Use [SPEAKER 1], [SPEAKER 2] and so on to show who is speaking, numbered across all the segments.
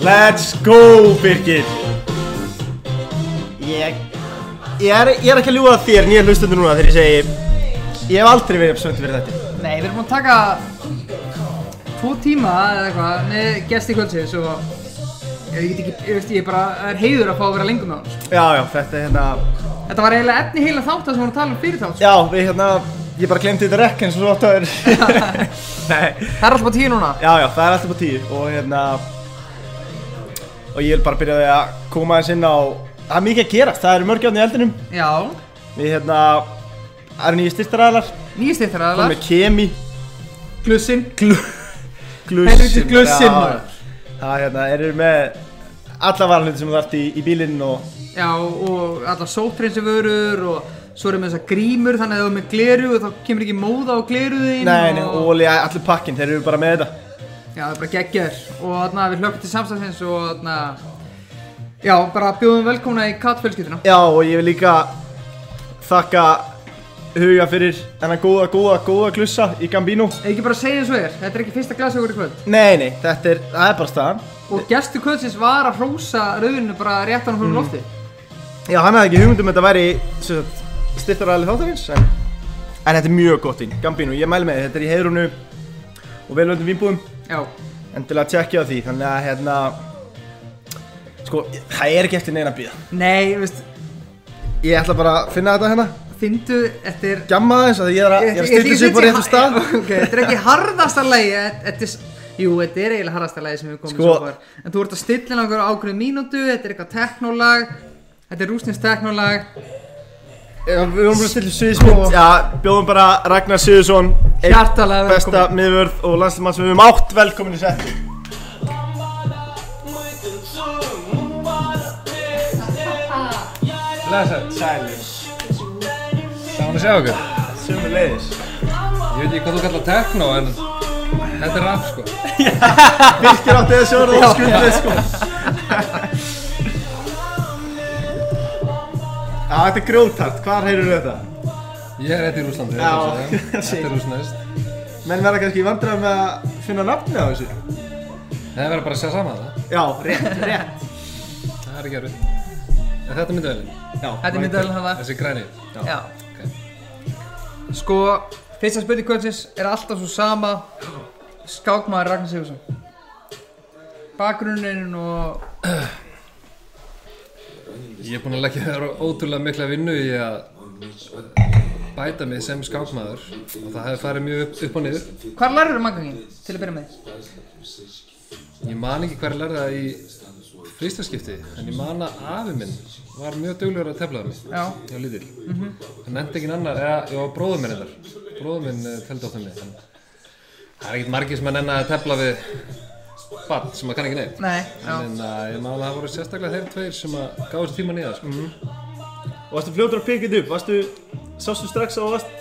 [SPEAKER 1] Let's go, Birgir
[SPEAKER 2] Ég, ég, er, ég er ekki að ljúga að þér nýja hlustundur núna þegar ég segi Ég hef aldrei verið uppsvönti fyrir þetta
[SPEAKER 3] Nei, við erum búin að taka tvo tíma eða eitthvað með gesti kvöldsins og ég get ekki, ég veist, ég bara það er heiður að fá að vera lengur með hann.
[SPEAKER 2] Já, já, þetta er hérna
[SPEAKER 3] Þetta var eiginlega efni heila þátt það sem við vorum að tala um fyrir þátt. sko.
[SPEAKER 2] Já, við hérna, ég bara glemti þetta rekk eins og svo áttu að vera Nei,
[SPEAKER 3] Það er alltaf bara tíu núna.
[SPEAKER 2] já, já, það er alltaf á tíu og hérna Og ég vil bara byrja á því að koma aðeins inn á Það er mikið að gerast, það eru mörgjáðni í eldinum
[SPEAKER 3] Já,
[SPEAKER 2] Við hérna, það eru nýju styrstaræðlar
[SPEAKER 3] nýjast eitt þeirra
[SPEAKER 2] Komum
[SPEAKER 3] aðlar.
[SPEAKER 2] með kemi
[SPEAKER 3] Glussin.
[SPEAKER 2] Glussin
[SPEAKER 3] glussin,
[SPEAKER 2] já.
[SPEAKER 3] maður.
[SPEAKER 2] Það hérna, eru með alla varalhund sem þú þarft í, í bílinn og
[SPEAKER 3] Já, og allar sótrinsivörur og svo erum við þessar grímur þannig að ef þú er með gleru þá kemur ekki móða á gleruðin.
[SPEAKER 2] Nei, nei, óli, allir pakkin, þeir eru bara með þetta
[SPEAKER 3] Já, það er bara geggjaður og þarna við hlökkum til samstæðsins og þarna Já, bara bjóðum velkomna í kattfjölskylduna
[SPEAKER 2] Já, og ég vil líka þakka huga fyrir þennan góða, góða, góða glussa í Gambino
[SPEAKER 3] Ekki bara segja eins og er, þetta er ekki fyrsta glasi okkur í kvöld
[SPEAKER 2] Nei, nei, þetta er, það er bara staðan
[SPEAKER 3] Og gestu kvöldsins var að hrósa rauðinu bara rétt hann fyrir mm. lofti
[SPEAKER 2] Já, hann hafði ekki hugmyndum að þetta væri styrtaræðileg þáttarins en, en þetta er mjög gott vinn, Gambino, ég mæli með þér, þetta er í heyrunu og velvöndum vínbúum
[SPEAKER 3] Já,
[SPEAKER 2] en til að tjekkja á því, þannig að hérna Sko, það er ekki eftir neina að býða
[SPEAKER 3] nei, veist,
[SPEAKER 2] Ég ætla bara að finna þetta hérna
[SPEAKER 3] fyndu, þetta er
[SPEAKER 2] Gamma þess að ég er að, ég er að stilla sig upp á réttum stað
[SPEAKER 3] Ok, þetta er ekki harðasta lagi Þetta er, jú, þetta er eiginlega harðasta lagi sem við komum
[SPEAKER 2] Sko-
[SPEAKER 3] svo far En þú ert að stilla inn á einhverju ákveðin mínútu Þetta er eitthvað teknólag Þetta er rúsnins teknólag
[SPEAKER 2] Já, við vorum bara að stilla sviðismynd Já, bjóðum bara Ragnar Sigurðsson einn
[SPEAKER 3] Hjartalega
[SPEAKER 2] Besta
[SPEAKER 3] velkominn.
[SPEAKER 2] miðvörð og landslimann sem við höfum átt velkomin í settu
[SPEAKER 4] Blessed.
[SPEAKER 2] Sælis
[SPEAKER 4] Gaman að sjá okkur.
[SPEAKER 2] Sjöfum leiðis
[SPEAKER 4] Ég veit ekki hvað þú kallar techno en þetta er rap sko.
[SPEAKER 2] Birkir átti þessi orð og skuldið sko Já, þetta er grjótart, hvar heyrur þetta?
[SPEAKER 4] Ég er rétt í Rúslandi.
[SPEAKER 2] Já.
[SPEAKER 4] Þetta er rúsnest.
[SPEAKER 2] Menn verða kannski vandræðum með að finna nafni á þessu
[SPEAKER 4] Það verður bara að segja saman það.
[SPEAKER 2] Já, rétt, rétt
[SPEAKER 4] Það er ekki erfitt. En þetta myndi velin.
[SPEAKER 2] Já,
[SPEAKER 3] Þetta er hérna. myndaðalinn hann
[SPEAKER 4] Þessi græni.
[SPEAKER 3] Já Sko, fyrsta spurning kvöldsins er alltaf svo sama Skákmaður Ragnar Sigursson Bakgrunnin og
[SPEAKER 4] Ég er búinn að leggja þér ótrúlega mikla vinnu í að bæta mig sem skákmaður og það hefur farið mjög upp, upp og niður.
[SPEAKER 3] Hvar lærður manngangin til að byrja með?
[SPEAKER 4] Ég man ekki hver lærði það í frístaskipti en ég man að afi minn var mjög duglegur að tefla mig.
[SPEAKER 3] Já,
[SPEAKER 4] Já, lítill. Það nefndi ekki annar, eða, já, bróður minn þar. Bróður minn eh, teldi á þenni. En það er ekkert margir sem að nenni að tefla við bann sem að kann ekki neitt.
[SPEAKER 3] nei, já
[SPEAKER 4] En uh, ég maður að það voru sérstaklega þeir tveir sem að gáðu þessu tíma nýða, sko.
[SPEAKER 2] Og varstu fljótur að pikið upp, varstu, sástu strax á varst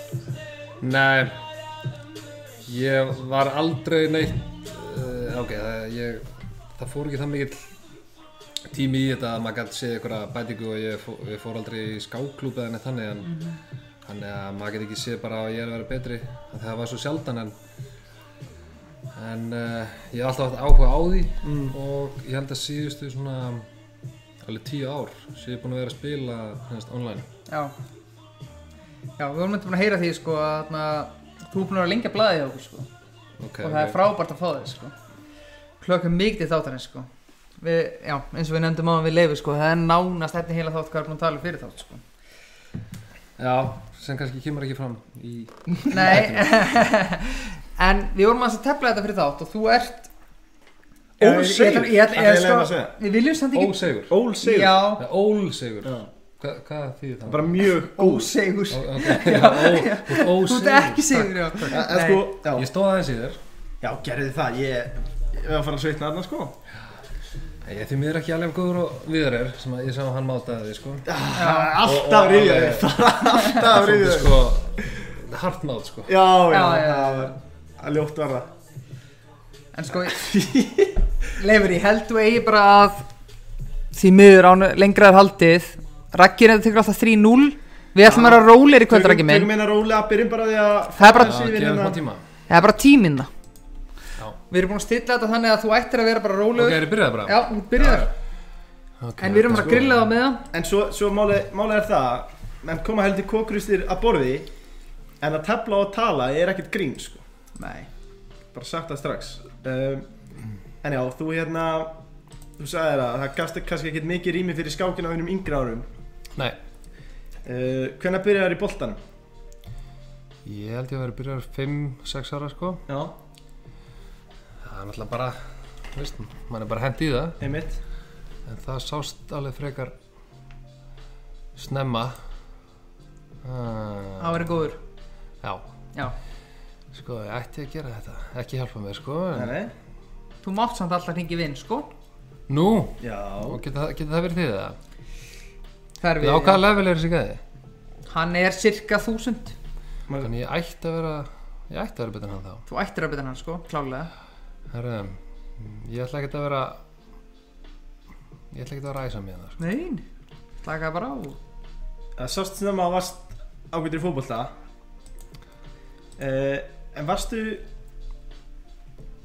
[SPEAKER 4] Nei, ég var aldrei neitt, uh, ok, það, ég, það fór ekki það mikill tími í þetta að maður gæti séð einhverja bætingu og ég fór, ég fór aldrei í skákklúb eða neitt þannig en
[SPEAKER 3] Mhm.
[SPEAKER 4] þannig að maður gæti ekki séð bara að ég er að vera betri af því að það var svo sjaldan en en uh, ég hef alltaf haft áhuga á því og ég held að síðustu svona alveg tíu ár sem ég er búinn að vera að spila hérna, online
[SPEAKER 3] Já, já við vorum eitthvað búin að heyra því sko að þarna, þú er búin að vera lengi að blaða því okkur sko
[SPEAKER 4] okay,
[SPEAKER 3] og það er frábært að fá þig sko Klökkum mikið þáttanins sko við, Já, eins og við nefndum á við leifu sko það er nánast efni heila þátt hvað er búin að tala um fyrir þátt sko
[SPEAKER 4] Já, sem kannski kemur ekki fram í
[SPEAKER 3] Nei, en við vorum aðeins að tefla þetta fyrir þátt og þú ert Ósigur, ég ætla,
[SPEAKER 2] Það er
[SPEAKER 3] ég
[SPEAKER 2] leiðin að
[SPEAKER 3] ætla, sko,
[SPEAKER 2] segja.
[SPEAKER 3] við viljum samt ekki
[SPEAKER 4] Ósegur
[SPEAKER 2] Ólsegur
[SPEAKER 3] Já,
[SPEAKER 4] Það er Ólsegur
[SPEAKER 2] Já.
[SPEAKER 4] Hva, Hvað þýðir það?
[SPEAKER 2] Bara mjög góð
[SPEAKER 3] ósegur
[SPEAKER 4] Ó-
[SPEAKER 3] Þú
[SPEAKER 4] ok, já, ó- þú ert
[SPEAKER 3] ert
[SPEAKER 4] Ósegur
[SPEAKER 3] ekki sigur, já
[SPEAKER 2] En
[SPEAKER 3] Nei.
[SPEAKER 2] sko, já.
[SPEAKER 4] Ég stóð aðeins í þér
[SPEAKER 2] Já, gerði það, ég, ég var að fara að sveitna þarna sko
[SPEAKER 4] Ég er því miður ekki alveg góður og viðar er sem að ég sá að hann mátaði því sko
[SPEAKER 2] Alltaf ríðja
[SPEAKER 4] alveg-
[SPEAKER 2] þig Alltaf
[SPEAKER 4] Svolítið,
[SPEAKER 2] ríðja þig
[SPEAKER 4] sko Hart mát sko
[SPEAKER 2] Já, já,
[SPEAKER 3] Já, já,
[SPEAKER 2] það
[SPEAKER 3] já.
[SPEAKER 2] var að ljótt var það
[SPEAKER 3] En sko, Leifur, ég held þú eigi bara að því miður án lengra er haldið Raggir þetta tekur alltaf 3-0 Við ætlum að vera rólir í kvöld, Raggi minn
[SPEAKER 2] Tökum hérna rólega, byrjum bara á því að
[SPEAKER 3] Það er bara,
[SPEAKER 4] Já,
[SPEAKER 2] Svífinn
[SPEAKER 4] gefum
[SPEAKER 2] hérna.
[SPEAKER 4] það tíma
[SPEAKER 3] það er bara tíminn það
[SPEAKER 4] Já.
[SPEAKER 3] Við erum búin að stilla þetta þannig að þú ættir að vera bara
[SPEAKER 4] Ok,
[SPEAKER 3] rólegur
[SPEAKER 4] er þið byrjað bara?
[SPEAKER 3] Já, þú byrjar
[SPEAKER 4] Ok,
[SPEAKER 3] En við erum bara
[SPEAKER 4] þetta
[SPEAKER 3] að grilla það með það
[SPEAKER 2] En svo, svo málið máli er það menn koma heldur kókrustir að borði en að tefla og tala er ekkert grín sko.
[SPEAKER 3] Nei
[SPEAKER 2] bara sagt það strax um, En já, þú hérna þú sagðir að það gafst kannski ekkert mikið rými fyrir skákina á einum yngri árum
[SPEAKER 4] sko- Nei,
[SPEAKER 2] uh, Hvenær byrjar þær í boltanum?
[SPEAKER 4] ég held ég að vera byrjað 5-6 ára sko
[SPEAKER 2] Já,
[SPEAKER 4] Það er náttúrulega bara, þú veist, maður er bara hent í það
[SPEAKER 2] einmitt
[SPEAKER 4] En það sást alveg frekar snemma
[SPEAKER 3] Það
[SPEAKER 4] uh,
[SPEAKER 3] var góður
[SPEAKER 4] Já,
[SPEAKER 3] Já
[SPEAKER 4] sko, ég ætti að gera þetta, ekki hjálpa mér sko
[SPEAKER 2] Nei,
[SPEAKER 4] en...
[SPEAKER 2] nei
[SPEAKER 3] Þú mátt samt alltaf hringi vinn, sko
[SPEAKER 4] Nú,
[SPEAKER 2] Já,
[SPEAKER 4] og geta, það- geta það verið þið það?
[SPEAKER 3] Það er
[SPEAKER 4] Á hvaða level er þessi gæði?
[SPEAKER 3] Hann er cirka þúsund
[SPEAKER 2] maður,
[SPEAKER 4] Þannig ég ætti að vera, ég ætti að vera betur en hann þá
[SPEAKER 3] Þú ættir að byrja hann, sko, klálega
[SPEAKER 4] Herðum, ég ætla ekkert að vera Ég ætla ekkert að vera æsa mér það sko.
[SPEAKER 3] Nein Slakaði bara á
[SPEAKER 2] það sást snemma að varst ágættur í fótbolta uh, En varstu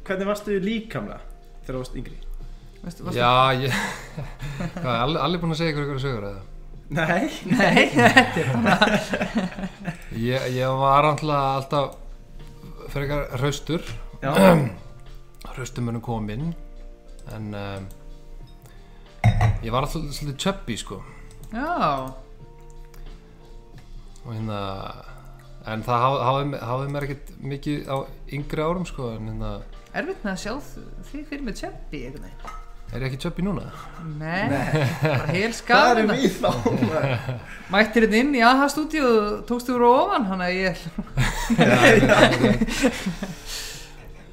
[SPEAKER 2] hvernig varstu líkamlega þegar þú varst yngri?
[SPEAKER 3] Veistu, varstu-
[SPEAKER 4] Já, ég Hvað, er allir, allir búin að segja ykkur ykkur sögur eða?
[SPEAKER 2] Nei
[SPEAKER 3] Nei, þetta er bara
[SPEAKER 4] Ég, ég var alltaf alltaf frekar hraustur
[SPEAKER 2] Já,
[SPEAKER 4] hraustur munum kominn en um, ég var alltaf svolítið chubby sko
[SPEAKER 3] Já
[SPEAKER 4] og hérna en það há- háði háði mér ekkert mikið á yngri árum sko en hérna
[SPEAKER 3] Erfitt með að sjá þ- þig fyrir með tjöppi einhvern veginn.
[SPEAKER 4] er ég ekki chubby núna?
[SPEAKER 3] Nei, bara hel
[SPEAKER 2] hvað erum
[SPEAKER 3] skafina
[SPEAKER 2] við þá? maður?
[SPEAKER 3] Mættir hérna inn í AHA-stúdíu og tókstu úr á ofan Þannig að ég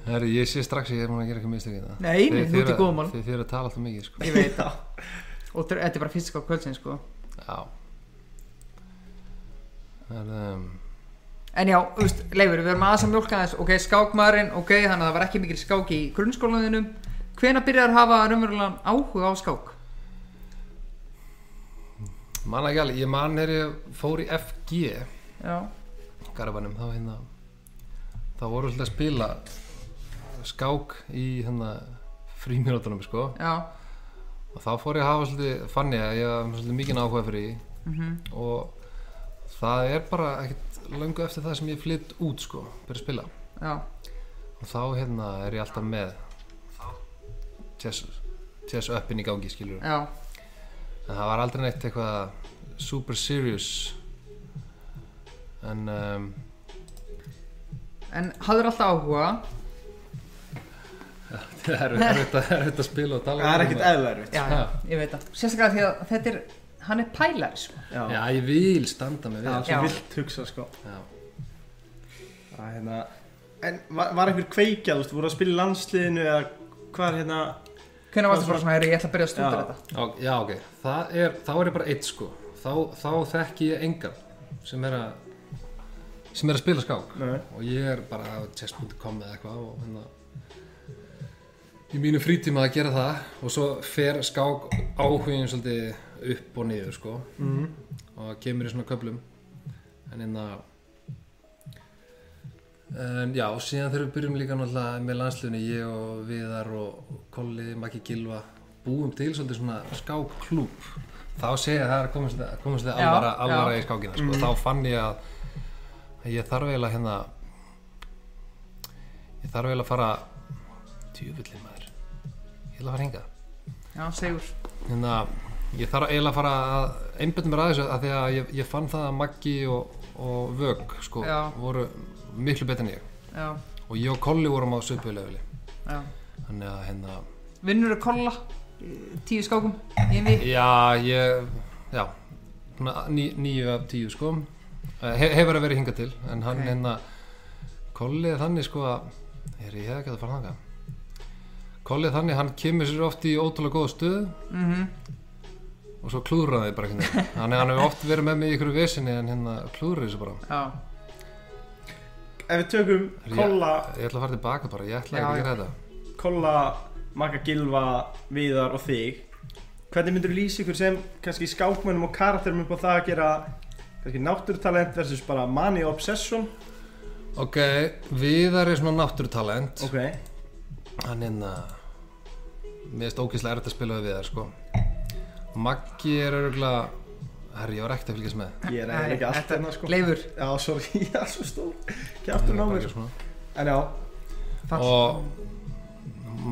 [SPEAKER 4] Herri, ég sé strax að ég er múin að gera eitthvað mistök í það
[SPEAKER 3] Nei, nei, þú ert í góðum málum.
[SPEAKER 4] Þið fyrir að tala alltaf mikið sko
[SPEAKER 3] Ég veit það Og þetta er bara fyrst ská kvöldsinn sko
[SPEAKER 4] Já En um,
[SPEAKER 3] En já, þú veist, Leifur, við erum aðeins að mjólka aðeins Ok, skákmaðurinn, ok, þannig að það var ekki mikil skák í grunnskólaðinum Hvena byrjar að hafa raunverulegan áhuga á skák?
[SPEAKER 4] Man ekki alveg, ég man er ég fór í FG
[SPEAKER 3] Já,
[SPEAKER 4] Garabænum, þá hérna Þá voru alltaf að spila skák í hérna frímínútonum sko
[SPEAKER 3] já,
[SPEAKER 4] og þá fór ég að hafa svolítið fann ég að ég var með svolítið mikið áhuga fyrir því
[SPEAKER 3] mhm,
[SPEAKER 4] og það er bara ekkert löngu eftir það sem ég flytt út sko, byrja að spila
[SPEAKER 3] já,
[SPEAKER 4] og þá hérna er ég alltaf með chess, chess uppin í gangi skilur
[SPEAKER 3] já
[SPEAKER 4] en það var aldrei neitt eitthvað super serious en um,
[SPEAKER 3] En hafður alltaf áhuga
[SPEAKER 4] það er erfitt að, erfitt að spila og tala
[SPEAKER 2] Það er
[SPEAKER 4] um
[SPEAKER 2] ekkert
[SPEAKER 4] það.
[SPEAKER 2] eðla erfitt
[SPEAKER 3] Já, já, ég veit það Sérstaklega því að þetta er, hann er pælari sko
[SPEAKER 4] já, ég vil standa með
[SPEAKER 2] Já,
[SPEAKER 4] við
[SPEAKER 2] svo
[SPEAKER 3] Já.
[SPEAKER 2] vilt hugsa sko
[SPEAKER 4] já.
[SPEAKER 2] að, hérna, En var, var einhver kveikja, þú veist, voru að spila í landsliðinu eða hvað er hérna
[SPEAKER 3] Hvenær varstu bara svona, "Heyrðu, ég ætla að byrja að stúdera
[SPEAKER 2] Já.
[SPEAKER 3] þetta
[SPEAKER 4] Á- Já, ok, það er, þá er ég bara eitt sko þá, þá þekki ég engan sem er að sem er að spila skák
[SPEAKER 2] Nei.
[SPEAKER 4] og ég er bara á chess.com eða eitthvað og hérna í mínu frítíma að gera það og svo fer skák áhugin svolítið upp og niður sko
[SPEAKER 2] Mhm.
[SPEAKER 4] og kemur í svona köflum en hérna En já, síðan þegar við byrjum líka náttúrulega með landsliðinu, ég og Viðar og Kolli, Maggi Gilva, búum til svolítið svona skákklúb. Þá sé ég að það er að komast að komast að
[SPEAKER 3] Já,
[SPEAKER 4] alvara,
[SPEAKER 3] já. Mm.
[SPEAKER 4] alvara í skákina, sko. Þá fann ég að, að ég þarf eiginlega hérna, ég þarf eiginlega að fara, tjúvillin maður, ég ætla að fara hingað
[SPEAKER 3] Já, segur
[SPEAKER 4] hérna, ég þarf eiginlega að fara að einbjönda mér að þessu að því að ég, ég fann það að Maggi og, og Vögg sko,
[SPEAKER 3] Já.
[SPEAKER 4] voru miklu betur en ég
[SPEAKER 3] Já,
[SPEAKER 4] og ég og Kolli vorum á söpulefli
[SPEAKER 3] já
[SPEAKER 4] þannig að hérna
[SPEAKER 3] Vinnur að kolla í Tíu skákum Í mig
[SPEAKER 4] já, ég, já svona ní, níu af tíu sko Eh, He, hefur að verið hingað til en hann
[SPEAKER 3] Ok.
[SPEAKER 4] hérna Kolli er þannig sko að er, ég hef ekki að fara þangað Kolli er þannig, hann kemur sér oft í ótrúlega góða stöðu
[SPEAKER 3] mm
[SPEAKER 4] og svo klúður hann þið bara einhvern veginn þannig að hann hefur oft verið með mig í ykkur vesinni en hérna klúður þessu bara
[SPEAKER 3] Já,
[SPEAKER 2] Ef við tökum
[SPEAKER 4] Ég-
[SPEAKER 2] kolla,
[SPEAKER 4] ég ætla að fara tilbaka bara, ég ætla
[SPEAKER 3] Já,
[SPEAKER 4] ekki að
[SPEAKER 3] já.
[SPEAKER 4] gera þetta
[SPEAKER 2] kolla, Magga Gilva, Viðar og þig Hvernig myndur þú lýsa ykkur sem kannski skákmönnum og karakterum upp á það að gera kannski náttúrutalent versus bara mani obsession
[SPEAKER 4] ok, Viðar er svona náttúrutalent
[SPEAKER 2] Ok,
[SPEAKER 4] hann hérna mér finnst ógeðslega erfitt að spila við þar sko Maggi er örgulega herri, ég var ekkert að fylgjast með
[SPEAKER 2] Ég er eiginlega ekki alltaf hérna sko
[SPEAKER 3] Leifur,
[SPEAKER 2] Já, sorry, ég er svo stór Kjáttur
[SPEAKER 4] Bara
[SPEAKER 2] námið
[SPEAKER 4] eitthvað svona.
[SPEAKER 2] En já,
[SPEAKER 3] fall
[SPEAKER 4] og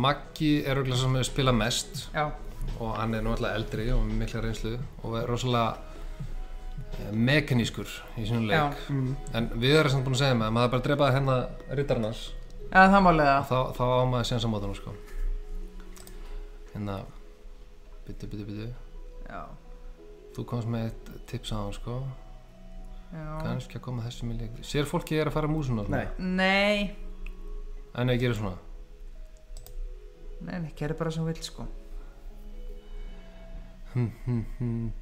[SPEAKER 4] Maggi er örgulega sem hefur spilað mest
[SPEAKER 3] Já,
[SPEAKER 4] og hann er náttúrulega eldri og með mikla reynslu og er rosalega eh, mekanískur í sínum
[SPEAKER 3] já,
[SPEAKER 4] leik en við erum samt búin að segja með að maður bara drepaði hérna rittarnas
[SPEAKER 3] já, það málega
[SPEAKER 4] þá, þá á maður séns á mótunum sko hérna byttu, byttu, byttu
[SPEAKER 3] Já,
[SPEAKER 4] þú komst með eitt tips á hann sko
[SPEAKER 3] já
[SPEAKER 4] kannski að koma þessum í leik sér fólki er að fara músuna
[SPEAKER 2] nei
[SPEAKER 3] Nei,
[SPEAKER 4] en ég gerir svona
[SPEAKER 3] nei, nei, gerðu bara sem þú vill sko
[SPEAKER 4] Hm, hm, hm.
[SPEAKER 3] Hmm.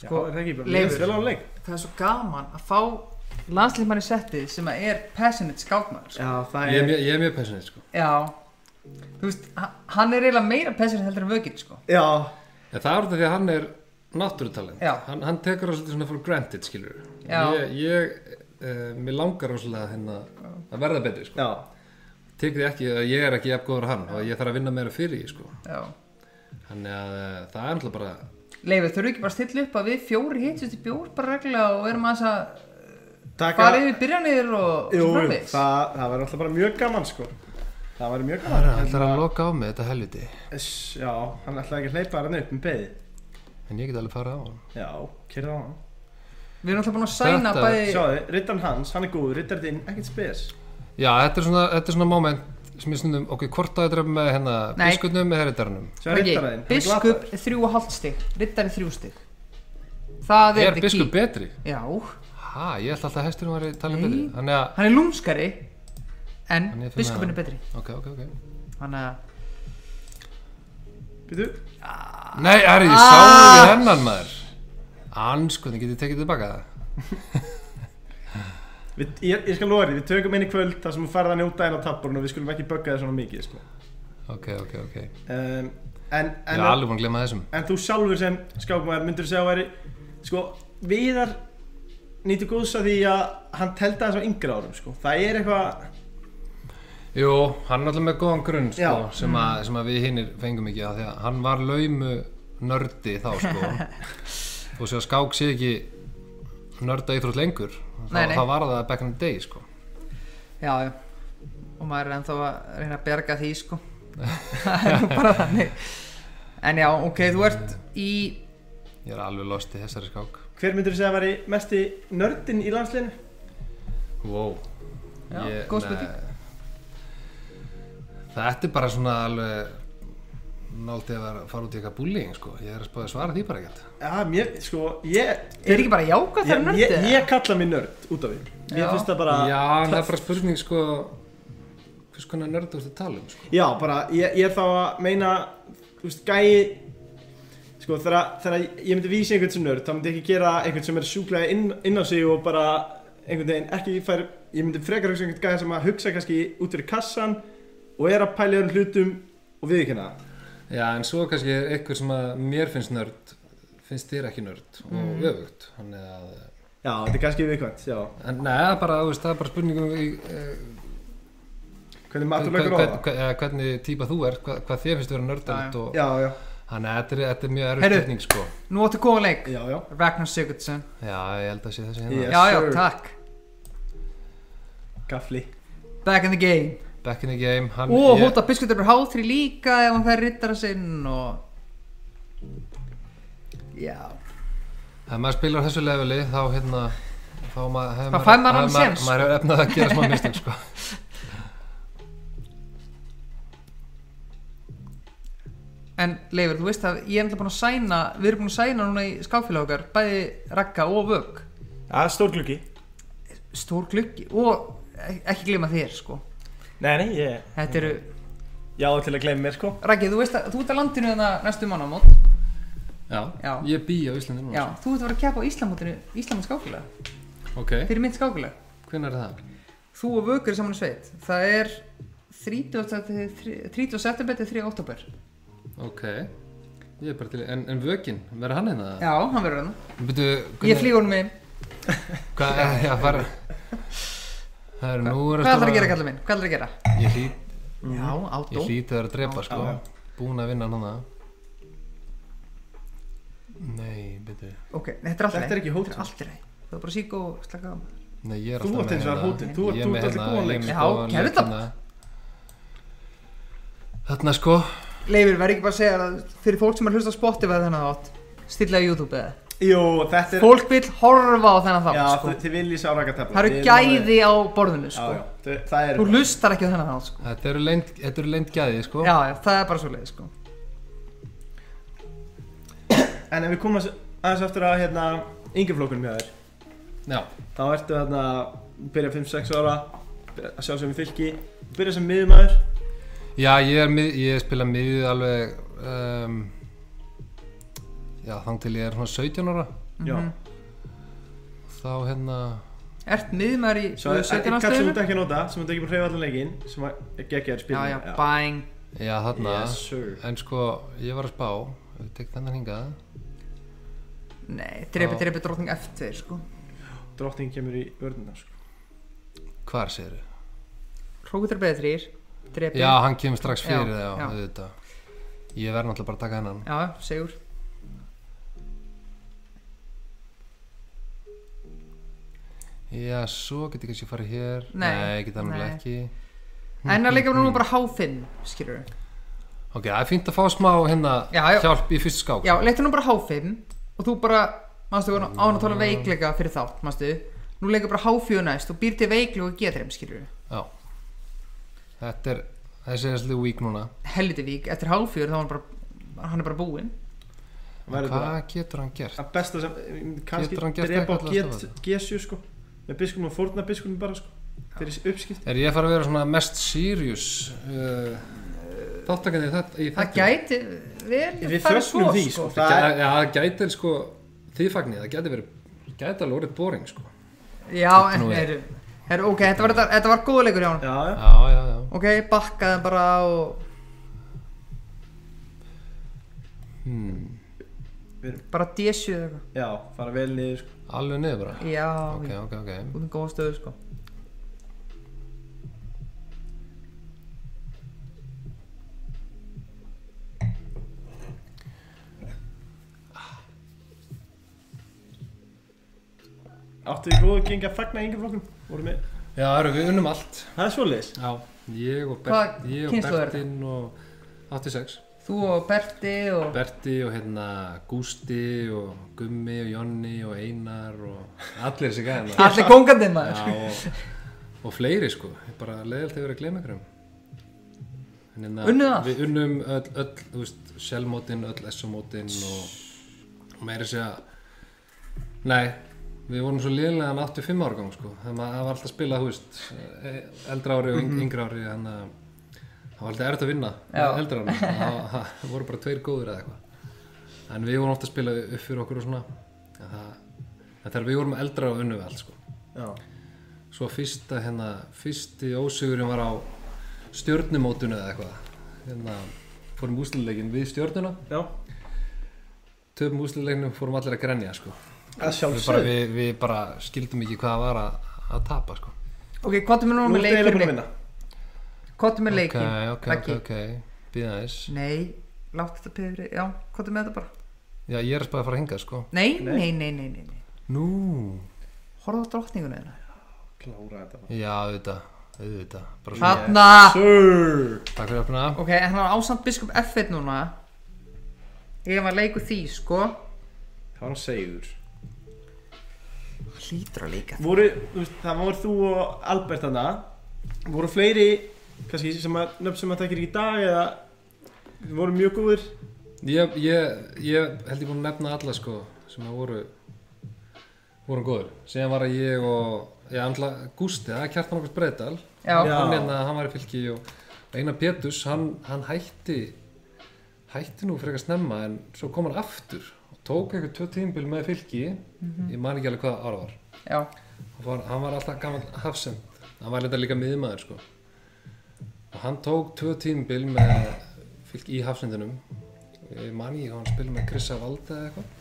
[SPEAKER 2] Sko, er það ekki bara
[SPEAKER 3] Leifur.
[SPEAKER 2] Leifur Spila á leik
[SPEAKER 3] Það er svo gaman að fá landslífmann í settið sem að er passionate skákmaður sko.
[SPEAKER 2] Já, það
[SPEAKER 4] ég er mjög- ég er mjög passionate sko
[SPEAKER 3] Já, þú veist, ha- hann er eiginlega meira passionate heldur en vöginn sko
[SPEAKER 2] Já,
[SPEAKER 4] en það er þetta því að hann er náttúrutalent
[SPEAKER 3] Já.
[SPEAKER 4] hann, hann tekur það svolítið svona for granted skilur
[SPEAKER 3] Já.
[SPEAKER 4] ég, ég uh, mér langar rosalega hérna að verða betur sko
[SPEAKER 2] já
[SPEAKER 4] tekur því ekki að ég er ekki jafn góður og hann og ég þarf að vinna meira fyrir ég sko
[SPEAKER 3] Já
[SPEAKER 4] þannig að uh, það er náttúrulega bara
[SPEAKER 3] Leifur, þurfum við ekki bara að stilla upp að við fjóri hittust í bjór bara reglulega og erum aðeins að
[SPEAKER 2] Taka
[SPEAKER 3] fara yfir byrjanir og
[SPEAKER 2] Jú, það,
[SPEAKER 3] og framvegis?
[SPEAKER 2] það var alltaf bara mjög gaman sko Það var mjög gaman
[SPEAKER 4] Það ætlar að loka á mig þetta helviti
[SPEAKER 2] Iss, Já, hann ætlaði ekki að hleypa hann upp með beði
[SPEAKER 4] En ég get alveg farið á hann
[SPEAKER 2] Já, kyrða á hann
[SPEAKER 3] Við erum alltaf búin að sæna
[SPEAKER 4] Þetta-
[SPEAKER 3] bæði
[SPEAKER 2] Sjáðu, rittan hans, hann er góður, rittar þinn, ekkert spes
[SPEAKER 4] Já, þetta er svona, þetta er svona moment sem ég stundum, ok, hvort að þetta er með hérna
[SPEAKER 3] Nei.
[SPEAKER 4] biskutnum með herritarnum
[SPEAKER 2] Sjáðu
[SPEAKER 3] Raggi,
[SPEAKER 2] rittar þinn,
[SPEAKER 3] Biskup þrjú og hálft stig, rittari þrjú stig Það er
[SPEAKER 4] Er
[SPEAKER 3] the
[SPEAKER 4] biskup
[SPEAKER 3] key
[SPEAKER 4] betri?
[SPEAKER 3] Já,
[SPEAKER 4] Ha, ég ætla alltaf að hesturinn var í talin
[SPEAKER 3] Nei.
[SPEAKER 4] betri Þannig að,
[SPEAKER 3] hann er lúmskari en
[SPEAKER 4] Hann er fyrir
[SPEAKER 3] biskupin
[SPEAKER 4] neðan.
[SPEAKER 3] er betri
[SPEAKER 4] ok, ok, ok
[SPEAKER 3] Þannig að
[SPEAKER 2] Býtu,
[SPEAKER 4] Nei, herri, ég sá
[SPEAKER 3] Ah.
[SPEAKER 4] það við hennan maður Anskotni, getið tekið tilbaka það
[SPEAKER 2] Við, ég, ég skal lofa þér, við tökum inn í kvöld þar sem við farið að njóta einn á tapborun og við skulum ekki bögga þér svona mikið sko.
[SPEAKER 4] Ok, ok, ok Ég
[SPEAKER 2] um, en, en,
[SPEAKER 4] er alveg búin að glemma þessum
[SPEAKER 2] en þú sjálfur sem skákmaður myndur segja að væri sko, viðar nýttu góðs að því að hann telda þess á yngra árum sko. það er eitthvað
[SPEAKER 4] Jú, hann er alltaf með góðan grunn sko,
[SPEAKER 2] Já.
[SPEAKER 4] sem, að,
[SPEAKER 3] Mm.
[SPEAKER 4] sem að við hinnir fengum ekki að því að hann var laumu nördi þá sko og sér að skák sé ekki nörda íþrótt lengur þá,
[SPEAKER 3] Nei, nei.
[SPEAKER 4] það var það back in the day sko
[SPEAKER 3] Já, já Og maður er ennþá að reyna að berga því sko Það er nú bara þannig En já, ok, þú ert í
[SPEAKER 4] ég er alveg lost í þessari skák
[SPEAKER 2] hver myndur segja að væri mesti nördin í landsliðinu?
[SPEAKER 4] wow
[SPEAKER 3] Já, góð spurning.
[SPEAKER 4] nei. þetta er bara svona alveg náttið að vera- fara út í eitthvað bullying sko ég er að spáði svara því bara ekkert
[SPEAKER 2] Já, mér, sko, ég
[SPEAKER 3] Er ekki bara jákvæð þar
[SPEAKER 2] ég, ég,
[SPEAKER 3] nöndið?
[SPEAKER 2] ég kalla mig nörd út af því
[SPEAKER 3] Já.
[SPEAKER 2] Mér finnst það bara
[SPEAKER 4] já, en það er bara spurning sko hvers konar nörda þú ert að tala um sko
[SPEAKER 2] Já, bara, ég, ég er þá að meina, þú veist, gæi, sko, þegar, þegar ég myndi vísi einhvern sem nörd, þá myndi ég ekki gera einhvern sem er sjúklega inn, inn á sig og bara einhvern veginn ekki fær, ég myndi frekar hugsa einhvern gæi sem að hugsa kannski út fyrir kassan og er að pæla í öðrum hlutum og viðkynna það.
[SPEAKER 4] Já, en svo kannski er eitthvað sem að mér finnst nörd, finnst þér ekki nörd
[SPEAKER 3] Mm.
[SPEAKER 4] og öfugt, þannig að
[SPEAKER 2] Já, þetta er kannski viðkvæmt, já.
[SPEAKER 4] en neða, bara, þú veist, það er bara spurningum í, uh,
[SPEAKER 2] Hvernig
[SPEAKER 3] Um
[SPEAKER 2] matur
[SPEAKER 4] hver,
[SPEAKER 2] lögur á
[SPEAKER 4] hver,
[SPEAKER 2] það?
[SPEAKER 4] hver, eða hvernig típa þú er, hvað, hvað þér finnst vera nördalegt og
[SPEAKER 2] Já, já,
[SPEAKER 4] þannig að þetta er, þetta er mjög erfið
[SPEAKER 3] Heyrðu.
[SPEAKER 4] spurning, sko
[SPEAKER 3] Nú áttu góðan leik
[SPEAKER 2] já, já.
[SPEAKER 3] Ragnar Sigurdsson
[SPEAKER 4] Já, ég held að sé þessi hérna
[SPEAKER 2] Yes,
[SPEAKER 3] Já, já,
[SPEAKER 2] sir.
[SPEAKER 3] takk
[SPEAKER 2] Gafli.
[SPEAKER 3] Back in the game
[SPEAKER 4] Back in the game, hann
[SPEAKER 3] Og
[SPEAKER 4] ég,
[SPEAKER 3] hóta biskutur bara háþri líka ef hann fær rittara sinn og Já
[SPEAKER 4] ef maður spilar á þessu leveli, þá hérna þá maður, hefur
[SPEAKER 3] Þá fær maður
[SPEAKER 4] hefur
[SPEAKER 3] alveg séns, sko.
[SPEAKER 4] maður hefur efnað að gera smá mistök, sko
[SPEAKER 3] En Leifur, þú veist að ég er alltaf búin að sæna Við erum búin að sæna núna í skáfélag okkar Bæði Ragga og Vögg
[SPEAKER 2] Það er stór gluggi.
[SPEAKER 3] Stór gluggi og ek- ekki glima þér sko
[SPEAKER 2] Nei, nei, ég,
[SPEAKER 3] Þetta eru
[SPEAKER 2] já, til að gleyma mér, sko.
[SPEAKER 3] Raggi, þú veist að þú ert að landinu þarna næstu mannamót
[SPEAKER 4] Já,
[SPEAKER 3] Já.
[SPEAKER 4] ég bý á Íslandi núna,
[SPEAKER 3] Já, þú ert að vera að keppa á Íslamótinu Íslamót skáfélag
[SPEAKER 4] sko Ok,
[SPEAKER 3] Fyrir mitt skáfélag
[SPEAKER 4] hvenær er það?
[SPEAKER 3] Þú og Vögg eru saman í sveit Það er 30, til 30, 30 september til 3. oktober
[SPEAKER 4] Ok, ég er bara til, í- en, en vökin, verður hann hérna?
[SPEAKER 3] Já, hann verður hann
[SPEAKER 4] Byrju,
[SPEAKER 3] Ég flýg honum með
[SPEAKER 4] Hvað, já, fara Það er nú
[SPEAKER 3] Hvað ætlar að gera, kallið minn? Hvað ætlar að gera?
[SPEAKER 4] Ég hlýt,
[SPEAKER 3] Já, á
[SPEAKER 4] ég
[SPEAKER 3] dó
[SPEAKER 4] hlýt að vera að drepa sko
[SPEAKER 2] Já.
[SPEAKER 4] Búin að vinna núna Nei, byrju
[SPEAKER 3] Ok, nei, þetta er alltaf
[SPEAKER 2] Þetta er ekki hótun.
[SPEAKER 3] Þetta er alltaf reið Það er bara sík og slaka á
[SPEAKER 4] Nei, ég er
[SPEAKER 2] Þú
[SPEAKER 4] alltaf
[SPEAKER 2] átt eins og það hótinn, þú
[SPEAKER 4] Ég
[SPEAKER 2] átt
[SPEAKER 4] er með
[SPEAKER 2] allir
[SPEAKER 4] hérna,
[SPEAKER 2] góðan
[SPEAKER 4] ég er
[SPEAKER 2] leik
[SPEAKER 4] með
[SPEAKER 3] Já,
[SPEAKER 4] góðan
[SPEAKER 3] gerðu
[SPEAKER 4] leik
[SPEAKER 3] það.
[SPEAKER 4] hérna. Þarna sko
[SPEAKER 3] Leifur, verður ekki bara að segja að fyrir fólk sem er að hlusta á Spotify þennan þátt Stilla á YouTube eða
[SPEAKER 2] Jó, þetta er
[SPEAKER 3] Fólk vil horfa á þennan
[SPEAKER 2] Já,
[SPEAKER 3] þátt sko.
[SPEAKER 2] þið- þið viljið sjá rakatabla
[SPEAKER 3] Það eru gæði á borðinu
[SPEAKER 2] Já,
[SPEAKER 3] sko.
[SPEAKER 2] já, þau- það
[SPEAKER 3] Þú
[SPEAKER 2] er
[SPEAKER 3] hlustar ekki á þennan þátt sko.
[SPEAKER 4] Þetta eru leynd, þetta eru leynd gæði sko
[SPEAKER 3] Já, já, það er bara svo leið sko.
[SPEAKER 2] En ef við komum aðeins- aðeins aftur að hérna yngjaflokkunum hjá þér
[SPEAKER 4] Já,
[SPEAKER 2] Þá ertu þarna að byrja 5-6 ára byrja að sjá sem í fylki byrja sem miðumæður
[SPEAKER 4] já ég, er, mið- ég spila miðið alveg um, Já, þang til ég er svona 17 ára
[SPEAKER 2] Já,
[SPEAKER 3] Mhm.
[SPEAKER 4] Þá hérna
[SPEAKER 3] Ert miðmæður í
[SPEAKER 2] svo er þetta kannski eh, sem þú
[SPEAKER 3] stöðunum?
[SPEAKER 2] ert ekki að nota sem þú ert ekki búin að hreyfa allan leikinn sem að geggja þér
[SPEAKER 3] Já,
[SPEAKER 2] spilin
[SPEAKER 3] já, bæng
[SPEAKER 4] Já, þarna
[SPEAKER 2] Yes, sir.
[SPEAKER 4] En sko, ég var að spá ef Við tek þennan hingað
[SPEAKER 3] Nei, drepi,
[SPEAKER 4] Já.
[SPEAKER 3] drepi, drottning F2 sko.
[SPEAKER 2] Drottning kemur í vörnina sko.
[SPEAKER 4] Hvar segirðu?
[SPEAKER 3] Hrókur drepi eða þrýr Drepi
[SPEAKER 4] Já, hann kemur strax fyrir
[SPEAKER 3] Já,
[SPEAKER 4] já, já,
[SPEAKER 3] já.
[SPEAKER 4] auðvitað Ég verð náttúrulega bara að taka hennan
[SPEAKER 3] já segur
[SPEAKER 4] Já, svo get ég kannski farið hér
[SPEAKER 3] Nei,
[SPEAKER 4] ég get það náttúrulega
[SPEAKER 3] nei.
[SPEAKER 4] ekki
[SPEAKER 3] En að leika nú bara háfinn, skilur við
[SPEAKER 4] Ok, það er fínt að fá smá hérna
[SPEAKER 3] Já, já.
[SPEAKER 4] hjálp í fyrst skák
[SPEAKER 3] Já, leiktu nú bara H5 og þú bara, mannstu,
[SPEAKER 2] Mm.
[SPEAKER 3] án að tala um veikleika fyrir þátt, mannstu Nú leikur bara H4 næst og býr til veikleika og getur þeim, skilur við
[SPEAKER 4] Já. Þetta er, þessi er svolítið vík núna
[SPEAKER 3] Helviti vík, eftir H4 þá er hann bara, hann er bara búinn
[SPEAKER 2] Væri
[SPEAKER 4] Hvað
[SPEAKER 2] bara
[SPEAKER 4] getur hann gert?
[SPEAKER 2] að besta sem eh, kannski
[SPEAKER 4] Getur hann gert
[SPEAKER 2] drepa á
[SPEAKER 4] eitthvað til að
[SPEAKER 2] G- G7 sko með biskupum og fórna biskupum bara sko fyrir uppskipt
[SPEAKER 4] Er ég að fara að vera svona mest serious uh, þáttakandi í þetta?
[SPEAKER 3] Það gæti vel
[SPEAKER 2] Við
[SPEAKER 3] farið
[SPEAKER 2] fögnum því sko
[SPEAKER 4] Það
[SPEAKER 2] það er,
[SPEAKER 4] gæti, ja, það gæti sko, því fagnir, það gæti verið, gæti alveg orðið boring sko
[SPEAKER 3] Já, en
[SPEAKER 4] Nú er-
[SPEAKER 3] er, er, ok, þetta var, þetta var góð leikur hjá hann
[SPEAKER 2] Já, já
[SPEAKER 4] Já, já, já
[SPEAKER 3] Ok, bakkaði hann bara og
[SPEAKER 4] hmm.
[SPEAKER 3] bara D7 eða eitthvað
[SPEAKER 2] Já, fara vel niður sko
[SPEAKER 4] Alveg niður bara
[SPEAKER 3] Já,
[SPEAKER 4] Ok,
[SPEAKER 3] já,
[SPEAKER 4] ok, ok
[SPEAKER 3] út um góða stöðu sko
[SPEAKER 2] Áttu þið góðu geng að fagna yngjaflokkum? Voru með
[SPEAKER 4] Já, það eru við unnum allt
[SPEAKER 2] Það er svoleiðis
[SPEAKER 4] Já Ég og,
[SPEAKER 3] Hvað
[SPEAKER 4] Bert, ég og
[SPEAKER 3] kynslóð er
[SPEAKER 4] Bertin og 86
[SPEAKER 3] Þú og Berti og
[SPEAKER 4] Berti og hérna Gústi og Gummi og Jonni og Einar og allir þessi gæðina
[SPEAKER 3] allir kongandi maður
[SPEAKER 4] Já, og, og fleiri sko Ég bara leiðilt hefur verið að gleyma ykkur um
[SPEAKER 3] Unnuð allt?
[SPEAKER 4] Við unnum öll, öll þú veist, sjálfmótin, öll S-mótin og og meira sér að nei, við vorum svo liðlega en 85 ára gang sko þannig að það var alltaf að spila, þú veist e- eldra ári og yng- yngra ári þannig að það var alltaf erfitt að vinna
[SPEAKER 3] Mhm. Já.
[SPEAKER 4] með eldra ári, það það voru bara tveir góður eða eitthvað en við vorum ofta að spila upp fyrir okkur og svona en, það, en þegar við vorum eldra og unnum við allt sko
[SPEAKER 2] Já
[SPEAKER 4] svo fyrsta hérna fyrsti ósugurinn var á stjörnumótinu eða eitthvað hérna fórum úsliðleikin við stjörnuna
[SPEAKER 2] Já
[SPEAKER 4] töfum úsliðleikinu fórum allir að grenja sko
[SPEAKER 2] Það
[SPEAKER 4] við bara,
[SPEAKER 2] sjálfsög
[SPEAKER 4] við, við bara skildum ekki hvað það var að, að tapa sko
[SPEAKER 3] Ok, hvað er mér
[SPEAKER 2] Nú
[SPEAKER 3] núna
[SPEAKER 2] er
[SPEAKER 3] með
[SPEAKER 2] þetta eiginlega búin að
[SPEAKER 3] leikurinn?
[SPEAKER 2] vinna
[SPEAKER 3] Hvað er mér
[SPEAKER 4] ok,
[SPEAKER 3] leikin?
[SPEAKER 4] ok, ok, ok, býða aðeins
[SPEAKER 3] Nei, látt þetta pifri, já, hvað er með þetta bara?
[SPEAKER 4] já ég er að spæða að fara að hinga sko
[SPEAKER 3] Nei,
[SPEAKER 2] Nei.
[SPEAKER 3] nei, nei, nei, nei, nei.
[SPEAKER 4] nú,
[SPEAKER 3] Horfðu á drottninguna þeirna.
[SPEAKER 2] Klára þetta bara
[SPEAKER 4] já auðvitað, auðvitað bara svona,
[SPEAKER 3] Þarna,
[SPEAKER 2] Sir
[SPEAKER 4] takk fyrir að finna
[SPEAKER 3] ok, en hann var ásamt biskup F1 núna. Ég var að leiku því, sko.
[SPEAKER 2] Það var hann segur
[SPEAKER 3] Hann hlýtur að leika það.
[SPEAKER 2] voru, þú veist, það voru þú og Albert hana voru fleiri kannski sem að nöfn sem að tekir ekki í dag eða voru mjög góðir
[SPEAKER 4] ég, ég, ég held ég búin að nefna alla sko sem að voru voru góður, síðan var að ég og ég andla Gústi, það er kjartan okkur breyðdal
[SPEAKER 3] Já,
[SPEAKER 2] Já.
[SPEAKER 4] hann, hérna, hann var í fylki og og Einar Pétus, hann, hann hætti hætti nú frekar snemma en svo kom hann aftur og tók eitthvað tvö tímbil með fylki ég man ekki alveg hvað ára var
[SPEAKER 3] já,
[SPEAKER 4] hann var, hann var alltaf gammal hafsend hann var þetta líka miðmaður sko. og hann tók tvö tímbil með fylg í hafsendinum ég man ekki hvað hann spil með Krissa Valda eða eitthvað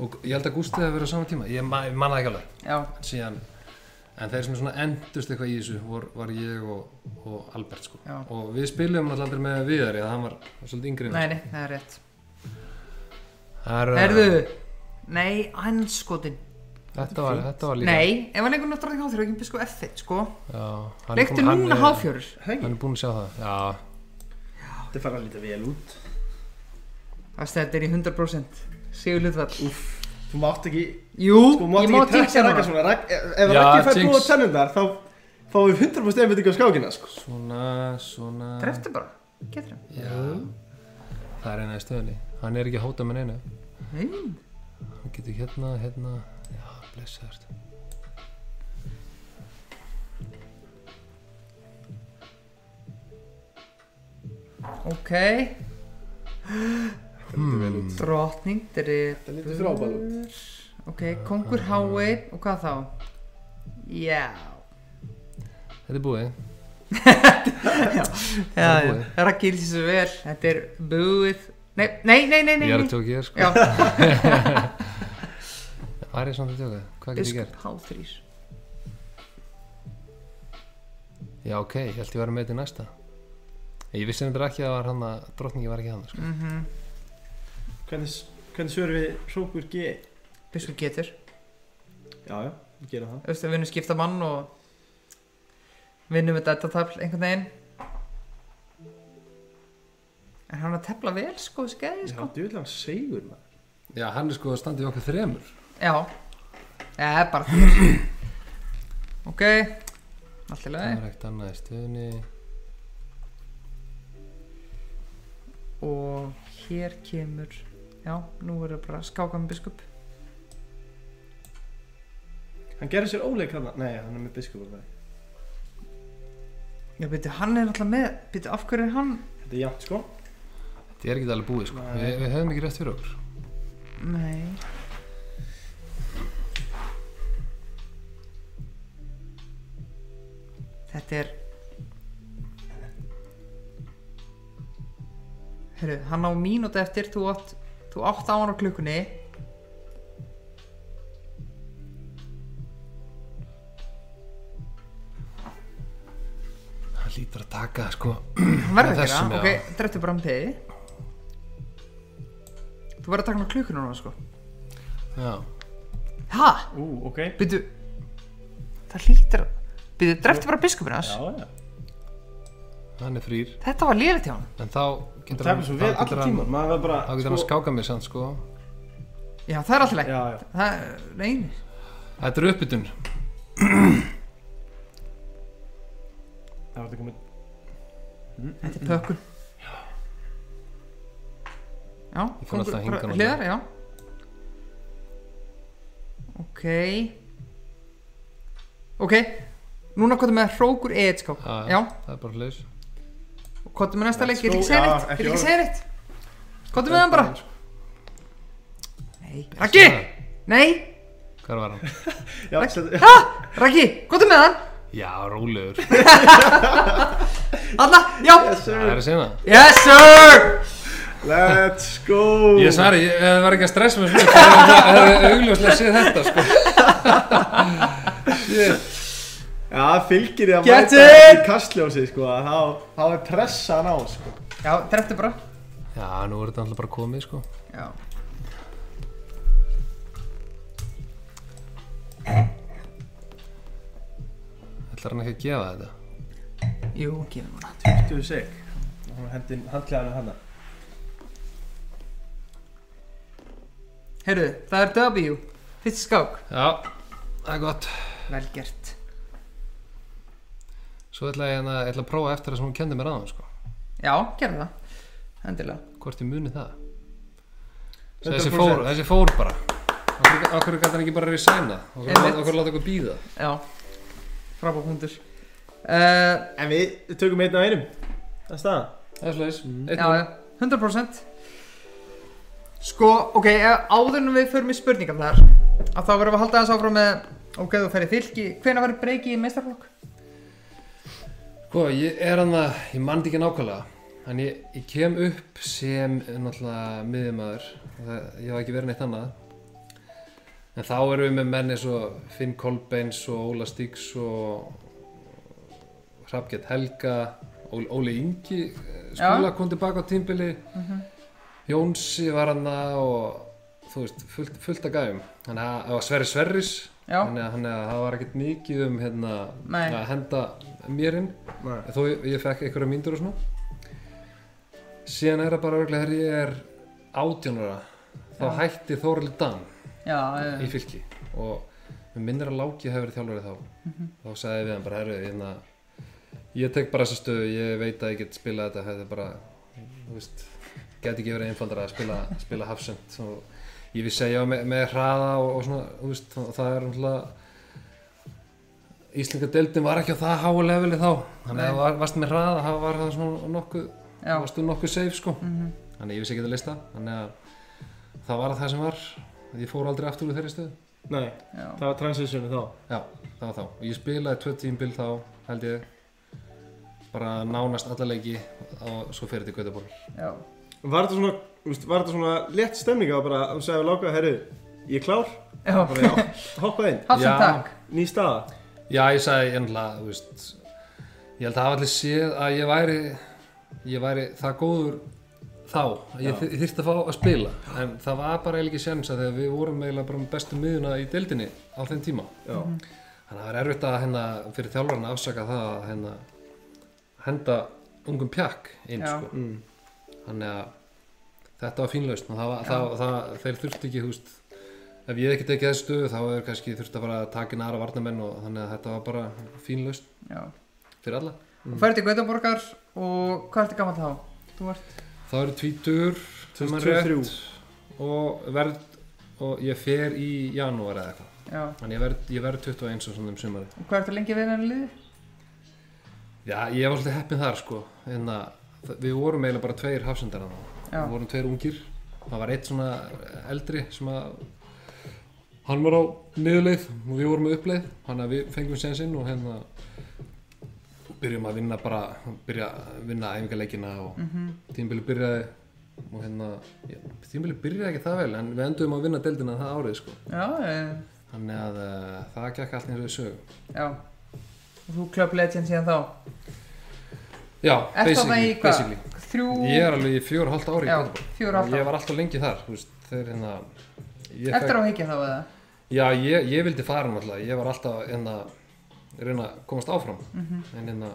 [SPEAKER 4] og ég held að Gústi hafi verið á sama tíma ég man, ég man það ekki alveg
[SPEAKER 3] já.
[SPEAKER 4] en síðan en þeir sem svona endust eitthvað í þessu vor, var ég og, og Albert sko.
[SPEAKER 3] Já.
[SPEAKER 4] og við spilum náttúrulega aldrei með Viðari það hann var svolítið yngri en
[SPEAKER 3] Nei,
[SPEAKER 4] við.
[SPEAKER 3] nei, það er rétt
[SPEAKER 4] Það er, uh,
[SPEAKER 3] Herðu Nei, anskotin
[SPEAKER 4] þetta var, þetta var líka
[SPEAKER 3] Nei, ef hann leikur náttúrulega háþjóður ekki biskup F1 sko
[SPEAKER 4] Já, hann er
[SPEAKER 3] Leiktu
[SPEAKER 4] kom- hann
[SPEAKER 3] núna
[SPEAKER 4] er-
[SPEAKER 3] háfjörur
[SPEAKER 2] Hægi,
[SPEAKER 4] hann er búinn að sjá það já,
[SPEAKER 2] þetta fara að líta vel út
[SPEAKER 3] Þetta er í 100% Sigur hlutvall
[SPEAKER 2] Þú mátt ekki,
[SPEAKER 3] Jú,
[SPEAKER 2] sko, mátt
[SPEAKER 3] ég má
[SPEAKER 2] ekki
[SPEAKER 3] tíksa
[SPEAKER 2] trekka
[SPEAKER 3] hana
[SPEAKER 2] Ragga svona Ragg- Ef ef
[SPEAKER 4] Já,
[SPEAKER 2] Raggi fær
[SPEAKER 4] jinx.
[SPEAKER 2] blóð tennundar þá fáum við 100% einbindingu á skákina sko.
[SPEAKER 4] svona, svona
[SPEAKER 3] Dreftu bara, getur hann
[SPEAKER 4] já, það er eina í stöðunni hann er ekki að hóta með neina
[SPEAKER 3] Nei,
[SPEAKER 4] hann getur hérna, hérna já, blessaður
[SPEAKER 3] ok
[SPEAKER 4] hmm.
[SPEAKER 3] Drottning,
[SPEAKER 2] Þetta lítur frábæl út.
[SPEAKER 3] drefur Ok, kongur hái E og hvað þá? Já
[SPEAKER 4] þetta er búið
[SPEAKER 3] Já,
[SPEAKER 4] er
[SPEAKER 3] já,
[SPEAKER 4] búið.
[SPEAKER 3] Raggi lýsir svo vel Þetta er búið Nei, nei, nei, nei, nei
[SPEAKER 4] ég er
[SPEAKER 3] nei.
[SPEAKER 4] að tjóka hér sko
[SPEAKER 3] Já,
[SPEAKER 4] var ég samt að tjóka, um hvað getur ég gert
[SPEAKER 3] biskup H3
[SPEAKER 4] já, ok, ég held ég var með til næsta ég vissi hendur ekki að það var hann að drottningi var ekki hann sko.
[SPEAKER 3] Mhm.
[SPEAKER 2] Hvernig, hvernig svörum við Hrókur G?
[SPEAKER 3] Biskup getur
[SPEAKER 2] Já, já, við gerum það
[SPEAKER 3] Þú veist, við vinnum skipta mann og vinnum með þetta tafl einhvern veginn En hann er að tefla vel sko, skæði
[SPEAKER 2] Já,
[SPEAKER 3] sko
[SPEAKER 2] djúðlega segur maður
[SPEAKER 4] já, hann er sko að standa í okkur þremur
[SPEAKER 3] Já, það er bara þér Ok, allt í
[SPEAKER 4] það
[SPEAKER 3] lagi
[SPEAKER 4] er ekkert annað í stöðunni
[SPEAKER 3] Og hér kemur, já, nú er það bara skáka með biskup
[SPEAKER 2] Hann gerir sér óleik hann Nei, hann er með biskupar með
[SPEAKER 3] Já, byrju, hann er náttúrulega með, byrju, af hverju er hann?
[SPEAKER 2] Þetta er jafnt sko
[SPEAKER 4] þetta er ekki alveg búið sko.
[SPEAKER 2] Nei.
[SPEAKER 4] við, við höfum ekki rétt fyrir okkur
[SPEAKER 3] Nei Þetta er Hörru, hann á mínúti eftir þú átt, þú átt á hann á klukkunni
[SPEAKER 4] hann lítur að taka sko
[SPEAKER 3] hann verður
[SPEAKER 4] Með
[SPEAKER 3] að gera,
[SPEAKER 4] þessum, já.
[SPEAKER 3] ok, dreftu bara um piði Þú verður að taka hann á klukkunni núna sko
[SPEAKER 4] já,
[SPEAKER 3] Ha,
[SPEAKER 2] Ú, ok Já,
[SPEAKER 3] byrju Það hlýtur að Byrju, dreftu bara biskupinu hans
[SPEAKER 2] já
[SPEAKER 4] hann er frýr
[SPEAKER 3] Þetta var lýrið hjá hann
[SPEAKER 4] en þá getur
[SPEAKER 2] Það er svo
[SPEAKER 4] þá
[SPEAKER 2] vel
[SPEAKER 4] getur
[SPEAKER 2] allir tíma Maður verður bara
[SPEAKER 4] þá getur hann skáka mig sann sko
[SPEAKER 3] Já, það er alltaf leik
[SPEAKER 2] Já, já
[SPEAKER 3] Það, nei,
[SPEAKER 4] þetta er uppbytun
[SPEAKER 2] Það verður komið
[SPEAKER 3] þetta er pökkun Já,
[SPEAKER 4] Ég fór
[SPEAKER 3] kongur,
[SPEAKER 4] alltaf að hinga
[SPEAKER 3] bara
[SPEAKER 4] núna.
[SPEAKER 3] hliðar, já Ok Ok Núna komum með hrókur eðskák
[SPEAKER 4] Já,
[SPEAKER 3] Já,
[SPEAKER 4] það er bara hlaus
[SPEAKER 3] komum með næsta leik, ég
[SPEAKER 2] go.
[SPEAKER 3] vil ekki segja
[SPEAKER 2] Já,
[SPEAKER 3] neitt Ég
[SPEAKER 2] ekki
[SPEAKER 3] vil ekki
[SPEAKER 2] orð.
[SPEAKER 3] segja neitt Komum með hann bara Nei, Raggi, nei,
[SPEAKER 4] hvað var hann?
[SPEAKER 2] Já, þetta
[SPEAKER 3] ha, Raggi, komum með hann
[SPEAKER 4] já, rólegur
[SPEAKER 3] Alla, já
[SPEAKER 2] Yes,
[SPEAKER 4] það
[SPEAKER 2] sir.
[SPEAKER 4] er að segja það
[SPEAKER 3] Yes sir
[SPEAKER 2] Let's go
[SPEAKER 4] Ég svari, ef það var ekki að stressa mig svona Það hefði augljóslega séð þetta sko. Shit.
[SPEAKER 2] Já, fylgir ég að
[SPEAKER 3] Get
[SPEAKER 2] mæta
[SPEAKER 3] it!
[SPEAKER 2] í kastljósi sko að Þá, þá er pressan á sko
[SPEAKER 3] Já, dreftu bara
[SPEAKER 4] Já, nú er þetta alltaf bara komið sko.
[SPEAKER 3] Já
[SPEAKER 4] Ætlar hann ekki að gefa þetta
[SPEAKER 3] Jú, gefum hana
[SPEAKER 2] 20 seg Hún hendir handklæðanum hana
[SPEAKER 3] Heyrðu, það er W Fyrst skák
[SPEAKER 4] Já, það er gott
[SPEAKER 3] Vel gert
[SPEAKER 4] Svo ætla ég, hérna- ég ætla að prófa eftir það sem hún kendi mér aðan sko.
[SPEAKER 3] Já, gerðu það Endilega
[SPEAKER 4] Hvort ég muni það Svo þessi fór, þessi fór bara Okkur, okkur gæti hann ekki bara resigna Okkur,
[SPEAKER 3] Einmitt.
[SPEAKER 4] okkur láta okkur býða
[SPEAKER 3] Já Frábá punktur uh,
[SPEAKER 2] En við tökum einn á einum Það er staðan
[SPEAKER 4] Það er slags
[SPEAKER 3] Mm. Já, já 100% Sko, ok, ef- áður en við förum í spurningarnar að þá verðum við að halda aðeins áfram með ok, þú ferði fylki hvenær verður breyki í meistarflokk?
[SPEAKER 4] Sko, ég er hann að, ég mann ekki nákvæmlega, en ég, ég kem upp sem náttúrulega miðjumæður, ég hef ekki verið neitt annað. En En þá erum við með menn eins og Finn Kolbeins og Óla Stíks og Hrafgjart Helga, Óli, Óli Ingi eh, skúla
[SPEAKER 3] Já.
[SPEAKER 4] kom tilbaka á tímbili, Jónsi var hann og þú veist, fullt, fullt að gæfum. Þannig að það var Sverri Sverris,
[SPEAKER 3] Já.
[SPEAKER 4] þannig að, þannig að það var ekkert mikið um hérna,
[SPEAKER 3] Nei.
[SPEAKER 4] að henda mér inn
[SPEAKER 2] Nei.
[SPEAKER 4] þó ég, ég fekk einhverja myndur og svona síðan er það bara örglega þegar ég er átjónara þá hætti Þorli Dan
[SPEAKER 3] já,
[SPEAKER 4] í
[SPEAKER 3] eh,
[SPEAKER 4] fylki og mér minnir að Láki hefur verið þjálfari þá
[SPEAKER 3] Mhm.
[SPEAKER 4] þá sagði ég við hann bara herru hérna, ég tek bara þessa stöðu ég veit að ég get spilað þetta þetta er bara þú veist gæti ekki verið einfaldara að spila, spila hafsend og ég vissi að ég var með, með hraða og, og svona þú veist og það er umhverjulega Íslinga deildin var ekki á það háu leveli þá þannig
[SPEAKER 3] Nei.
[SPEAKER 4] að var, varst með hraða það var það svona nokkuð
[SPEAKER 3] já, Mhm,
[SPEAKER 4] varst þú nokkuð safe sko þannig að ég vissi ekki að lista þannig að það var það sem var ég fór aldrei aftur úr þeirri stöðu
[SPEAKER 2] Nei,
[SPEAKER 3] já,
[SPEAKER 2] það var transitionu þá
[SPEAKER 4] Já, það var þá. Og ég spilaði tvö tímbil þá, held ég, bara nánast alla leiki og svo fyrir til Göteborg.
[SPEAKER 3] já,
[SPEAKER 2] Var þetta svona, úst, var þetta svona létt stemning að bara, þú sagði við lákaði, herru, ég er klár,
[SPEAKER 3] já.
[SPEAKER 2] bara já, hoppa inn,
[SPEAKER 3] Hafsum
[SPEAKER 4] Já.
[SPEAKER 3] takk
[SPEAKER 2] ný staða.
[SPEAKER 4] Já, ég sagði ennlega, þú veist, ég held að hafa allir séð að ég væri, ég væri það góður þá, að ég þyr- þyrfti að fá að spila. En það var bara eiginlega ekki sjans að þegar við vorum eiginlega bara með bestu miðuna í deildinni á þeim tíma.
[SPEAKER 2] Já,
[SPEAKER 4] Þannig að það var erfitt að hérna, fyrir þjálfarinn að afsaka það að hérna, henda ungum pjakk inn,
[SPEAKER 3] Já.
[SPEAKER 4] sko.
[SPEAKER 2] mm.
[SPEAKER 4] þannig að þetta var fínlaust og það, var- það, það, þeir þurfti ekki húst, ef ég hef ekki tekið þessu stöðu þá hefur kannski þurfti að bara taka inn aðra varnamenn og þannig að þetta var bara fínlaust
[SPEAKER 3] já.
[SPEAKER 4] fyrir alla
[SPEAKER 3] Þú færði til Gautaborgar og hvað ertu gammal þá? Þú ert,
[SPEAKER 4] þá eru tvítur sem er
[SPEAKER 2] 23.
[SPEAKER 4] rétt og verð og ég fer í janúar eða eitthvað
[SPEAKER 3] já,
[SPEAKER 4] þannig ég verð, ég verð 21 og svona um sumari
[SPEAKER 3] og hvað ertu lengi við henni liði?
[SPEAKER 4] já ég var svolítið heppin þar sko en að það- við vorum eiginlega bara tveir hafsendar þannig
[SPEAKER 3] Já,
[SPEAKER 4] við vorum tveir ungir það var eitt svona eldri sem að hann var á niðurleið og við vorum á uppleið þannig að við fengum sensinn og hérna byrjum að vinna bara byrja að vinna æfingarleikina og mm
[SPEAKER 3] Mhm.
[SPEAKER 4] byrjaði og hérna tímbili byrjaði ekki það vel en við endum að vinna deildina það árið sko
[SPEAKER 3] já, eh,
[SPEAKER 4] þannig að uh, það gekk allt eins og við sögum
[SPEAKER 3] já Og þú klöp legend síðan þá
[SPEAKER 4] já,
[SPEAKER 3] Ert það í hvað?
[SPEAKER 4] basically
[SPEAKER 3] Þrjú,
[SPEAKER 4] ég er alveg í fjór og hálft ári
[SPEAKER 3] já, fjóra
[SPEAKER 4] ég
[SPEAKER 3] átta
[SPEAKER 4] var alltaf lengi þar þú veist, þeir hérna ég
[SPEAKER 3] Eftir á higgja þá eða?
[SPEAKER 4] Já, ég, ég vildi fara náttúrulega, ég var alltaf hérna, að reyna að komast áfram en hérna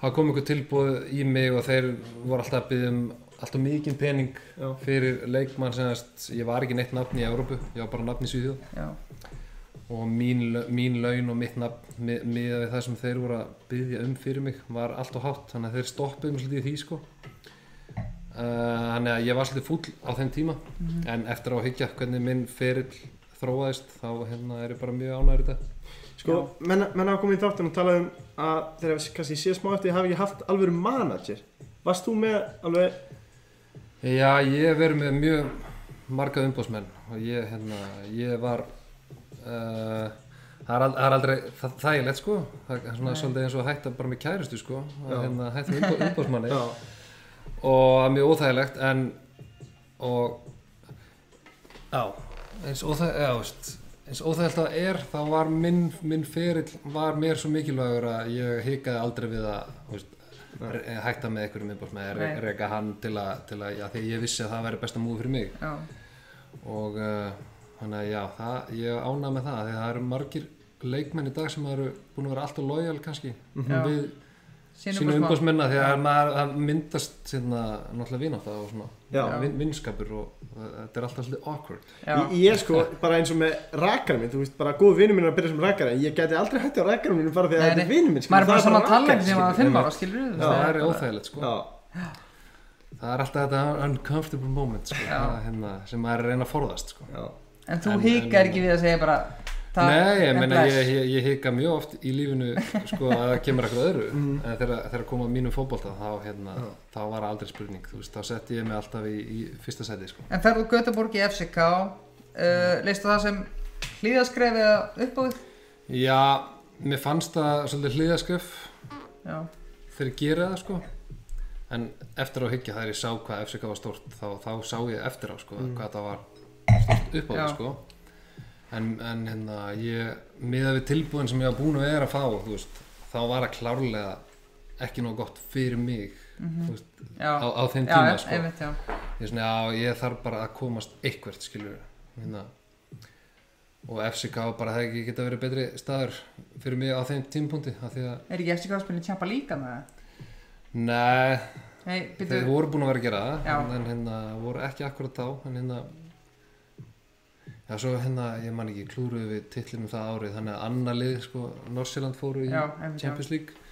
[SPEAKER 4] það kom einhver tilbúð í mig og þeir voru alltaf að byggja um alltaf mikið pening
[SPEAKER 2] Já.
[SPEAKER 4] fyrir leikmann sem þess, ég var ekki neitt nafn í Evrópu, ég var bara nafn í Svíðjóð
[SPEAKER 3] Já,
[SPEAKER 4] og mín, lau- mín laun og mitt nafn mi- miðað við það sem þeir voru að byggja um fyrir mig var allt og hátt, þannig að þeir stoppuðu mig svolítið í því sko uh, þannig að ég var svolítið fúll á þeim tíma en eftir á að higgja hvernig minn ferill þróaðist þá hérna er ég bara mjög ánægður í þetta
[SPEAKER 2] Sko, menn, menn hafa komið í þáttin og talað um að þegar við kannski sé smá eftir hafi ekki haft alvöru manager. Varst þú með alveg,
[SPEAKER 4] Já, ég hef verið með mjög marga umbóðsmenn og ég, hérna, ég var uh, það, er al, það er aldrei það, þægilegt sko, það er svona svolítið eins og að hætta bara með kærustu sko, að
[SPEAKER 2] Já.
[SPEAKER 4] hérna, hætta með umbóðsmanni
[SPEAKER 2] já,
[SPEAKER 4] og það er mjög óþægilegt en og já, eins, óþæg, já, veist, eins óþægilegt það er þá var minn, minn ferill var mér svo mikilvægur að ég hikaði aldrei við að þú veist, re- hætta með einhverjum miðbórsmæði,
[SPEAKER 3] Nei.
[SPEAKER 4] reyka hann til að, til að já, því ég vissi að það væri besta múið fyrir mig
[SPEAKER 3] já,
[SPEAKER 4] og uh, þannig að já, það, ég ána með það því það eru margir leikmenn í dag sem eru búin að vera alltaf lojal kannski
[SPEAKER 3] Já.
[SPEAKER 4] við
[SPEAKER 3] sínu
[SPEAKER 4] sínu
[SPEAKER 3] umbúrsmann
[SPEAKER 4] umbóðsmenna því að maður það myndast hérna, náttúrulega vinátt og svona
[SPEAKER 2] já.
[SPEAKER 3] Já.
[SPEAKER 4] vin, vinskapur og uh, þetta er alltaf svolítið awkward
[SPEAKER 3] Já,
[SPEAKER 2] Ég, ég sko, bara eins og með rakarinn minn, þú veist, bara góð vinnur minn er að byrja sem rakari, en ég gæti aldrei hætti á rakarinn minn bara því að
[SPEAKER 3] Nei,
[SPEAKER 2] þetta
[SPEAKER 3] nei.
[SPEAKER 2] er vinnur minn,
[SPEAKER 3] maður er bara svona
[SPEAKER 2] rakari,
[SPEAKER 3] talengi sem
[SPEAKER 2] skilur.
[SPEAKER 3] að fimm ára, skilur við
[SPEAKER 4] það er óþægilegt sko.
[SPEAKER 2] Já,
[SPEAKER 4] það er alltaf þetta uncomfortable moment sko,
[SPEAKER 3] Já.
[SPEAKER 4] að, hérna, sem maður er að reyna að forðast sko.
[SPEAKER 2] já,
[SPEAKER 3] En þú
[SPEAKER 4] En-
[SPEAKER 3] higgjar
[SPEAKER 4] en-
[SPEAKER 3] ekki við að segja bara "Það
[SPEAKER 4] Nei,
[SPEAKER 3] er
[SPEAKER 4] ég meina
[SPEAKER 3] bless."
[SPEAKER 4] ég, ég, ég hika mjög oft í lífinu sko að það kemur eitthvað öðru en þegar, þegar kom að mínum fótbolta þá, hérna, þá var aldrei spurning þú veist, þá setti ég mig alltaf í, í fyrsta seti sko.
[SPEAKER 3] En ferðu Göteborg í FCK uh, Leistu það sem hlýðaskref eða upp á því?
[SPEAKER 4] Já, mér fannst það svolítið hliðaskref
[SPEAKER 3] Já,
[SPEAKER 4] þegar ég gera það sko en eftir á higgja þegar ég sá hvað FCK var stort þá, þá sá ég eftir á sko hvað það var stort upp á
[SPEAKER 3] Mm. Já.
[SPEAKER 4] það sko en, en hérna ég miða við tilbúin sem ég var búin að vera að fá þú veist, þá var það klárlega ekki nóg gott fyrir mig þú veist,
[SPEAKER 3] já.
[SPEAKER 4] á, á þeim
[SPEAKER 3] já,
[SPEAKER 4] tíma
[SPEAKER 3] já,
[SPEAKER 4] sko.
[SPEAKER 3] einmitt, já.
[SPEAKER 4] ég, er svona, já, ég þarf bara að komast eitthvert skilur hérna. og FCK bara hefði ekki geta verið betri staður fyrir mig á þeim tímpunkti af því að,
[SPEAKER 3] Er ekki eftir hvað að spila tjampa líka með það?
[SPEAKER 4] nei,
[SPEAKER 3] Nei, byrju,
[SPEAKER 4] þeir voru búin að vera að gera
[SPEAKER 3] Já.
[SPEAKER 4] það en, en hérna voru ekki akkurat þá en hérna já svo hérna, ég man ekki, klúruðu við titlinum það árið, þannig að annar lið sko, Norsjöland fóru í
[SPEAKER 3] já, einmitt, já.
[SPEAKER 4] Champions League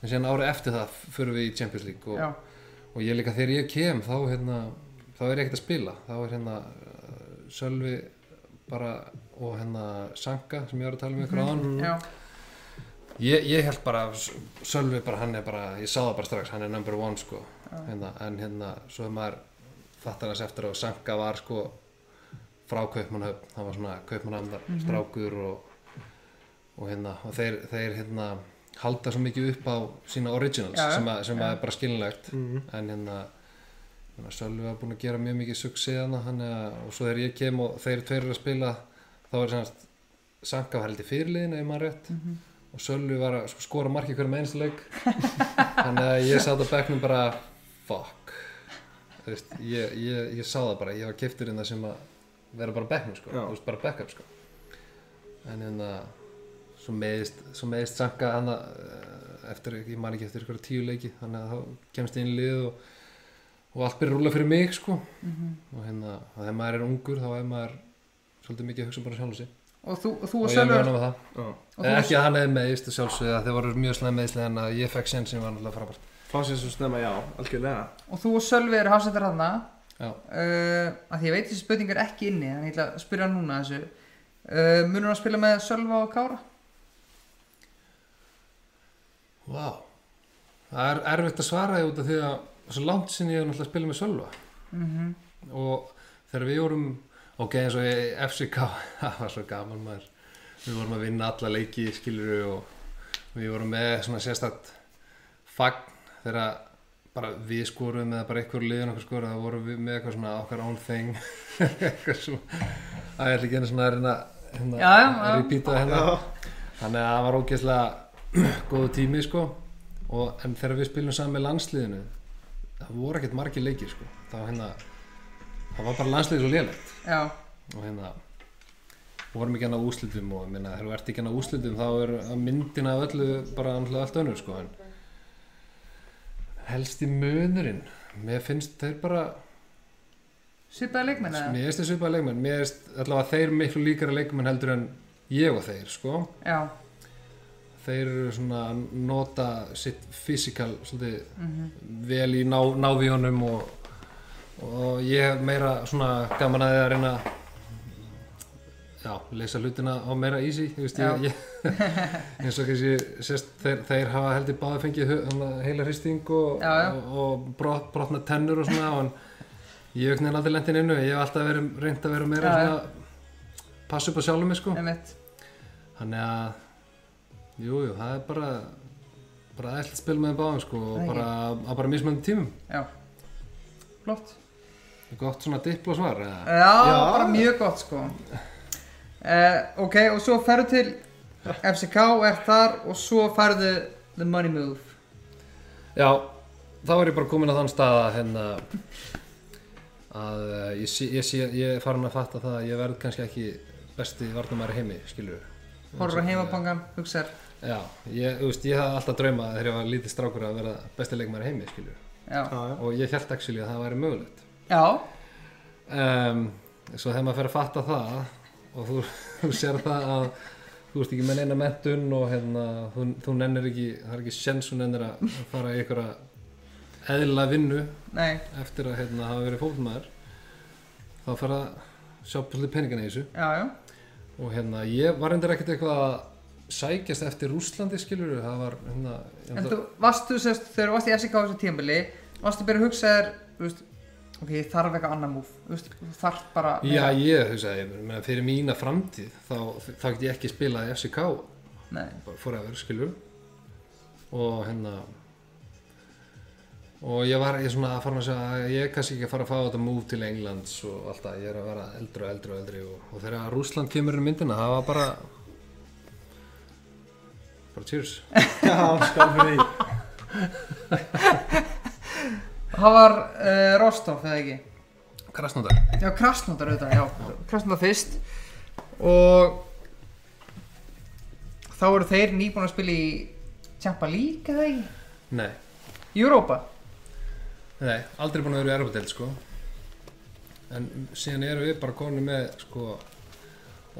[SPEAKER 4] en síðan árið eftir það förum við í Champions League og,
[SPEAKER 3] já,
[SPEAKER 4] og ég líka þegar ég kem þá, hérna, þá er ég ekkert að spila þá er hérna uh, Sölvi bara og hérna Sanka sem ég var að tala
[SPEAKER 3] Mhm.
[SPEAKER 4] um ykkur á
[SPEAKER 3] já,
[SPEAKER 4] ég, ég held bara S- Sölvi bara hann er bara ég sá það bara strax, hann er number one sko hérna, en hérna svo er maður fattar hans eftir að Sanka var sko frá Kaupmannhöfn það var svona Kaupmannhöfn
[SPEAKER 3] Mhm.
[SPEAKER 4] strákur og, og hérna og þeir, þeir hérna halda svo mikið upp á sína originals
[SPEAKER 3] Já, já.
[SPEAKER 4] sem, að, sem að
[SPEAKER 3] Já.
[SPEAKER 4] er bara skilnilegt en hérna hérna, Sölvi var búin að gera mjög mikið suksið hana, hann, og svo þegar ég kem og þeir tveir eru að spila þá er semast Sanka var held í fyrirliðin ef maður rétt og Sölvi var að sko, skora markið hverjum einstileg þannig að ég satt á bekknum bara fuck Þú veist, ég, ég, ég sá það bara, ég var keftur inn það sem að vera bara á bekknum sko,
[SPEAKER 2] Já.
[SPEAKER 4] Þú veist, bara backup sko en hérna svo meðist, svo meðist Sanka hann að eh, eftir, ég man ekki eftir ykkur tíu leiki þannig að þá kemst ég inn í liðið og, og allt byrja að rúla fyrir mig sko
[SPEAKER 3] Mhm.
[SPEAKER 4] og hérna, og þegar maður er ungur þá er maður svolítið mikið að hugsa bara sjálf sig
[SPEAKER 3] og þú og, þú
[SPEAKER 4] og
[SPEAKER 3] og
[SPEAKER 4] ég er
[SPEAKER 3] Sölvi
[SPEAKER 4] mjög annað með það
[SPEAKER 2] Já.
[SPEAKER 3] og
[SPEAKER 4] Eh,
[SPEAKER 3] þú-
[SPEAKER 4] ekki að hann hefði meðist og sjálfsögða þeir voru mjög slæm meðislega en að ég fekk sén sem var náttúrulega frábært
[SPEAKER 2] Fá sér svo snemma, já, algjörlega
[SPEAKER 3] og þú og Sölvi eru hásettar þarna
[SPEAKER 4] já,
[SPEAKER 3] uh, að því ég veit þessi spurning er ekki inni þannig ég ætla að spyrja núna þessu uh, munur hann spila með Sölva og Kára?
[SPEAKER 4] vá það er erfitt að svara því út af því að svo langt sinni ég hef náttúrulega spilað með Sölva
[SPEAKER 3] Mhm.
[SPEAKER 4] og þegar við vorum ok, eins og ég, FCK það var svo gaman maður við vorum að vinna alla leiki, skiluru og við vorum með svona sérstætt fagn þegar bara við skorum eða bara einhver liðin okkur skorum, það vorum við með eitthvað svona okkar own thing eitthvað svona að ég ætla ekki einu svona að reyna hérna,
[SPEAKER 3] Já, já, já.
[SPEAKER 4] að repeata hérna þannig að það var ógeðslega góðu tími sko og, en þegar við spilum saman með landsliðinu það voru ekkert margir leikir sko það var hérna það var bara landsliðið svo lélegt
[SPEAKER 3] Já,
[SPEAKER 4] og hérna vorum ekki hann á úslitum og minna, þegar þú ert ekki hann á úslitum þá er að myndina af öllu bara náttúrulega allt önnur sko en helsti munurinn mér finnst þeir bara
[SPEAKER 3] svipaði leikmenn eða?
[SPEAKER 4] mér finnst þeir svipaða leikmenn mér finnst allavega þeir miklu líkara leikmenn heldur en ég og þeir sko
[SPEAKER 3] Já,
[SPEAKER 4] þeir eru svona að nota sitt fysikal svolítið
[SPEAKER 3] mhm,
[SPEAKER 4] vel í ná, návíunum og, og ég hef meira svona gaman að því að reyna að, já, leysa hlutina á meira easy, þú veist
[SPEAKER 3] Já.
[SPEAKER 4] ég, ég eins og kannski sérst, þeir, þeir hafa heldur báði fengið hu- hana, heila hristing og,
[SPEAKER 3] Já, já.
[SPEAKER 4] og, og brot, brotna tennur og svona en ég hef nefnilega aldrei lentin innu ég hef alltaf verið, reynt að vera meira
[SPEAKER 3] Já, já.
[SPEAKER 4] svona passa upp á sjálfum mig sko
[SPEAKER 3] einmitt
[SPEAKER 4] Þannig að Jújú, jú, það er bara bara allt spil með þeim báðum sko og
[SPEAKER 3] Það er
[SPEAKER 4] bara, að bara mismöndum tímum
[SPEAKER 3] Já, flott
[SPEAKER 4] gott svona dipla svar eða?
[SPEAKER 3] Já, bara mjög gott sko uh, Ok, og svo ferðu til FCK, er þar og svo ferðu The Money Move
[SPEAKER 4] Já, þá er ég bara komin að þann stað að hérna að eh, ég, sé, ég, sé, ég er farin að fatta það að ég verð kannski ekki besti varnamæri heimi, skilur
[SPEAKER 3] Horfur á heimabangan, hugsar
[SPEAKER 4] Já, ég, þú veist, ég hafði alltaf drauma þegar ég var lítið strákur að vera besti leikmæri heimi, skilur
[SPEAKER 3] Já,
[SPEAKER 2] Já, já
[SPEAKER 4] og ég held actually að það væri mögulegt
[SPEAKER 3] já,
[SPEAKER 4] um, svo þegar maður fer að fatta það og þú, þú sér það að þú ert ekki með neina mentun og hérna, þú, þú nennir ekki það er ekki sens þú nennir að fara í einhverja eðla vinnu
[SPEAKER 3] nei,
[SPEAKER 4] eftir að hérna, hafa verið fólkmaður þá fer að sjá svolítið peningana í þessu
[SPEAKER 3] já, já
[SPEAKER 4] og hérna, ég var endur ekkert eitthvað að sækjast eftir Rúslandi skilur það var hérna, ég
[SPEAKER 3] En
[SPEAKER 4] ætla-
[SPEAKER 3] þú varst, þú sérst, þegar þú varst í FCK á þessu tímabili Varstu að byrja að hugsa þér, þú veist Ok, ég þarf eitthvað annað múf, þú veist, þú þarf bara
[SPEAKER 4] Já, ég hugsaði, ég meina, fyrir mína framtíð þá, þá get ég ekki spilað í FCK
[SPEAKER 3] Nei,
[SPEAKER 4] bara forever, skilur og hérna og ég var ég svona að fara að segja að ég er kannski ekki að fara að fá þetta move til Englands og allt það, ég er að vera eldri og eldri og eldri og, og þegar Rúsland kemur í myndina það var bara bara cheers
[SPEAKER 2] Já, skal fyrir því
[SPEAKER 3] Það var uh, Rostov, eða ekki?
[SPEAKER 4] Krasnodar
[SPEAKER 3] Já, Krasnodar auðvitað, já, Krasnodar fyrst og þá eru þeir nýbúin að spila í Champa League eða ekki?
[SPEAKER 4] Nei,
[SPEAKER 3] Europa?
[SPEAKER 4] nei, aldrei búin að vera í Erfadel sko en síðan erum við bara konu með sko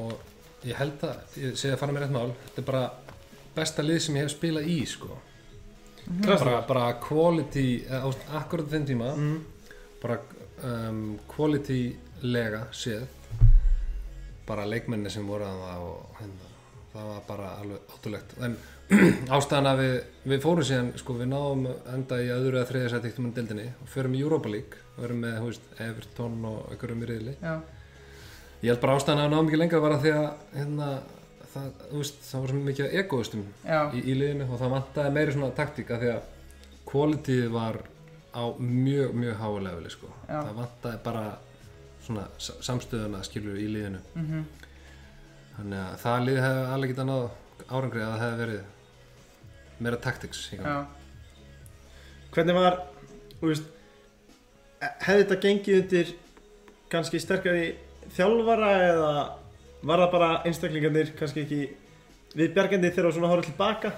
[SPEAKER 4] og ég held að, ég segi að fara með rétt mál þetta er bara besta lið sem ég hef spilað í sko bara, bara quality eða, ást, akkurat þenn tíma bara um, quality lega séð bara leikmenni sem voru að það og hérna, það var bara alveg ótrúlegt en ástæðan að við, við fórum síðan sko við náðum enda í öðru eða þriðja sæti eftir mann deildinni og förum í Europa League og erum með, hú veist, Everton og einhverjum í riðli
[SPEAKER 3] Já,
[SPEAKER 4] ég held bara ástæðan að við náðum ekki lengra var að því að hérna, það, þú veist, það var svo mikið af egoistum
[SPEAKER 3] já,
[SPEAKER 4] í, í liðinu og það vantaði meiri svona taktíka því að kvalitíð var á mjög, mjög háulefli sko.
[SPEAKER 3] Já.
[SPEAKER 4] það vantaði bara svona sa- samstöðuna skilur í liðinu
[SPEAKER 3] mhm,
[SPEAKER 4] þannig að það lið hefði alveg getað náð árangri að það hefði verið meira taktiks
[SPEAKER 3] já,
[SPEAKER 2] Hvernig var, þú veist Hefði þetta gengið undir kannski sterkari þjálfara eða var það bara einstaklingarnir kannski ekki viðbjargandi þegar þú svona horfður tilbaka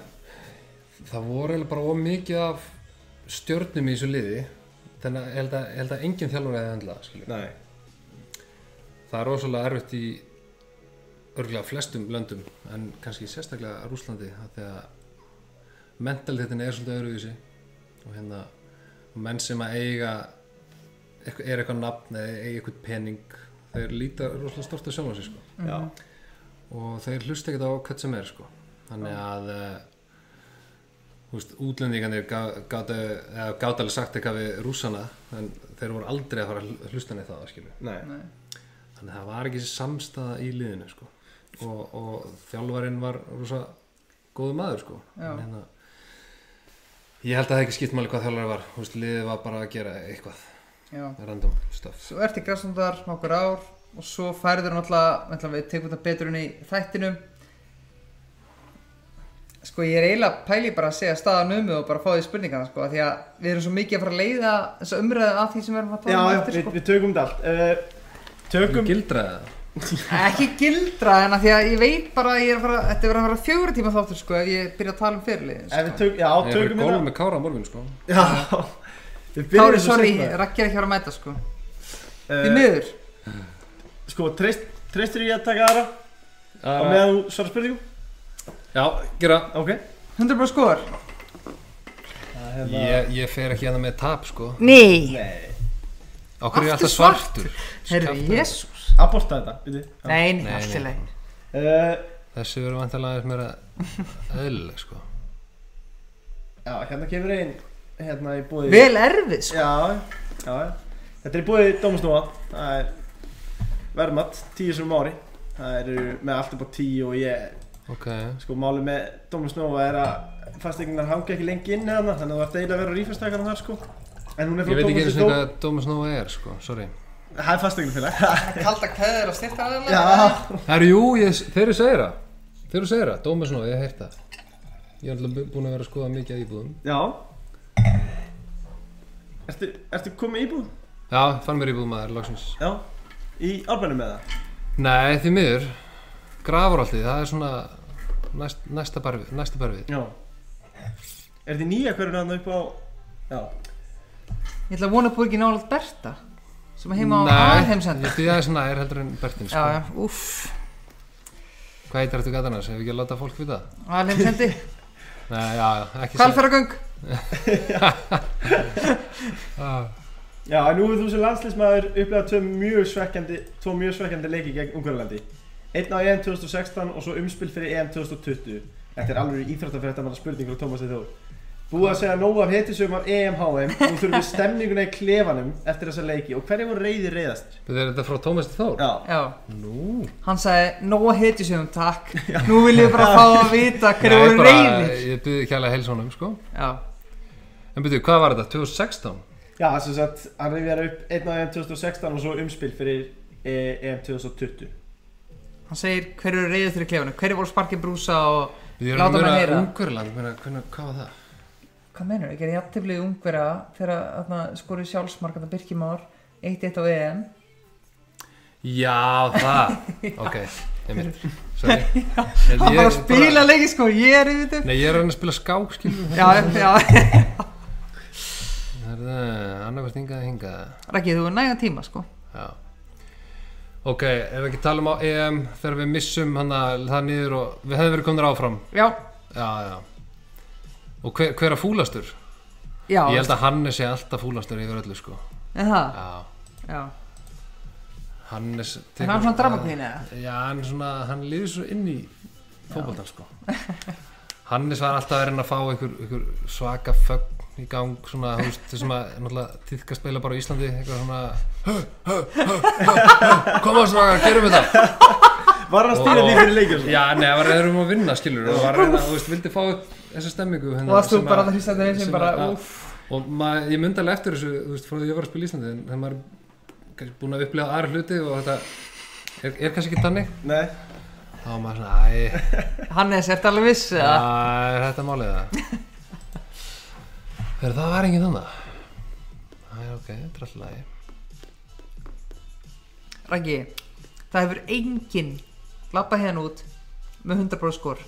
[SPEAKER 4] það voru eiginlega bara of mikið af stjörnum í þessu liði þannig að ég held að, ég held að enginn þjálfur hefði hendlað skilur
[SPEAKER 2] Nei
[SPEAKER 4] það er rosalega erfitt í örgulega flestum löndum en kannski sérstaklega Rúslandi þegar mentalitetin er svolítið öðruvísi og hérna og menn sem að eiga eitthvað- er eitthvað nafn eða eiga eitthvað pening þeir líta rosalega stort að sjálfa sig sko
[SPEAKER 2] Já,
[SPEAKER 3] Mhm.
[SPEAKER 4] og þeir hlusta ekkert á hvað sem er sko. þannig að eh, þú veist, útlendingarnir gátu gát alveg sagt eitthvað við rússana en þeir voru aldrei að fara að hl- hlusta neitt á það skilur
[SPEAKER 2] nei
[SPEAKER 3] nei,
[SPEAKER 4] þannig að það var ekki samstaða í liðinu sko. og, og þjálfarinn var rosa góðu maður sko.
[SPEAKER 3] Já.
[SPEAKER 4] En hérna, ég held að það hefði ekki skipt máli hvað þjálfarinn var Þú veist, liðið var bara að gera eitthvað
[SPEAKER 3] já.
[SPEAKER 4] random stuff
[SPEAKER 3] Svo ert í Krasnodar nokkur ár og svo færður náttúrulega, náttúrulega við tekum þetta betur inn í þættinum. Sko ég er eiginlega pæli bara að segja staðan um og bara fá því spurningana sko af því að við erum svo mikið að fara að leiða þessa umræðu af því sem við erum að
[SPEAKER 2] Já,
[SPEAKER 3] tala um
[SPEAKER 2] já,
[SPEAKER 3] eftir
[SPEAKER 2] við,
[SPEAKER 3] sko.
[SPEAKER 2] við tökum þetta allt uh, Tökum
[SPEAKER 4] gildraði það
[SPEAKER 3] Ekki gildra en að því að ég veit bara að ég er að fara, þetta er verið að vera fjögur tíma þáttur sko ef ég byrja að tala um fyrirliðin
[SPEAKER 2] Ef
[SPEAKER 3] sko.
[SPEAKER 2] við tök, já,
[SPEAKER 4] ég fyrir
[SPEAKER 2] tökum
[SPEAKER 4] gólf
[SPEAKER 2] þetta
[SPEAKER 4] með kára á morgun sko.
[SPEAKER 2] Já, við
[SPEAKER 3] Kári,
[SPEAKER 2] byrjum svo
[SPEAKER 3] sorry,
[SPEAKER 2] seinna.
[SPEAKER 3] Raggi er ekki að vera að mæta sko. Því
[SPEAKER 2] Eh,
[SPEAKER 3] miður,
[SPEAKER 2] Sko, treyst, treystir ég að taka aðra á meðan þú svarar spurningum?
[SPEAKER 4] já, gera
[SPEAKER 2] Ok
[SPEAKER 3] 100% skor.
[SPEAKER 4] ég, ég fer ekki hérna með tap sko.
[SPEAKER 3] Nei.
[SPEAKER 2] Nei
[SPEAKER 4] á hverju er
[SPEAKER 3] Aftur
[SPEAKER 4] alltaf svartur
[SPEAKER 3] Herru,
[SPEAKER 4] Skaptaður.
[SPEAKER 3] jésús.
[SPEAKER 2] Aborta þetta, byrju
[SPEAKER 3] Nei,
[SPEAKER 4] Nei,
[SPEAKER 3] nei, allt í
[SPEAKER 4] nei.
[SPEAKER 3] lagi.
[SPEAKER 2] uh,
[SPEAKER 4] þessi verður vantilega aðeins meira eðlileg sko.
[SPEAKER 2] Já, hérna kemur einn Hérna í búið
[SPEAKER 3] Vel erfið sko.
[SPEAKER 2] Já, já Þetta er í búið Dómsnúa Það er verðmatt, tíu sem ári Það eru með allt upp á tíu og ég
[SPEAKER 4] ok,
[SPEAKER 2] Sko, málið með Dómsnúa er að Fastegnar hangi ekki lengi inn eða Þannig að þú ert eiginlega að vera rífastakana þar sko En hún er
[SPEAKER 4] ég
[SPEAKER 2] frá
[SPEAKER 4] veit ekki einu
[SPEAKER 2] Dómsnúa
[SPEAKER 4] sinni hvað Dómas Nóa er sko. sorry
[SPEAKER 2] Það er fastegnarfélag
[SPEAKER 3] Kalda keður og styrta aðeins.
[SPEAKER 2] Já
[SPEAKER 4] Herru, jú, ég, þeir eru segir það Þeir eru segir það, Dómas Nóa, ég hef heyrt það Ég er alltaf búin að vera að skoða mikið að íbúðum
[SPEAKER 2] Já Ertu, ertu komið í búið?
[SPEAKER 4] Já, fann mér íbúðum aður, lagsins
[SPEAKER 2] Já Í árbænum með það?
[SPEAKER 4] Nei, því miður, grafaraldi, það er svona næst, næsta barfið Næsta barfið
[SPEAKER 2] Já Er þetta í nýja hverjum hann upp á Já
[SPEAKER 3] Ég ætla að vona að búið ekki nálega Berta sem er heima á
[SPEAKER 4] Nei,
[SPEAKER 3] aðheimsendur.
[SPEAKER 4] ég býði aðeins nær heldur en Bertin
[SPEAKER 3] Já,
[SPEAKER 4] sko.
[SPEAKER 3] já, uff,
[SPEAKER 4] Hvað heitir þetta gæta annars, hefur ekki að láta fólk vita?
[SPEAKER 3] aðheimsendi.
[SPEAKER 4] Nei, já, já, ekki
[SPEAKER 3] Hvalfæragöng.
[SPEAKER 4] Ah,
[SPEAKER 2] Já, en nú hefur þú sem landslismæður upplegað tvo mjög svekkjandi Tvo mjög svekkjandi leiki gegn Ungarlandi Einn á EM 2016 og svo umspil fyrir EM 2020 Þetta er alveg íþróttafréttamanna spurning frá Tómasi Þór Búið að segja nógu af hetisum af EM-HM Nú þurfum við stemninguna í klefanum eftir þessa leiki Og hverju voru reyði reyðast?
[SPEAKER 4] Þetta er þetta frá Tómas Þór?
[SPEAKER 2] Já
[SPEAKER 3] Já,
[SPEAKER 4] Nú,
[SPEAKER 3] hann sagði, nóa hetjusöfum, um takk. Nú vil ég bara fá að vita
[SPEAKER 4] Nei,
[SPEAKER 3] hverju voru
[SPEAKER 4] bara-
[SPEAKER 3] reynir.
[SPEAKER 4] Ég býði kjælega heilsónum, sko
[SPEAKER 3] Já,
[SPEAKER 4] En betur, hvað var þetta? 2016?
[SPEAKER 2] Já, sem sagt, hann rifjar upp einn af EM 2016 og svo umspil fyrir eh, EM 2020
[SPEAKER 3] Hann segir hverju eru reyðið fyrir klefana Hverju voru sparkið brúsa og
[SPEAKER 4] Við
[SPEAKER 3] Láta
[SPEAKER 4] erum að
[SPEAKER 3] mig
[SPEAKER 4] meina
[SPEAKER 3] heyra.
[SPEAKER 4] Ungurland, meina, hvernig, hvað var það?
[SPEAKER 3] Hvað menur, ég gerði jafnteflið ungverja Þegar skorið sjálfsmark að Birkimár 1-1 á EM
[SPEAKER 4] Já, það, ok, einmitt, sorry Ég-
[SPEAKER 3] Hann
[SPEAKER 4] ég
[SPEAKER 3] var
[SPEAKER 4] bara-
[SPEAKER 3] að spila leiki sko, ég er yfir þetta
[SPEAKER 4] Nei, ég er að reyna að spila skák, skilur
[SPEAKER 3] Já, já,
[SPEAKER 4] Það er það, annarkvært hingað að hingað
[SPEAKER 3] Rækki, þú er næga tíma sko
[SPEAKER 4] Já Ok, ef við ekki tala um á EM þegar við missum hann að það niður og við hefðum verið komnir áfram
[SPEAKER 3] Já,
[SPEAKER 4] Já, já Og hver, hver að fúlastur?
[SPEAKER 3] já,
[SPEAKER 4] Ég held að Hannes sé alltaf fúlastur yfir öllu sko
[SPEAKER 3] en það
[SPEAKER 4] Já,
[SPEAKER 3] Já,
[SPEAKER 4] Hannes
[SPEAKER 3] en hann er svona dramapín eða
[SPEAKER 4] Já, hann, svona, hann liður svo inn í fótboltan sko Hannes var alltaf að reyna að fá einhver, einhver svaka fögn í gang svona, þú veist, þessum að náttúrulega tíðkast spila bara á Íslandi, eitthvað svona "Hö, hö, hö, hö, hö, koma svona, gerum þetta
[SPEAKER 2] Var hann að stýra
[SPEAKER 4] Og-
[SPEAKER 2] því fyrir leikjum?
[SPEAKER 4] Já, nei, það var reyður um að vinna, skilur og var reyna, þú veist, vildi fá upp þessa stemmingu hérna,
[SPEAKER 3] Og varst þú
[SPEAKER 4] sem
[SPEAKER 3] bara að hrista þeir
[SPEAKER 4] sem
[SPEAKER 3] sem bara,
[SPEAKER 4] að-
[SPEAKER 3] úff
[SPEAKER 4] og mað, ég myndi alveg eftir þessu, þú veist, frá því ég var að spila í Íslandi en þegar maður er kannski búinn að upplega aðra hluti og þetta er, er kannski ekki tannig
[SPEAKER 2] Nei,
[SPEAKER 4] þá var maður svona, æ,
[SPEAKER 3] Hannes, ertu alveg viss?
[SPEAKER 4] æ,
[SPEAKER 3] eða?
[SPEAKER 4] er þetta málið það? Hver, það var enginn þannig Æ, ok, þetta er alltaf lagi
[SPEAKER 3] Raggi, það hefur enginn lappað hérna út með 100% skor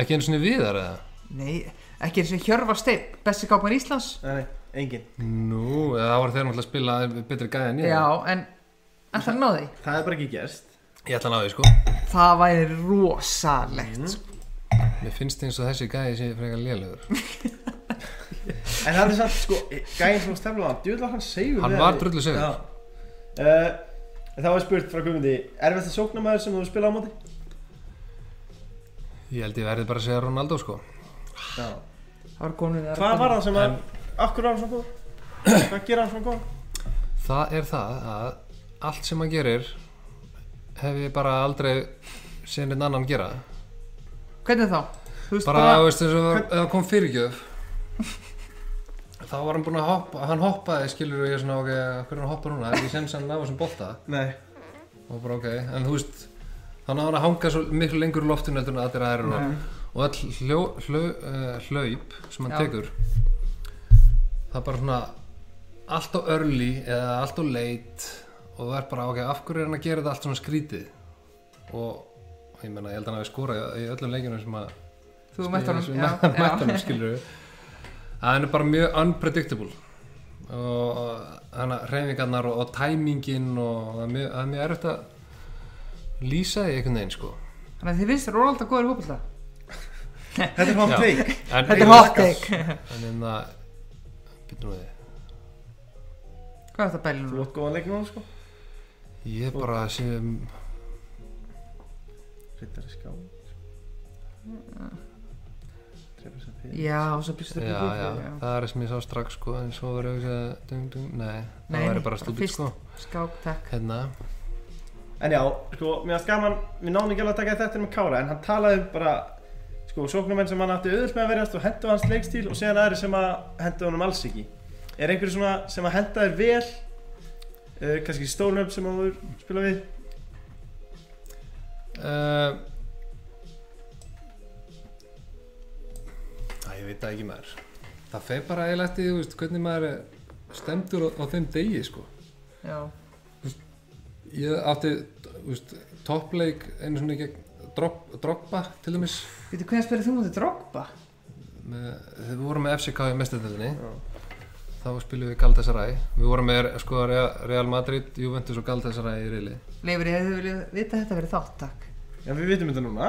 [SPEAKER 4] Ekki einu svona viðar eða?
[SPEAKER 3] Nei, ekki eins og Hjörvar Steip, besti kápmann Íslands
[SPEAKER 2] nei, nei, engin
[SPEAKER 4] Nú, eða það var þeir náttúrulega að spila betri gæði en ég
[SPEAKER 3] Já, en ætla að ná því
[SPEAKER 2] Það er bara ekki gerst
[SPEAKER 4] Ég ætla að ná því, sko
[SPEAKER 3] Það væri rosalegt sko.
[SPEAKER 4] Mér finnst eins og þessi gæði sé frekar lélugur
[SPEAKER 2] En hann er samt, sko, gæinn sem var stefnum hann Djúðlega hann segur
[SPEAKER 4] Hann var drullu sigur.
[SPEAKER 2] uh, Það var spurt frá Guðmundi Erfætti sóknamaður sem þú spila á móti?
[SPEAKER 4] Ég held ég verði bara að segja Ronaldo, sko
[SPEAKER 2] Já
[SPEAKER 3] Það var komin
[SPEAKER 2] Hvað var það sem að Akkur var hann svona góð? Hvað gera hann svona góð?
[SPEAKER 4] Það er það að allt sem hann gerir hef ég bara aldrei séð einn annan gera
[SPEAKER 3] Hvernig þá? Þú veist
[SPEAKER 4] bara,
[SPEAKER 3] bara,
[SPEAKER 4] þú veist, eins og ef það kom fyrirgjöf þá var hann búinn að hoppa hann hoppaði, skilur og ég svona, ok, hvernig hann hoppa núna ég senst hann ná þessum bolta
[SPEAKER 2] Nei
[SPEAKER 4] og bara, ok, en þú veist þá náði hann að hanga svo miklu lengur í loftinu heldur en allir aðrir og, og all hljó, hljó, uh, hlaup sem hann
[SPEAKER 3] Já.
[SPEAKER 4] tekur það er bara svona allt á early eða allt á late og það er bara, ok, af hverju er hann að gera þetta allt svona skrítið og ég menna, ég held að hann hafi skorað í, í öllum leikjunum sem að
[SPEAKER 3] þú mætt honum já, já.
[SPEAKER 4] mættanum skilur við að hann er bara mjög unpredictable og hann að reyfingarnar og, og tæmingin og það er mjög, það er mjög erfitt að lýsa í einhvern veginn sko
[SPEAKER 3] Þannig að þið finnst Ronaldo góður í fótbolta
[SPEAKER 2] Þetta er hot
[SPEAKER 4] Já.
[SPEAKER 2] take
[SPEAKER 4] en,
[SPEAKER 3] Þetta er hot take
[SPEAKER 4] en en það býtum við
[SPEAKER 3] Hvað er þetta bælinu
[SPEAKER 2] Þú
[SPEAKER 3] nú?
[SPEAKER 2] átt góðan leik núna, sko
[SPEAKER 4] ég er bara sem
[SPEAKER 2] Rittari ská Trefisandi
[SPEAKER 3] Já, og svo býstu
[SPEAKER 4] já,
[SPEAKER 3] upp í
[SPEAKER 4] já,
[SPEAKER 3] búið, já.
[SPEAKER 4] það er það sem ég sá strax sko en svo verður ég að dung, dung, nei,
[SPEAKER 3] Nei,
[SPEAKER 4] það
[SPEAKER 3] nei,
[SPEAKER 4] verður bara
[SPEAKER 3] bara
[SPEAKER 4] stúbít
[SPEAKER 3] fyrst.
[SPEAKER 4] sko
[SPEAKER 3] Skák, takk
[SPEAKER 4] hérna,
[SPEAKER 2] En já, sko, mér finnst gaman, við náðum ekki alveg að taka þetta með Kára en hann talaði um bara, sko, sóknumenn sem hann átti auðvöld með að verjast og hendu hans leikstíl og síðan aðri sem að hendu honum alls ekki. Er einhverju svona sem að henda þér vel, uh, kannski stólnöfn sem að þú spila við?
[SPEAKER 4] Uh, Æ, ég veit það ekki maður Það fer bara eiginlega eftir, því, þú veist, hvernig maður er stemdur á, á þeim degi, sko
[SPEAKER 3] Já,
[SPEAKER 4] Ég átti, þú veist, toppleik einu svona gegn drop, droppa, til dæmis
[SPEAKER 3] veitu hvernig spyrir þú mútið Drogba?
[SPEAKER 4] með, Þegar við vorum með FCK í mestendöldinni Þá spilum við Galdasaræ Við vorum með, sko, Rea- Real Madrid, Juventus og Galdasaræ í reyli
[SPEAKER 3] Leifur, ég hefði viljað vita að þetta verið þátt, takk
[SPEAKER 2] Já, við vitum þetta núna,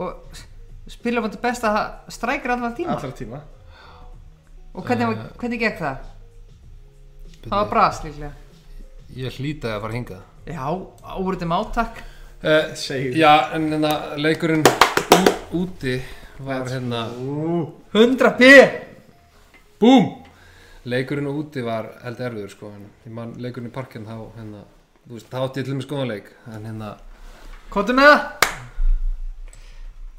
[SPEAKER 3] Og spila mútið best að það strækir allan tíma
[SPEAKER 2] allra tíma.
[SPEAKER 3] Og hvernig, var-
[SPEAKER 4] Eh.
[SPEAKER 3] hvernig gekk það? Það var brast líklega
[SPEAKER 4] Ég hlýtaði að fara hingað
[SPEAKER 3] Já, úrðum átak
[SPEAKER 4] uh,
[SPEAKER 2] Segjum.
[SPEAKER 4] Já, en hérna, leikurinn ú- úti var hérna
[SPEAKER 2] Ú,
[SPEAKER 3] 100 B
[SPEAKER 4] Búm! Leikurinn úti var held erfiður sko en ég man leikurinn í parkinn þá hérna, þú veist, þá átti ég til með skoðan leik en hérna,
[SPEAKER 3] Kóttu með það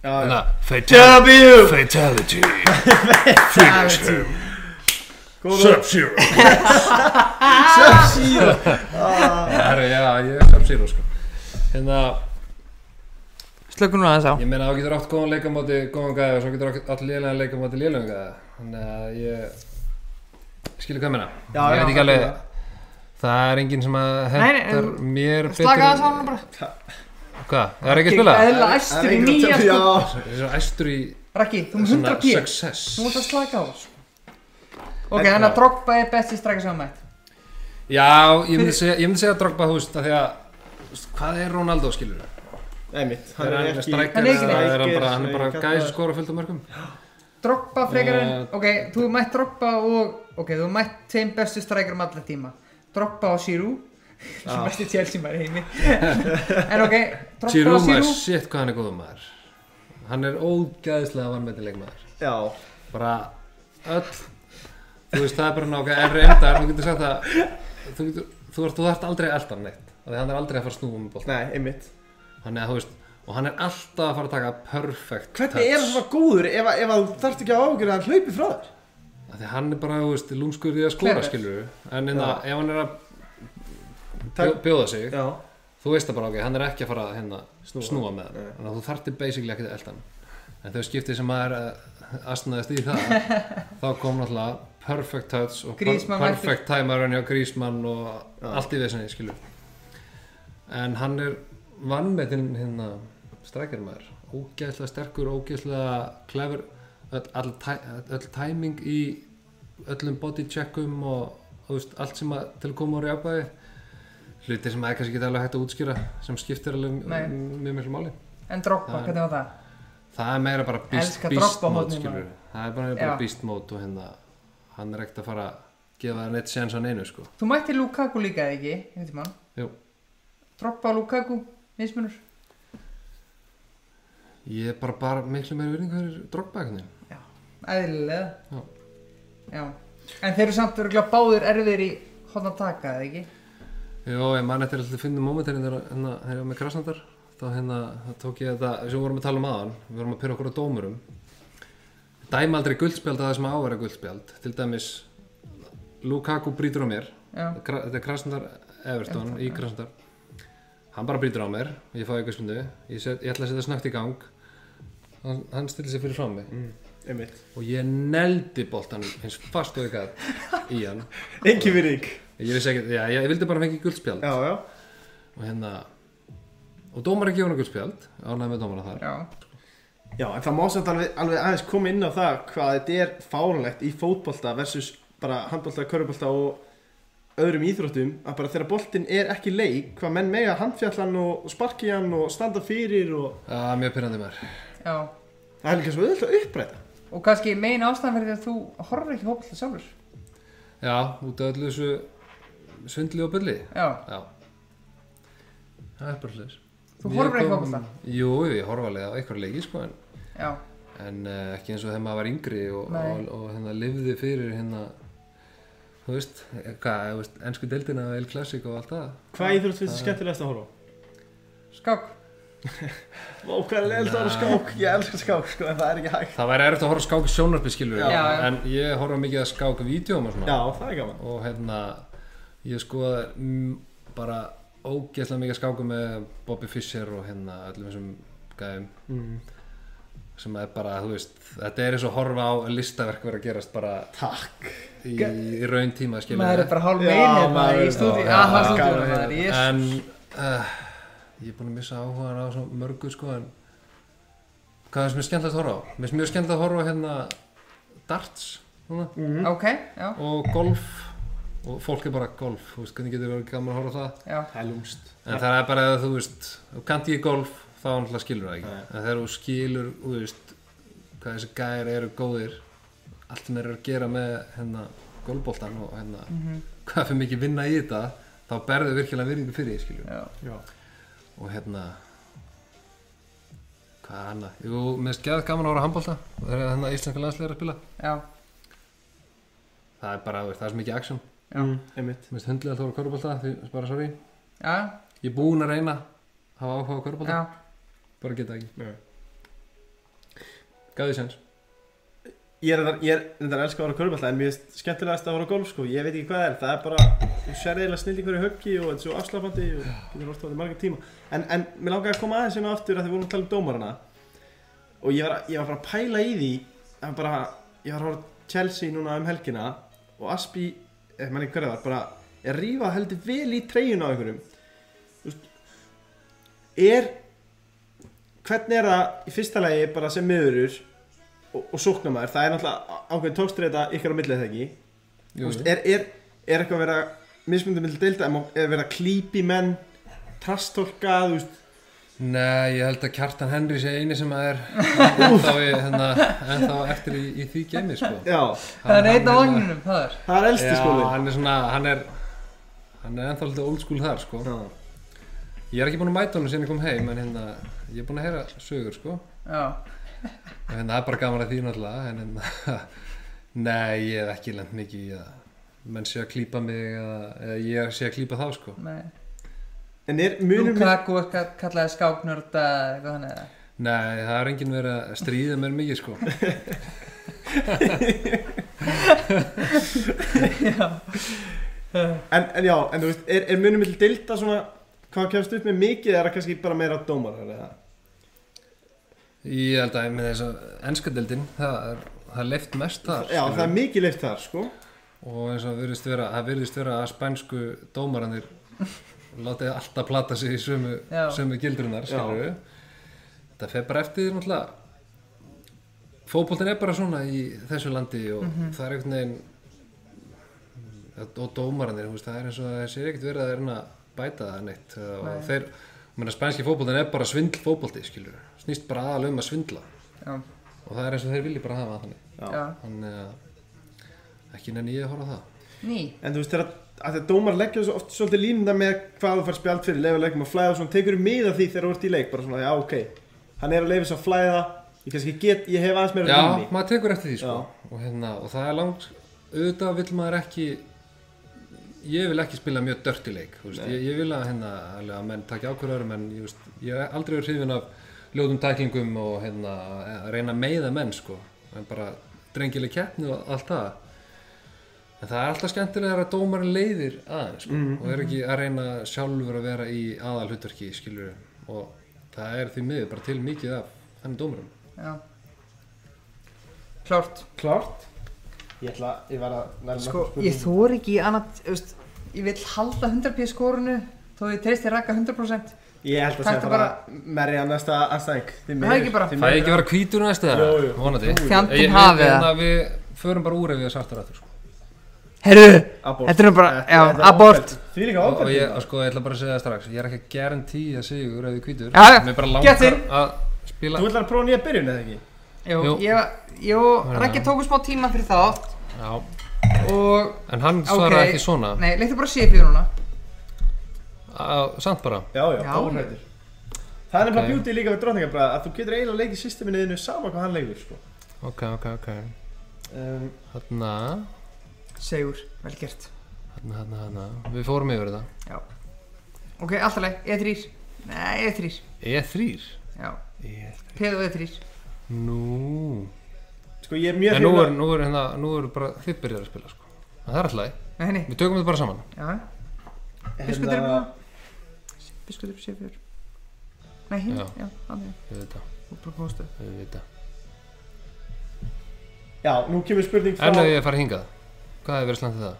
[SPEAKER 2] já, já.
[SPEAKER 4] hérna Fatality Fatality
[SPEAKER 3] Fatality
[SPEAKER 2] Góða
[SPEAKER 4] Sub-Zero
[SPEAKER 2] Sub-Zero
[SPEAKER 4] Herru, já, ég er Sub-Zero sko Hérna,
[SPEAKER 3] Slökum núna þess á
[SPEAKER 4] ég meina á getur átt góðan leikamóti góðan gæði og svo getur átt lélægan leikamóti lélægan gæði Þannig að ég skilur hvað ég meina
[SPEAKER 2] Já,
[SPEAKER 4] Ég
[SPEAKER 2] já,
[SPEAKER 4] veit ekki alveg
[SPEAKER 2] algjörlega.
[SPEAKER 4] Það er enginn sem að
[SPEAKER 3] Nei, nei,
[SPEAKER 4] hentar mér betur
[SPEAKER 3] Slaka þess á núna bara
[SPEAKER 4] Hvað, það er ekki að spila?
[SPEAKER 3] Eðla æstur í nýja sko
[SPEAKER 2] Já,
[SPEAKER 4] Það er svo æstur í
[SPEAKER 3] Raki, þú erum
[SPEAKER 4] svona
[SPEAKER 3] 100 p
[SPEAKER 4] success
[SPEAKER 3] Þú mútt að slaka á þessu Ok, þannig að Drogba er besti strakka sem að mætt
[SPEAKER 4] Já, ég myndi segja, ég myndi segja Drogba, þú veist, af því að þú veist, Hvað er Ronaldo, skilur við?
[SPEAKER 2] einmitt
[SPEAKER 4] Það er hann
[SPEAKER 3] Hann
[SPEAKER 4] strækar
[SPEAKER 3] er ekki
[SPEAKER 4] eða er hann
[SPEAKER 2] neitt.
[SPEAKER 4] bara, hann er bara sko.
[SPEAKER 2] Strækar,
[SPEAKER 4] gæði sem
[SPEAKER 2] það-
[SPEAKER 4] skora fullt af mörgum
[SPEAKER 3] Drogba frekar en,
[SPEAKER 4] Eh,
[SPEAKER 3] ok, þú hefur mætt Drogba og Ok, þú hefur mætt tveim bestu strækjum allar tíma Drogba og Giroud sem besti Chelsea maður í heimi En ok, Drogba
[SPEAKER 4] Giroud
[SPEAKER 3] og
[SPEAKER 4] maður,
[SPEAKER 3] Giroud
[SPEAKER 4] shit hvað hann er góður maður Hann er ógæðislega vanmetileg maður
[SPEAKER 2] Já,
[SPEAKER 4] Bara öll Þú veist það er bara nákvæm erri endar Þú getur sagt það Þú, getur, þú, ert, þú ert aldrei alltaf neitt af Því hann er aldrei að fara að snúa um bótt
[SPEAKER 2] nei, einmitt
[SPEAKER 4] Hann er, þú veist Og hann er alltaf að fara að taka perfect
[SPEAKER 2] Hvernig er hann svona góður ef, að- ef að þú þarft ekki að ágjörða að hann hlaupi frá þér?
[SPEAKER 4] Af Því hann er bara, þú veist, lúmskur í að skora
[SPEAKER 3] Clever.
[SPEAKER 4] skilur En inna, ef hann er að bjó-
[SPEAKER 2] Takk-
[SPEAKER 4] bjóða sig
[SPEAKER 2] Já,
[SPEAKER 4] þú veist það bara ok, hann er ekki að fara að hérna, snúa.
[SPEAKER 2] Snúa.
[SPEAKER 4] með hann,
[SPEAKER 2] Nei.
[SPEAKER 4] þannig að þú þartir basically ekki að elda hann en þau skiptið sem maður uh, astnaðist í það þá kom náttúrulega perfect touch og per
[SPEAKER 3] Griezmann mættur.
[SPEAKER 4] perfect timer hann hjá Grísmann og allt í þessinni skilur en hann er vannmetinn hérna strækjar maður, ógeðslega sterkur ógeðslega klefur öll, all, tæ- öll tæming í öllum body checkum og þú veist, allt sem að, til að koma úr jafnvægi hlutir sem maður kannski geta alveg hægt að útskýra sem skiptir alveg
[SPEAKER 3] Nei.
[SPEAKER 4] m- mjög miklu máli
[SPEAKER 3] En Drogba, hvernig var það?
[SPEAKER 4] það er meira bara beast,
[SPEAKER 3] Elska
[SPEAKER 4] beast
[SPEAKER 3] droppa
[SPEAKER 4] mode
[SPEAKER 3] hornin,
[SPEAKER 4] skilur
[SPEAKER 3] maður.
[SPEAKER 4] það er bara, bara
[SPEAKER 3] Já.
[SPEAKER 4] beast mode og hérna hann er ekkert að fara að gefa það neitt séns á neinu sko
[SPEAKER 3] Þú mætti Lukaku líka eða ekki, einhvern tímann
[SPEAKER 4] Jú.
[SPEAKER 3] Drogba og Lukaku, mismunur
[SPEAKER 4] ég er bara, bara miklu meira virðingu fyrir droppa eitthvað
[SPEAKER 3] Já, eðlilega
[SPEAKER 4] Já.
[SPEAKER 3] Já. En þeir eru samt örgulega báðir erfiðir í hotna taka, eða ekki?
[SPEAKER 4] Jó, ég man eftir alltaf að finna mómentarinn þegar hérna, þegar ég var með krasnandar þá hérna þá tók ég þetta, sem við vorum að tala um aðan við vorum að pyrra okkur á dómurum dæma aldrei guldspjald að það sem á að vera guldspjald til dæmis Lukaku brýtur á mér
[SPEAKER 3] Já.
[SPEAKER 4] Kra- þetta er krasnandar Everton í krasnandar hann bara brýtur á mér ég fá eitthvað smundu, ég, set, ég ætla að setja snögt í gang hann, hann stillir sér fyrir fram mig
[SPEAKER 2] einmitt
[SPEAKER 4] og ég neldi boltan eins fast og ég gat í hann
[SPEAKER 2] Engi virðing
[SPEAKER 4] ég, vissi ekki, já, ég, ég vildi bara fengi guldspjald
[SPEAKER 2] Já, já
[SPEAKER 4] og hérna og dómar ekki honum guldspjald ánægð með dómara þar
[SPEAKER 3] Já,
[SPEAKER 2] Já, en það má samt alveg, alveg aðeins koma inn á það hvað þetta er fálanlegt í fótbolta versus bara handbolta, körfubolta og öðrum íþróttum að bara þegar boltinn er ekki leik hvað menn mega handfjallan og sparki hann og standa fyrir og
[SPEAKER 4] Já, mjög pyrrandi maður
[SPEAKER 3] já
[SPEAKER 2] það er líka svo auðvitað að uppræta
[SPEAKER 3] Og kannski megin ástæðan fyrir því að þú horfir ekki hópað sjálfur
[SPEAKER 4] já, út af öllu þessu svindli og bylli
[SPEAKER 3] Já,
[SPEAKER 4] já það er bara hlutis
[SPEAKER 3] þú horfir ekki hópað það
[SPEAKER 4] jú, ég horfa alveg á einhverja leiki sko en,
[SPEAKER 3] Já,
[SPEAKER 4] en uh, ekki eins og þegar maður var yngri og,
[SPEAKER 3] Nei.
[SPEAKER 4] og, og hérna lifði fyrir hérna þú veist, eh, hvað, þú veist, ennsku deildina og El Classic og allt það
[SPEAKER 2] Hvað íþrótt finnst þið skemmtilegast að horfa? á?
[SPEAKER 3] skák
[SPEAKER 2] Vá, hvað er leiðilegt að horfa á skák? Ég elskar skák, sko, en það er ekki hægt
[SPEAKER 4] það væri erfitt að horfa á skák í sjónarpi skilur
[SPEAKER 3] Já, já.
[SPEAKER 4] en ég horfa mikið að skák á vídjóum og svona
[SPEAKER 2] Já, það er gaman
[SPEAKER 4] og hérna ég skoða mm, bara ógeðslega mikið skáku með Bobby Fischer og hérna öllum þessum gæðum
[SPEAKER 2] mm.
[SPEAKER 4] sem er bara, þú veist, þetta er eins og horfa á listaverk verið að gerast bara
[SPEAKER 2] Takk
[SPEAKER 4] í, í raun tíma skilur
[SPEAKER 3] Maður er bara hálf
[SPEAKER 2] Já,
[SPEAKER 3] megin hérna
[SPEAKER 2] maður
[SPEAKER 3] í
[SPEAKER 2] er-
[SPEAKER 3] stúdíu
[SPEAKER 4] Já,
[SPEAKER 3] Aha,
[SPEAKER 4] já,
[SPEAKER 3] stúdíu
[SPEAKER 2] já,
[SPEAKER 3] maður, ég
[SPEAKER 4] en uh, ég er búin að missa áhugaðan á svo mörgu sko en hvað er sem er skemmtilegt að horfa á? Mér er mjög skemmtilegt að horfa á hérna darts svona,
[SPEAKER 3] Ok, já,
[SPEAKER 4] og golf og fólk er bara golf, þú veist, hvernig getur verið gaman að horfa á það
[SPEAKER 3] já
[SPEAKER 2] Það er lúmst
[SPEAKER 4] En það er bara að þú veist, þú kannt ég golf, þá náttúrulega skilur það ekki.
[SPEAKER 2] Nei.
[SPEAKER 4] En þegar þú skilur, þú veist, hvað þessi gæjar eru góðir, allt sem þeir eru að gera með hérna golfbóltan og hérna, hvað fyrir mikið vinna í þetta, þá berðu virkilega virðingu fyrir því, skilur.
[SPEAKER 3] Já,
[SPEAKER 2] Já,
[SPEAKER 4] Og hérna, hvað er annað? Jú, mér finnst geðað gaman að horfa á handbólta, það er hérna íslenska landslegar að spila.
[SPEAKER 3] já,
[SPEAKER 4] Það er bara, þú veist, það er svo mikið action.
[SPEAKER 3] Já.
[SPEAKER 2] Mm, einmitt
[SPEAKER 4] Mér finnst hundlega að horfa á korfbólta, því bara sorry.
[SPEAKER 3] já,
[SPEAKER 4] Ég er búinn að reyna að hafa áhuga á korfbólta,
[SPEAKER 3] já
[SPEAKER 4] bara geta ekki.
[SPEAKER 2] Nei.
[SPEAKER 4] Gaf því sens.
[SPEAKER 2] Ég er reyndar- ég er þetta elska að vara körballa en mér er skemmtilegast að vara á golf sko, ég veit ekki hvað það er, það er bara, þú sér eiginlega snill í hverju höggi og þetta er svo afslapandi og getur orðið á þetta í marga tíma. En, en mér langaði að koma aðeins inn á aftur að þið vorum að tala um dómarana og ég var, ég var bara að pæla í því, en bara, ég var að horfa á Chelsea núna um helgina og Aspi, ef maður ekki hverja var, bara, ég rífa heldur vel í treyjun á einhverjum. Þú veist, er, hvernig er það í fyrsta lagi bara sem miðurur og, og sóknamaður, það er náttúrulega ákveðin tókstreita ykkar á millið það ekki
[SPEAKER 4] Jú,
[SPEAKER 2] Vist, er, er, er eitthvað að vera mismundum millir deilda, er má- er verið að klípi menn trastolka, þú veist
[SPEAKER 4] Nei, ég held að Kjartan Henry sé eini sem að er ennþá, í, hérna, ennþá eftir í, í því gemi sko.
[SPEAKER 2] já,
[SPEAKER 3] Það er einn á
[SPEAKER 4] hérna-
[SPEAKER 3] vagninum, það er
[SPEAKER 2] það er elsti
[SPEAKER 4] Já,
[SPEAKER 2] skólinn
[SPEAKER 4] hann er svona, hann er hann er ennþá alltaf old school þar sko.
[SPEAKER 2] Já.
[SPEAKER 4] Ég er ekki búin að mæta honum síðan ég kom heim en hérna, ég er búin að heyra sögur sko.
[SPEAKER 3] Já,
[SPEAKER 4] og hérna, það er bara gaman að því náttúrulega en hérna, nei, ég hef ekki lent mikið í að menn sé að klípa mig eða, eða ég sé að klípa þá sko.
[SPEAKER 3] nei
[SPEAKER 2] en er munum
[SPEAKER 3] Lukaku er ka- kallaði skáknörda eitthvað þannig eða?
[SPEAKER 4] Nei, það er enginn verið að stríða mér mikið sko.
[SPEAKER 2] en, en já, en þú veist, er, er munum millir deilda svona, hvað kemst upp með mikið er það kannski bara meira dómarar eða
[SPEAKER 4] Ég held að með þess að ennskadeldin, það er, það er leift mest þar.
[SPEAKER 2] já, það
[SPEAKER 4] skilurðu.
[SPEAKER 2] er mikið leift þar, sko
[SPEAKER 4] og eins og virðist vera, það virðist vera að spænsku dómaranir látið alltaf plata sig í sömu,
[SPEAKER 3] Já.
[SPEAKER 4] sömu gildrunar, skilur við þetta fer bara eftir því náttúrulega fótboltin er bara svona í þessu landi og það er einhvern veginn og dómaranir, þú veist, það er eins og þessi er ekkert verið að reyna að bæta það neitt og Nei. þeir, ég meina spænski fótboltin er bara svindl fótbolti, skilur snýst bara aðal um að svindla
[SPEAKER 3] Já,
[SPEAKER 4] og það er eins og þeir vilji bara hafa það þannig
[SPEAKER 2] Já.
[SPEAKER 3] já
[SPEAKER 4] þannig að ekki nenni ég að horfa á það
[SPEAKER 3] Ný,
[SPEAKER 2] en þú veist, þegar að þetta dómar leggja svo oft svolítið línda með hvað þú fær spjald fyrir leifa leikum að flæða og svona, tekur mið af því þegar þú ert í leik bara svona, já, ok, hann er að leifa svo að flæða ég kannski get, ég hef aðeins meira
[SPEAKER 4] Já,
[SPEAKER 2] rými.
[SPEAKER 4] maður tekur eftir því sko. og, hérna, og það er langt auðvitað vil maður ekki ég vil ekki spila mjög dörti leik þú veist. ég, ég vil að, hérna, alveg að menn takja ákvörður menn ég, veist, ég er aldrei verið hrifin af ljótum tæklingum og hérna, að reyna að meiða menn sko. en bara drengileg keppni og allt það en það er alltaf skemmtilega að dómarinn leiðir aðeins sko. og er ekki að reyna sjálfur að vera í aðal hlutverki skilur og það er því miður bara til mikið af þannig dómarinn
[SPEAKER 3] já Klárt
[SPEAKER 2] Klárt Ég ætla, ég var að nærma
[SPEAKER 3] Sko,
[SPEAKER 2] okkur
[SPEAKER 3] ég
[SPEAKER 2] spurningum.
[SPEAKER 3] þor ekki annað, þú veist, ég vil halda 100p skórunu þó ég treysti rakka 100%
[SPEAKER 2] Ég held að
[SPEAKER 3] Takk
[SPEAKER 2] segja
[SPEAKER 3] það
[SPEAKER 2] bara, bara merja næsta anstæðing Þið
[SPEAKER 3] Það er ekki bara-
[SPEAKER 2] þið
[SPEAKER 4] Það er
[SPEAKER 2] miður.
[SPEAKER 4] ekki að vera hvítur næstu það,
[SPEAKER 2] Jú, jú.
[SPEAKER 4] vonandi.
[SPEAKER 3] Fjandinn
[SPEAKER 4] Ég- ég-
[SPEAKER 3] hafi það.
[SPEAKER 4] hérna, Við förum bara úr ef ég er sartur aftur. Sko.
[SPEAKER 3] Herru,
[SPEAKER 2] Abort.
[SPEAKER 3] þetta er nú bara,
[SPEAKER 2] Þetta-
[SPEAKER 3] já,
[SPEAKER 2] þetta er
[SPEAKER 3] abort
[SPEAKER 2] ofbeldi. Því líka
[SPEAKER 4] Og, og
[SPEAKER 2] ábært
[SPEAKER 4] ég, og sko, ég ætla bara að segja það strax, ég er ekki að garanti að sigur ef ég er hvítur.
[SPEAKER 3] Já, já,
[SPEAKER 4] Mér bara
[SPEAKER 3] get
[SPEAKER 4] langar
[SPEAKER 3] inn.
[SPEAKER 4] að spila.
[SPEAKER 2] Þú ætlar að prófa nýja byrjun eða ekki?
[SPEAKER 3] Jú,
[SPEAKER 4] Jú.
[SPEAKER 3] ég, jú,
[SPEAKER 4] Já.
[SPEAKER 3] rakki tóku smá tíma fyrir þátt
[SPEAKER 4] Já,
[SPEAKER 3] og,
[SPEAKER 4] en hann
[SPEAKER 3] ok
[SPEAKER 4] svarar ekki svona.
[SPEAKER 3] Nei, leiktu bara sépi núna
[SPEAKER 4] Á, samt bara.
[SPEAKER 2] Já, já,
[SPEAKER 3] Já.
[SPEAKER 2] dórættur Það er nefnilega
[SPEAKER 4] Ok.
[SPEAKER 2] beauty líka við drotningabræða að þú getur eiginlega að leika í systeminniðinu sama hvað hann leikur sko.
[SPEAKER 4] Ok, ok, ok.
[SPEAKER 2] um,
[SPEAKER 4] Hanna,
[SPEAKER 3] Segur, vel gert
[SPEAKER 4] hanna, hanna, hanna. Við fórum yfir þetta.
[SPEAKER 3] Ok, alltaf leið, E3 E Nei, E3,
[SPEAKER 4] E3.
[SPEAKER 3] já,
[SPEAKER 2] E
[SPEAKER 4] E3.
[SPEAKER 3] peð og E E3
[SPEAKER 4] Nú.
[SPEAKER 2] Sko ég er mjög
[SPEAKER 4] En nú
[SPEAKER 2] hrifinn
[SPEAKER 4] er, nú er, hérna, nú er bara þið byrjar að spila, sko. En það er alltaf, í.
[SPEAKER 3] Nei, henni,
[SPEAKER 4] við tökum þetta bara saman.
[SPEAKER 3] já,
[SPEAKER 2] af-
[SPEAKER 3] biskutur er
[SPEAKER 2] hérna,
[SPEAKER 3] búin Biskutur sépi Nei, henni,
[SPEAKER 4] Já.
[SPEAKER 3] já, hann er
[SPEAKER 4] Við þetta,
[SPEAKER 3] og bara komast upp.
[SPEAKER 4] við þetta.
[SPEAKER 2] Já, nú kemur spurning frá
[SPEAKER 4] En ef ég fari hingað, hvað er verið slant það?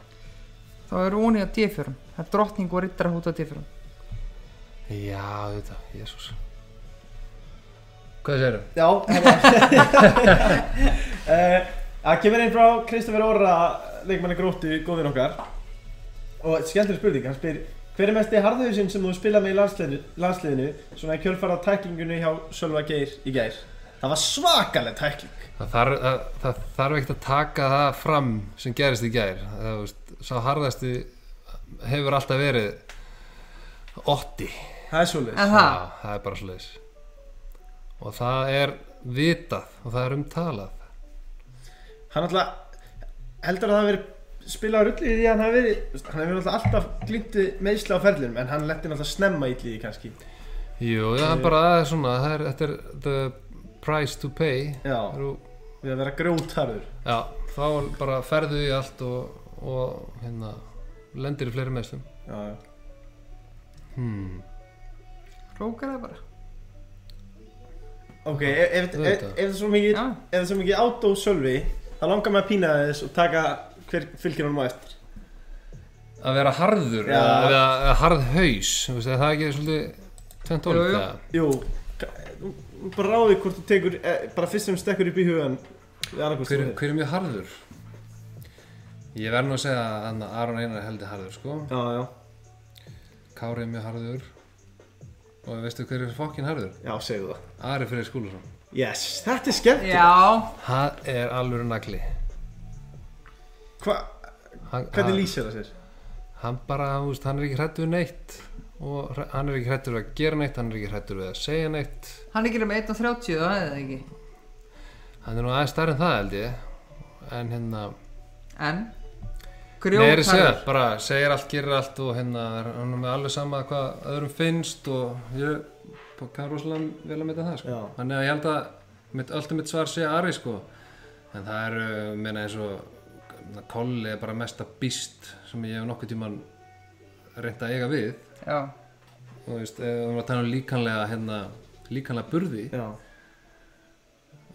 [SPEAKER 3] Þá er óni á D4 Það er drottning og rittara hút á D4
[SPEAKER 4] Já, þetta, jésús Hvað segirðu?
[SPEAKER 2] Já, hérna Eh, Það kemur einn frá Kristoffer Orra, leikmanni gróttu, góðin okkar Og skemmtileg spurning, hann spyr Hver er mesti harðuðusinn sem þú spilað með í landsliðinu, landsliðinu svona í kjölfarað tæklingunni hjá Sölva Geir í gær? Það var svakaleg tækling
[SPEAKER 4] Það þarf, það, það þarf ekkert að taka það fram sem gerist í gær það, þú veist, Sá harðasti hefur alltaf verið Otti
[SPEAKER 2] Það er svolítið
[SPEAKER 3] En það,
[SPEAKER 4] Já, það er bara svoleiðis Og það er vitað og það er umtalað
[SPEAKER 2] Hann alltaf, heldur að það hafi verið spilað rullið í því að hann hafi verið þú veist, Hann hefur alltaf alltaf glýntið meðsla á ferlinum En hann letti alltaf snemma í því kannski
[SPEAKER 4] Jú, það er bara það er svona það er, Þetta er the price to pay
[SPEAKER 2] Já,
[SPEAKER 4] Þú-
[SPEAKER 2] við að vera grjótarður
[SPEAKER 4] Já, þá bara ferðu í allt og, og hérna, lendir í fleiri meðslum.
[SPEAKER 2] já, já.
[SPEAKER 4] Hmm.
[SPEAKER 3] Rókar það bara
[SPEAKER 2] ok, ef, ef, ef, ef, það er svo mikið
[SPEAKER 3] Já.
[SPEAKER 2] ef það er svo mikið át og sölvi þá langar maður að pína þess og taka hver fylgir honum á eftir
[SPEAKER 4] Að vera harður,
[SPEAKER 2] Já.
[SPEAKER 4] eða- eða eða harðhaus, þú veist, er það ekki svolítið tvendt
[SPEAKER 3] Jú,
[SPEAKER 4] ólíkt
[SPEAKER 3] jú.
[SPEAKER 4] það?
[SPEAKER 2] jú, ka- þú- þú bara ráði hvort þú tekur eh, bara fyrst sem stekkur upp í hugan við annarkvist
[SPEAKER 4] Hver, hver er mjög harður? Ég verð nú að segja að þarna Aron Einar er heldur harður, sko.
[SPEAKER 2] já, já,
[SPEAKER 4] Kári er mjög harður. Og veistu hver er fokkin harður?
[SPEAKER 2] já, segðu það
[SPEAKER 4] Ari Freyr Skúlason.
[SPEAKER 2] yes, þetta er skemmt
[SPEAKER 3] Já,
[SPEAKER 4] Hann er alveg nagli.
[SPEAKER 2] Hva,
[SPEAKER 4] Hann,
[SPEAKER 2] hvernig
[SPEAKER 4] hann-
[SPEAKER 2] lýsir það sér?
[SPEAKER 4] hann bara, þú veist, hann er ekki hrættur við neitt og hræ- hann er ekki hrættur við að gera neitt hann er ekki hrættur við að segja neitt
[SPEAKER 3] hann er ekki með 1.30 það hefði það ekki
[SPEAKER 4] hann er nú aðeins starf en það held ég en hérna,
[SPEAKER 3] En
[SPEAKER 4] nei er ég að segja
[SPEAKER 3] Grjótarður
[SPEAKER 4] bara segir allt, gerir allt og hérna er hann er með alveg sama hvað öðrum finnst og ég bara kann rosalega vel að mynda það sko.
[SPEAKER 2] Já.
[SPEAKER 4] þannig að ég held að mitt, alltaf mitt svar sé Ari sko en það eru, meina eins og Kolli er bara mesta býst sem ég hef nokkuð tíman reynda að eiga við
[SPEAKER 3] Já,
[SPEAKER 4] þú veist, ef við varum að tala um líkanlega hérna, líkanlega burði
[SPEAKER 2] já,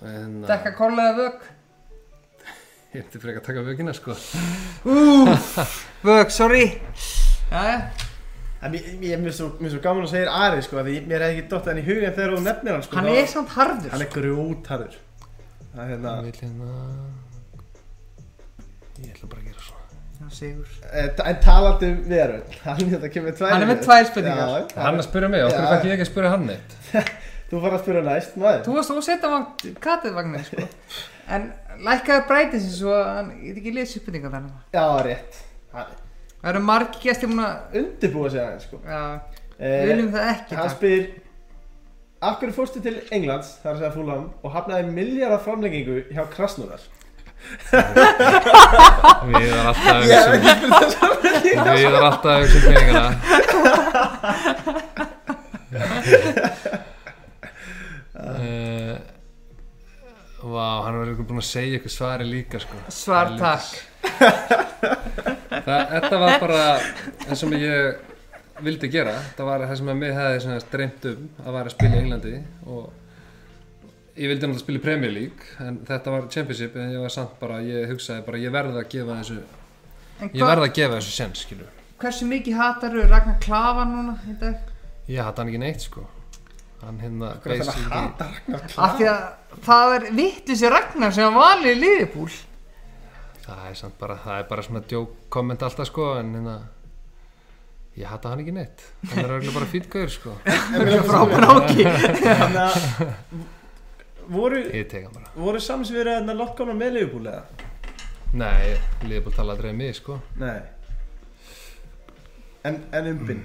[SPEAKER 4] hérna,
[SPEAKER 3] dekka kollaða vögg
[SPEAKER 4] ég hefði frekar að taka vöginna sko
[SPEAKER 3] Vögg, sorry Jæja,
[SPEAKER 2] en mér, mér, mér, er svo, mér er svo gaman að segja Ari sko, af því mér er ekki dott hann í hugan þegar þú nefnir hann sko,
[SPEAKER 3] hann
[SPEAKER 2] þá-
[SPEAKER 3] er samt harður
[SPEAKER 2] hann er grjótarður það er hérna
[SPEAKER 4] Ég vil hérna ég ætla bara að gera svona
[SPEAKER 3] Já, sigur
[SPEAKER 2] Eh, En talandi um veröld Hann hérna kemur tvær
[SPEAKER 3] Hann er með
[SPEAKER 2] niður.
[SPEAKER 3] tvær spurningar.
[SPEAKER 2] Já, já.
[SPEAKER 4] hann að spyrja mig, okkur
[SPEAKER 2] Já.
[SPEAKER 4] fæk ég ekki að spyrja hann neitt
[SPEAKER 2] Þú fara að spyrja næst maður
[SPEAKER 3] Þú varst ósetta katið vagnir sko. En lækkaði breytið sem svo að Hann get ekki liðið uppbyrningar þannig
[SPEAKER 2] Já, rétt Hann
[SPEAKER 3] Það eru margi gæsti múin að
[SPEAKER 2] Undirbúa sig aðeins sko
[SPEAKER 3] Já, við
[SPEAKER 2] eh,
[SPEAKER 3] viljum það ekki
[SPEAKER 2] Hann
[SPEAKER 3] takk.
[SPEAKER 2] spyr Af hverju fórstu til Englands, þar að segja fúlam Og hafnaði miljardar framlengingu hjá Krasnodar
[SPEAKER 4] við erum alltaf að hugsa um- við erum alltaf að hugsa um peningana uh, Vá, hann var eitthvað búinn að segja eitthvað svari líka sko.
[SPEAKER 3] Svar
[SPEAKER 4] Helvítis.
[SPEAKER 3] takk
[SPEAKER 4] Það, þetta var bara það sem ég vildi gera það var það sem að mig hefði svona dreymt um að vera að spila í Englandi og ég vildi náttúrulega spila í Premier League en þetta var Championship en ég var samt bara, ég hugsaði bara ég verði að gefa þessu
[SPEAKER 3] En
[SPEAKER 4] ég
[SPEAKER 3] hva,
[SPEAKER 4] verði að gefa þessu sens, skilu
[SPEAKER 3] hversu mikið hatar eru Ragnar Klafa núna í dag?
[SPEAKER 4] ég hatt hann ekki neitt, sko hann hérna
[SPEAKER 2] Hvernig þannig að hata Ragnar
[SPEAKER 3] Af
[SPEAKER 2] Klav
[SPEAKER 3] því að það er vittlisi Ragnar sem var valið í liðipúl
[SPEAKER 4] það er samt bara, það er bara svona djók komment alltaf, sko, en hérna ég hatt hann ekki neitt hann er auðvitað bara fýtgöður, sko
[SPEAKER 3] Frábær áki
[SPEAKER 2] Þannig að Voru
[SPEAKER 4] ég tek hann bara
[SPEAKER 2] Voru samsverið að lokkana með Leifbúl eða?
[SPEAKER 4] nei, liðból tala aldrei um mig, sko
[SPEAKER 2] Nei En, en umbin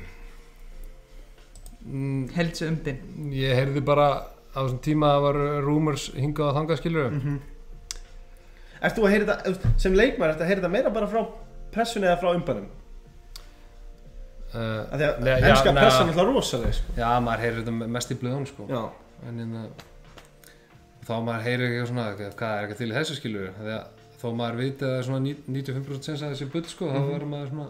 [SPEAKER 4] mm,
[SPEAKER 3] Heldsu umbin
[SPEAKER 4] Ég heyrði bara á þessum tíma að það var rumors hingað á þangaskilur
[SPEAKER 2] Mhm.
[SPEAKER 4] mm
[SPEAKER 2] Ert þú að heyra þetta, sem leikmæður, ertu að heyra þetta meira bara frá pressunni eða frá umbanum?
[SPEAKER 4] uh,
[SPEAKER 2] Af því að
[SPEAKER 4] Nei, já,
[SPEAKER 2] ennska
[SPEAKER 4] nei.
[SPEAKER 2] pressan er alltaf rosaleg sko.
[SPEAKER 4] Já, maður heyrir þetta mest í blöðun sko
[SPEAKER 2] Já,
[SPEAKER 4] en, en þá maður heyrir eitthvað svona hvað hvað er eitthvað til í þessu skilur þegar þó maður veit að það er svona ní- 95% sens að þessi bull sko þá verður maður svona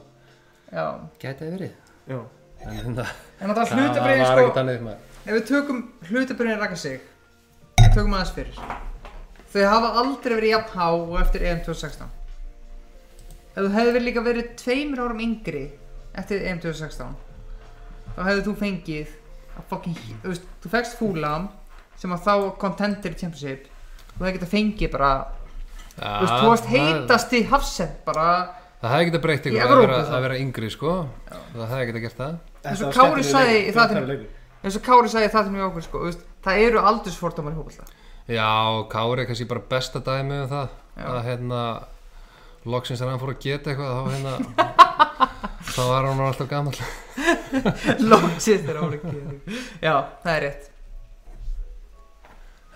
[SPEAKER 3] Já
[SPEAKER 4] gæti að verið
[SPEAKER 2] já,
[SPEAKER 4] en, en, það,
[SPEAKER 3] En það
[SPEAKER 4] það
[SPEAKER 3] hlutabrið
[SPEAKER 4] var
[SPEAKER 3] sko
[SPEAKER 4] ekkert annað maður
[SPEAKER 3] Ef við tökum hlutabriðin raka sig Tökum aðeins fyrir Þau hafa aldrei verið jafn há og eftir E EM 2016 Ef þú hefði verið líka verið tveimur árum yngri Eftir E EM 2016 Þá hefði þú fengið að fucking, þú veist, Þú fegst fúlam Sem að þá contender í championship Þú hefði getað fengið bara Þú veist,
[SPEAKER 4] Ah,
[SPEAKER 3] þú varst
[SPEAKER 4] það,
[SPEAKER 3] heitast í hafsend bara
[SPEAKER 4] það hefði getað breytt ykkur að
[SPEAKER 3] Evrópu
[SPEAKER 4] vera,
[SPEAKER 3] þá.
[SPEAKER 4] að vera yngri sko það hefði getað gert það
[SPEAKER 2] Þetta
[SPEAKER 3] og
[SPEAKER 2] var
[SPEAKER 3] Kári
[SPEAKER 2] skemmtilegur
[SPEAKER 3] sagði í
[SPEAKER 2] leikur,
[SPEAKER 3] þættinum.
[SPEAKER 2] skemmtilegur leikur.
[SPEAKER 3] eins og Kári sagði það til mjög okkur sko, þú veist, Það eru aldursfordómar í hópulta
[SPEAKER 4] Já, Kári er kannski bara besta dæmi um það
[SPEAKER 3] Já.
[SPEAKER 4] að hérna loksins þegar hann fór að geta eitthvað þá hérna þá var hann alltaf gammal
[SPEAKER 3] Lóksins þeirra voru ekki Já, það er rétt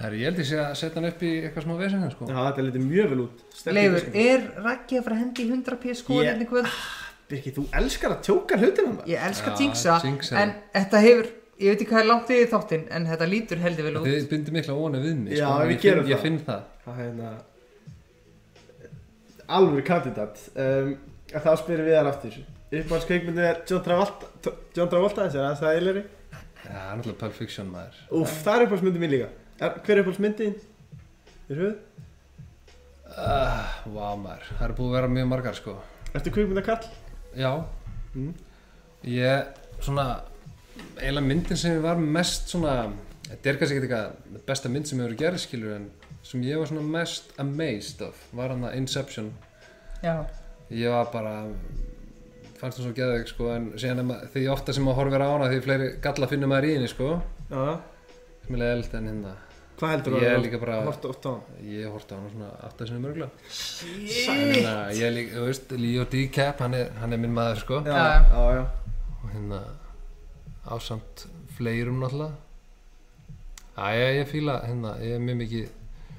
[SPEAKER 4] Herri, ég held ég sé að setja hann upp í eitthvað smá vesina sko
[SPEAKER 2] Já, þetta lítið mjög vel út Sterkur
[SPEAKER 3] Leifur,
[SPEAKER 2] leikur. sko.
[SPEAKER 3] er Raggi að fara að hendi í 100p skoðin
[SPEAKER 2] Ég- Ah,
[SPEAKER 3] yeah. kvöld?
[SPEAKER 2] Birgir, þú elskar að tjóka hlutina maður
[SPEAKER 3] hérna Ég elska
[SPEAKER 4] Já,
[SPEAKER 3] Jinxa,
[SPEAKER 4] jinxa.
[SPEAKER 3] en þetta hefur ég veit ekki hvað er langt í þáttinn en þetta lítur heldur vel út
[SPEAKER 4] Þið byndir mikla óna við mig
[SPEAKER 2] Já,
[SPEAKER 4] sko,
[SPEAKER 2] við
[SPEAKER 4] ég finn-
[SPEAKER 2] gerum það.
[SPEAKER 4] Ég finn það
[SPEAKER 2] Það er hérna Alvöru kandidat um, að Þá spyrir við þar aftur Uppáhalds kveikmyndin er John Travolta T- John Travolta þessi, er það það eileri?
[SPEAKER 4] Já, það er náttúrulega Pulp Fiction maður
[SPEAKER 2] Úff, það er uppáhaldsmyndin mín líka er, Hver er uppáhaldsmyndin? Er höfuð?
[SPEAKER 4] uh, Vá maður, það er búið að vera mjög margar sko
[SPEAKER 2] Ertu kveikmyndakarl?
[SPEAKER 4] Já
[SPEAKER 2] Mm.
[SPEAKER 4] Ég, svona eiginlega myndin sem ég var mest svona þetta er kannski ekki eitthvað besta mynd sem ég hefur gerð skilur en sem ég var svona mest amazed of var hann að Inception
[SPEAKER 3] já,
[SPEAKER 4] ég var bara fannst hún svo geðveik sko en síðan er ma- því ofta sem maður horfir á hana því fleiri galla finnur maður í henni sko
[SPEAKER 2] Já
[SPEAKER 4] sem er leiðilegt en hérna
[SPEAKER 2] Hvað heldur
[SPEAKER 4] Ég er líka bara-
[SPEAKER 2] Hortu oft á hann
[SPEAKER 4] ég horfti á hana svona aftar sinni mörgla en hérna ég er líka, þú veist, Leo DeCap hann er, hann er minn maður sko
[SPEAKER 2] Já,
[SPEAKER 3] Já,
[SPEAKER 2] já, já
[SPEAKER 4] og hérna ásamt fleirum náttúrulega Æja, ég fíla hérna, ég er mjög mikið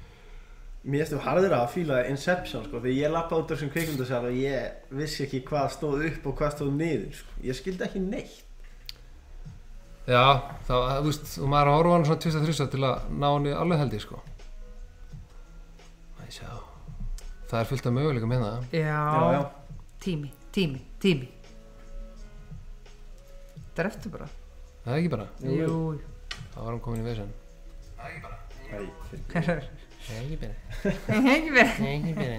[SPEAKER 2] Mér erstu harðir að fíla Inception sko Þegar ég lappa út af þessum kveikmyndasal og ég vissi ekki hvað stóð upp og hvað stóð niður sko. Ég skildi ekki neitt
[SPEAKER 4] Já, þá, þú veist, og maður er að horfa á hann svona 23 til að ná hann í alveg held ég sko Æ, sjá Það er fullt af hérna. möguleika með það
[SPEAKER 3] já. tími, tími, tími þetta er eftir bara
[SPEAKER 4] Það er ekki bara,
[SPEAKER 2] Jú, jú.
[SPEAKER 3] jú,
[SPEAKER 4] þá var hann komin í vesen
[SPEAKER 2] Æ, fyrir-
[SPEAKER 4] Það er ekki
[SPEAKER 3] ekki
[SPEAKER 4] bara,
[SPEAKER 3] verið
[SPEAKER 4] það er ekki bara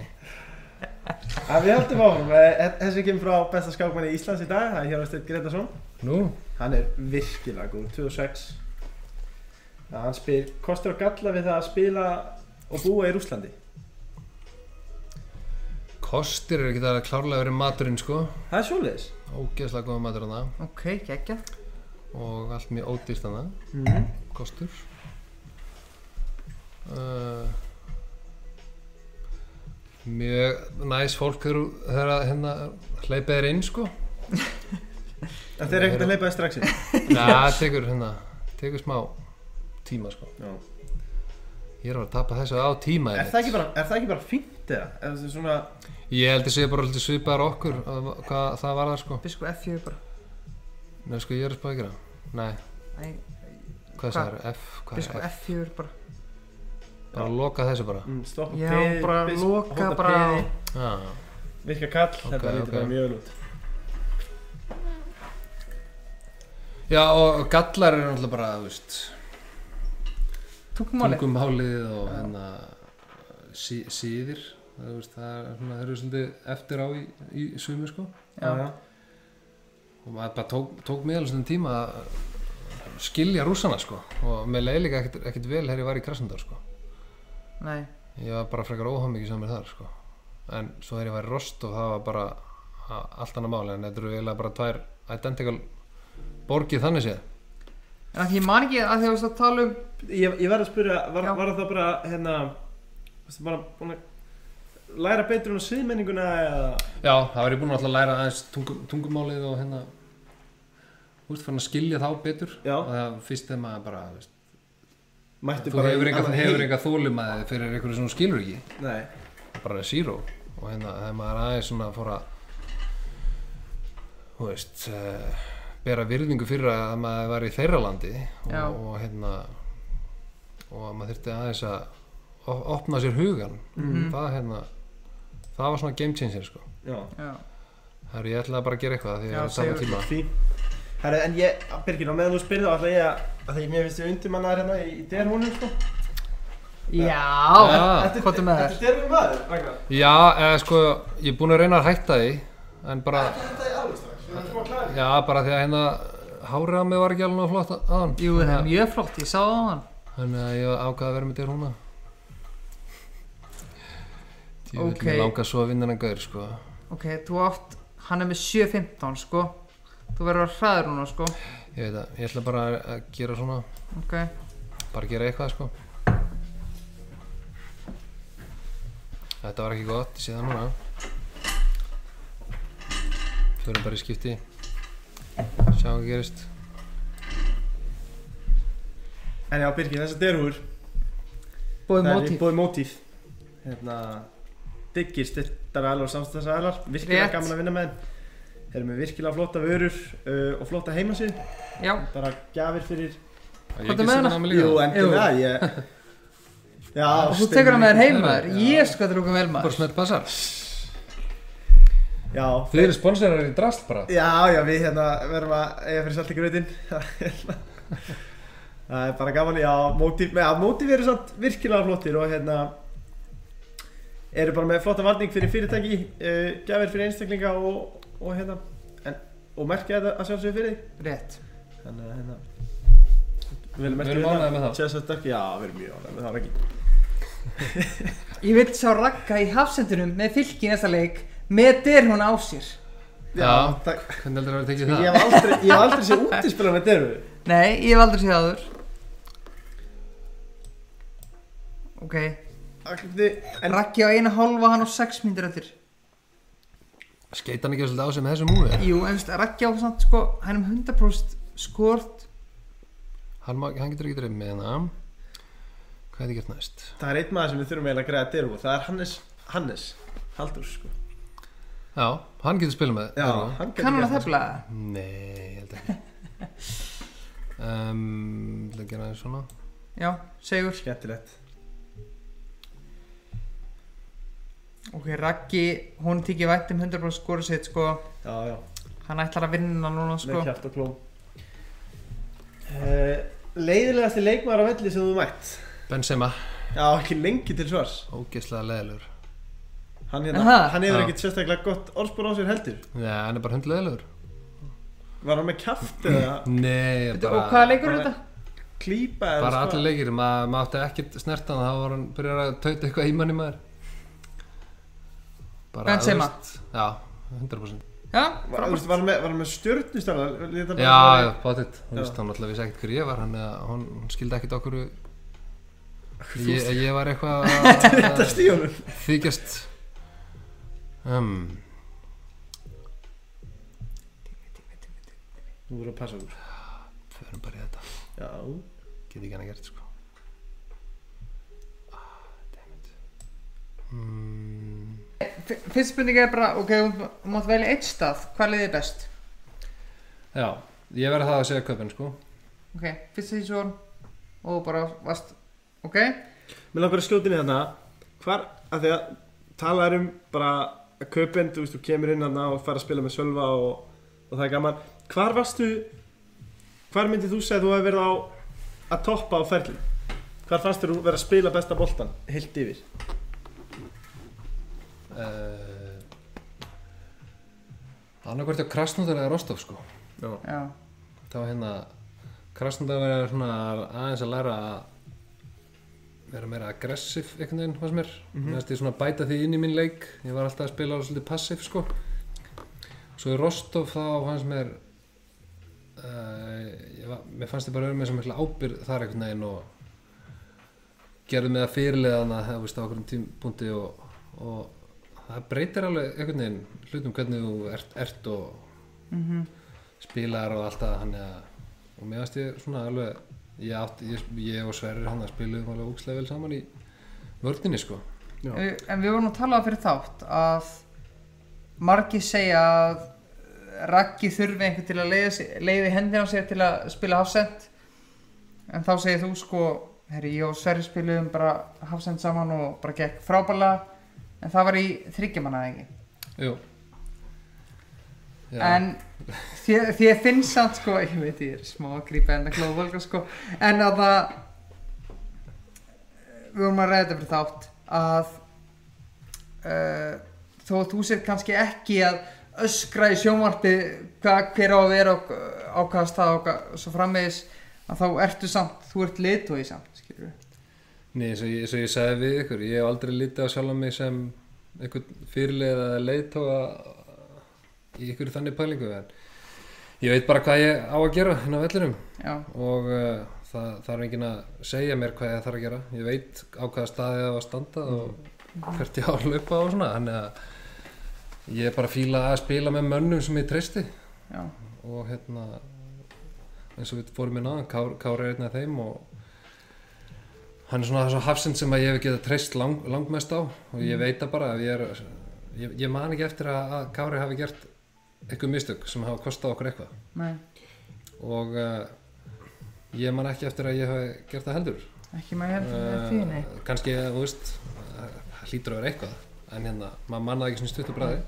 [SPEAKER 2] En við höldum áfram, Eh, þessi kemur frá besta skákmanni í Íslands í dag, það er Hjörnsteinn Gretarsson.
[SPEAKER 4] Nú,
[SPEAKER 2] Hann er virkilega góð, 2006. Ja, hann spyr, kostur og galla við það að spila og búa í Rúslandi?
[SPEAKER 4] kostir er ekki það að klárlega verið maturinn sko
[SPEAKER 2] Það er svoleiðis.
[SPEAKER 4] Ógeðslega góða matur hann
[SPEAKER 3] ok, geggja
[SPEAKER 4] og allt mjög ódýrt hann
[SPEAKER 2] Mm.
[SPEAKER 4] kostur uh, mjög næs fólk þegar þú- þegar að hérna hleypið er inn sko
[SPEAKER 2] En þeir eru ekkert að leipa þið strax inn.
[SPEAKER 4] já, það tekur hérna tekur smá tíma sko
[SPEAKER 2] Já.
[SPEAKER 4] ég er að fara að tapa þessu á tíma
[SPEAKER 2] Er það ekki bara, er það ekki bara fínt eða? Er það svona,
[SPEAKER 4] ég held að sé bara hluti svipaðar okkur að- hvað það var það sko
[SPEAKER 3] bisku F4 bara
[SPEAKER 4] nei sko ég er að spá ekki það nei,
[SPEAKER 3] Æ, Hvað?
[SPEAKER 4] hvað það er F, hvað
[SPEAKER 3] bisku
[SPEAKER 4] er F
[SPEAKER 3] F4 bara
[SPEAKER 4] bara loka þessu bara
[SPEAKER 2] mm, stoppa
[SPEAKER 3] já, bara loka bara á
[SPEAKER 4] já,
[SPEAKER 2] Virka kall, þetta
[SPEAKER 4] Ok,
[SPEAKER 2] lítur
[SPEAKER 4] ok.
[SPEAKER 2] bara mjög vel út.
[SPEAKER 4] já og gallar eru náttúrulega bara þú veist
[SPEAKER 3] tungumáli
[SPEAKER 4] tungumálið og hérna sí, síðir það, þú veist, það er svona, þeir eru svolítið eftir á í, í sumu sko
[SPEAKER 3] já,
[SPEAKER 4] og maður bara tók, tók mig alveg svona tíma að skilja rússana sko og með leið líka ekkert, ekkert vel þegar ég var í Krasnodar sko
[SPEAKER 3] nei,
[SPEAKER 4] ég var bara frekar óhámikið samir þar sko en svo þegar ég var í Rost og það var bara a- allt annað máli en þetta eru eiginlega bara tvær identical borgið þannig séð
[SPEAKER 3] en að því ég man ekki að því að þú varst að tala um
[SPEAKER 2] Ég, ég verð að spyrja, var,
[SPEAKER 3] Já.
[SPEAKER 2] var það bara, hérna, varstu bara búin að læra betur um siðmenninguna eða?
[SPEAKER 4] já, það var ég búinn alltaf að læra aðeins tungum, tungumálið og hérna þú veist, fann að skilja þá betur
[SPEAKER 2] Já.
[SPEAKER 4] og það fyrst þegar maður bara þú veist,
[SPEAKER 2] Mættu
[SPEAKER 4] þú hefur enga,
[SPEAKER 2] annað
[SPEAKER 4] hefur
[SPEAKER 2] heim.
[SPEAKER 4] enga þólimaði fyrir einhverju sem þú skilur ekki
[SPEAKER 2] Nei,
[SPEAKER 4] bara zero og hérna þegar maður aðeins svona fór að þú veist uh, bera virðingu fyrir að maður var í þeirra landi og,
[SPEAKER 3] Já.
[SPEAKER 4] og hérna og að maður þurfti aðeins að op- opna sér hugan það hérna það var svona game changer sko
[SPEAKER 2] já
[SPEAKER 3] já,
[SPEAKER 4] það er ég ætlaði bara að gera eitthvað því að
[SPEAKER 3] Já,
[SPEAKER 4] það er sama
[SPEAKER 3] segðu-
[SPEAKER 4] tíma
[SPEAKER 2] Fín Herra, en ég, Birgir, á meðan þú spyrði þá ætla ég að að því mér finnst ég undirmannaður hérna í, í derhúnum, sko
[SPEAKER 3] já.
[SPEAKER 4] Já.
[SPEAKER 2] Ertu-
[SPEAKER 3] hvað er með þér
[SPEAKER 2] Ertu derhúnum maður, Ragnar?
[SPEAKER 4] Já, eða sko, ég er búinn að reyna að hætta því en bara,
[SPEAKER 2] Þetta er alveg strax, við erum svo að klæða
[SPEAKER 4] já, bara því að hérna hárið á mig var ekki alveg nóg flott á- áðan
[SPEAKER 3] jú, það er mjög flott, ég sá það á hann
[SPEAKER 4] Þannig að ég ákvaði að vera með þér húnna
[SPEAKER 3] Ok.
[SPEAKER 4] Ég vil okay. langa svo að vinna hennan gaur, sko
[SPEAKER 3] ok, þú átt, hann er með 7.15 sko, þú verður að hraður núna sko
[SPEAKER 4] Ég veit að, ég ætla bara að gera svona
[SPEAKER 3] ok,
[SPEAKER 4] bara gera eitthvað, sko Þetta var ekki gott, ég sé það núna Förum bara í skipti Sjáum hvað gerist
[SPEAKER 2] En já, Birgir, þessar derhúr
[SPEAKER 3] bóði
[SPEAKER 2] það er í
[SPEAKER 3] mótíf
[SPEAKER 2] Bóði mótíf Hérna Diggir styrtar alveg samstæðsæðlar Virkilega
[SPEAKER 3] Rétt.
[SPEAKER 2] gaman að vinna með þeim Þeir eru með virkilega flotta vörur uh, og flotta heimasíð
[SPEAKER 3] Já,
[SPEAKER 2] Bara gjafir fyrir
[SPEAKER 4] Ég
[SPEAKER 3] Komdu
[SPEAKER 4] ekki
[SPEAKER 3] með
[SPEAKER 4] sem
[SPEAKER 3] hana.
[SPEAKER 4] hann
[SPEAKER 2] Jú,
[SPEAKER 4] líka
[SPEAKER 2] endilega ég... Já,
[SPEAKER 3] og þú tekur hann með þér heim
[SPEAKER 4] Já.
[SPEAKER 3] maður Ég sko þetta lúka vel
[SPEAKER 4] Bara
[SPEAKER 3] maður
[SPEAKER 4] smett passar
[SPEAKER 2] Já,
[SPEAKER 4] Þið eru sponsorar í drast bara
[SPEAKER 2] já, já, við hérna verðum að eiga fyrir salti gröðin Það hérna- er bara gaman, já, mótíf, með, mótíf eru samt virkilega flottir og hérna eru bara með flotta varning fyrir fyrirtæki, uh, gjafir fyrir einstaklinga og, og hérna en, og merkja þetta að sjálfsögðu fyrir þig
[SPEAKER 3] Rétt
[SPEAKER 2] Þannig að hérna Við erum hérna-
[SPEAKER 4] Við erum ánægðir með það.
[SPEAKER 2] Sjálfsagt ekki, já, við erum mjög ánægð með það ekki
[SPEAKER 3] Ég vil sjá Ragga í hafsendunum með fylki í næsta leik með derhuna á sér
[SPEAKER 4] Já.
[SPEAKER 2] takk
[SPEAKER 4] Hvernig heldur það að við tekið
[SPEAKER 2] Ég
[SPEAKER 4] það?
[SPEAKER 2] hef aldrei, ég hef aldrei séð útispila með Deru
[SPEAKER 3] Nei, ég hef aldrei séð áður Ok,
[SPEAKER 2] En
[SPEAKER 3] Raggi á eina hálfa hann á sex mínútur eftir
[SPEAKER 4] Skeit hann ekki svolítið á sig með þessu múfi?
[SPEAKER 3] Jú, en veist, Raggi á samt sko, hann er um 100% skort
[SPEAKER 4] Hann, má- hann getur ekki dreifð með hana Hvað er þið gert næst?
[SPEAKER 2] það er einn maður sem við þurfum eiginlega að greiða Deru Það er Hannes, Hannes Haldur sko
[SPEAKER 4] Já, hann getur spilað með
[SPEAKER 2] Já,
[SPEAKER 4] Erró.
[SPEAKER 2] hann
[SPEAKER 3] Kann hann að
[SPEAKER 2] það
[SPEAKER 3] þefla?
[SPEAKER 4] Nei, ég held ekki um, Það gera aðeins svona
[SPEAKER 3] Já, segur
[SPEAKER 2] Skemmtilegt
[SPEAKER 3] Ok, Raggi, hún tikið vætt um 100% skora sitt sko
[SPEAKER 2] Já, já,
[SPEAKER 3] Hann ætlar að vinna núna sko
[SPEAKER 2] með kjæft og klóm uh, Leiðilegasti leikmaður á velli sem þú mætt
[SPEAKER 4] Benzema,
[SPEAKER 2] Já, ekki lengi til svars
[SPEAKER 4] ógeðslega leðilegur
[SPEAKER 2] Hann, hérna,
[SPEAKER 3] Aha.
[SPEAKER 2] hann hefur
[SPEAKER 4] Já.
[SPEAKER 2] ekkert sérstaklega gott orðspor á sér heldur
[SPEAKER 4] Nei, hann er bara hundlega leðilegur
[SPEAKER 2] Var hann með kjæft eða
[SPEAKER 4] Nei,
[SPEAKER 3] Veitu,
[SPEAKER 4] bara,
[SPEAKER 3] Og hvaða leikur er
[SPEAKER 2] bara-
[SPEAKER 3] þetta?
[SPEAKER 2] klípa eða
[SPEAKER 4] bara
[SPEAKER 2] sko?
[SPEAKER 4] allir leikir Ma- Maður átti ekkert snert hann þá var hann byrjar að tauta eitthvað í manni maður bara,
[SPEAKER 3] Benzema.
[SPEAKER 4] þú veist, Já, 100%
[SPEAKER 3] Já,
[SPEAKER 2] Var, þú veist, var hann með, var hann með stjörnustæla
[SPEAKER 4] Já, já, bátitt
[SPEAKER 2] Já.
[SPEAKER 4] Hún veist, hann alltaf vissi ekkert hver ég var hann, hann, hún skildi ekkert okkur ég, ég var eitthvað að-
[SPEAKER 2] Þetta stíðunum
[SPEAKER 4] þykjast um,
[SPEAKER 2] Þú verður að passa okkur
[SPEAKER 4] förum bara í þetta
[SPEAKER 2] Já
[SPEAKER 4] get ekki hann að gert sko ah, dammit
[SPEAKER 3] F- Fyrsta spurning er bara, ok, þú mátt velja eitt stað, hvað leiðið er best?
[SPEAKER 4] mm, já ég verði það að segja köpinn sko
[SPEAKER 3] Ok, fyrsta sísón og bara vast, ok?
[SPEAKER 2] Mér langar að skjóta inn í þarna Hvar, að því að talaður um bara að kaupin, þú veist, þú kemur inn þarna og fara að spila með Sölva og, og það er gaman Hvar varstu, hvar myndið þú segja að þú hefur verið á að toppa á ferli? Hvar fannst þér þú verið að spila besta boltan, heilt yfir?
[SPEAKER 4] uh, annarkvært hjá Krasnóður eða Rostov sko
[SPEAKER 2] Já
[SPEAKER 3] Já,
[SPEAKER 4] þá hérna Krasnóður er svona aðeins að læra að vera meira aggressiv einhvern veginn fannst mér mm -hmm. ég svona bæta því inn í minn leik ég var alltaf að spila svolítið passív sko svo í Rostov þá fannst mér uh, ég var, mér fannst ég bara öðrum með svo mikla ábyrð þar einhvern veginn og gerði mig að fyrirlega hana það veist á okkurum tímpunkti og, og það breytir alveg einhvern veginn hlutum hvernig þú ert, ert og
[SPEAKER 3] mhm.
[SPEAKER 4] spilar og allt það hann eða og mér fannst ég svona alveg ég, átt, ég, ég og Sverrir hann að spiluðum alveg ókslega vel saman í vördinni sko
[SPEAKER 2] Já.
[SPEAKER 3] Eh, en við vorum að tala fyrir þátt að margir segja að Raggi þurfi einhver til að leiða, sig- leiða í hendina á sér til að spila hafsend en þá segir þú sko herri, ég og Sverri spiluðum bara hafsend saman og bara gekk frábæla en það var í þryggjamanna ekki
[SPEAKER 4] Jú
[SPEAKER 3] en þér, þér finnst samt sko, ég veit ég er smá að grípa en að glóða volga sko, en að það við vorum að ræða þetta fyrir þátt að uh, þó að þú sér kannski ekki að öskra í sjónvarpi hvað, hver á að vera og á hvaða stað og hvað- svo framvegis að þá ertu samt, þú ert litói samt skilur við
[SPEAKER 4] Nei, eins og ég, eins og ég sagði við ykkur, ég hef aldrei litið á sjálf mig sem einhvern fyrirlega eða leiðtóa í ykkur þannig pælingu en ég veit bara hvað ég á að gera hérna á vellinum
[SPEAKER 3] já,
[SPEAKER 4] og uh, það þarf enginn að segja mér hvað ég þarf að gera ég veit á hvaða staði ég á að standa og hvert ég á að laupa og svona þannig að ég er bara að fíla að spila með mönnum sem ég treysti
[SPEAKER 3] já,
[SPEAKER 4] og hérna eins og við fórum inn aðan, Kár, Kári er einn af þeim og hann er svona þessu hafsind sem að ég hef getað treyst lang, langmest á og ég veit það bara að ég er ég, ég man ekki eftir að, að Kári hafi gert einhver mistök sem hafa kostað okkur eitthvað
[SPEAKER 3] Nei,
[SPEAKER 4] og uh, ég man ekki eftir að ég hafi gert það heldur
[SPEAKER 3] ekki maður heldur með því, nei.
[SPEAKER 4] uh, kannski, þú veist það hlýtur að vera eitthvað en hérna, maður mannaði ekki svona í stuttu bræði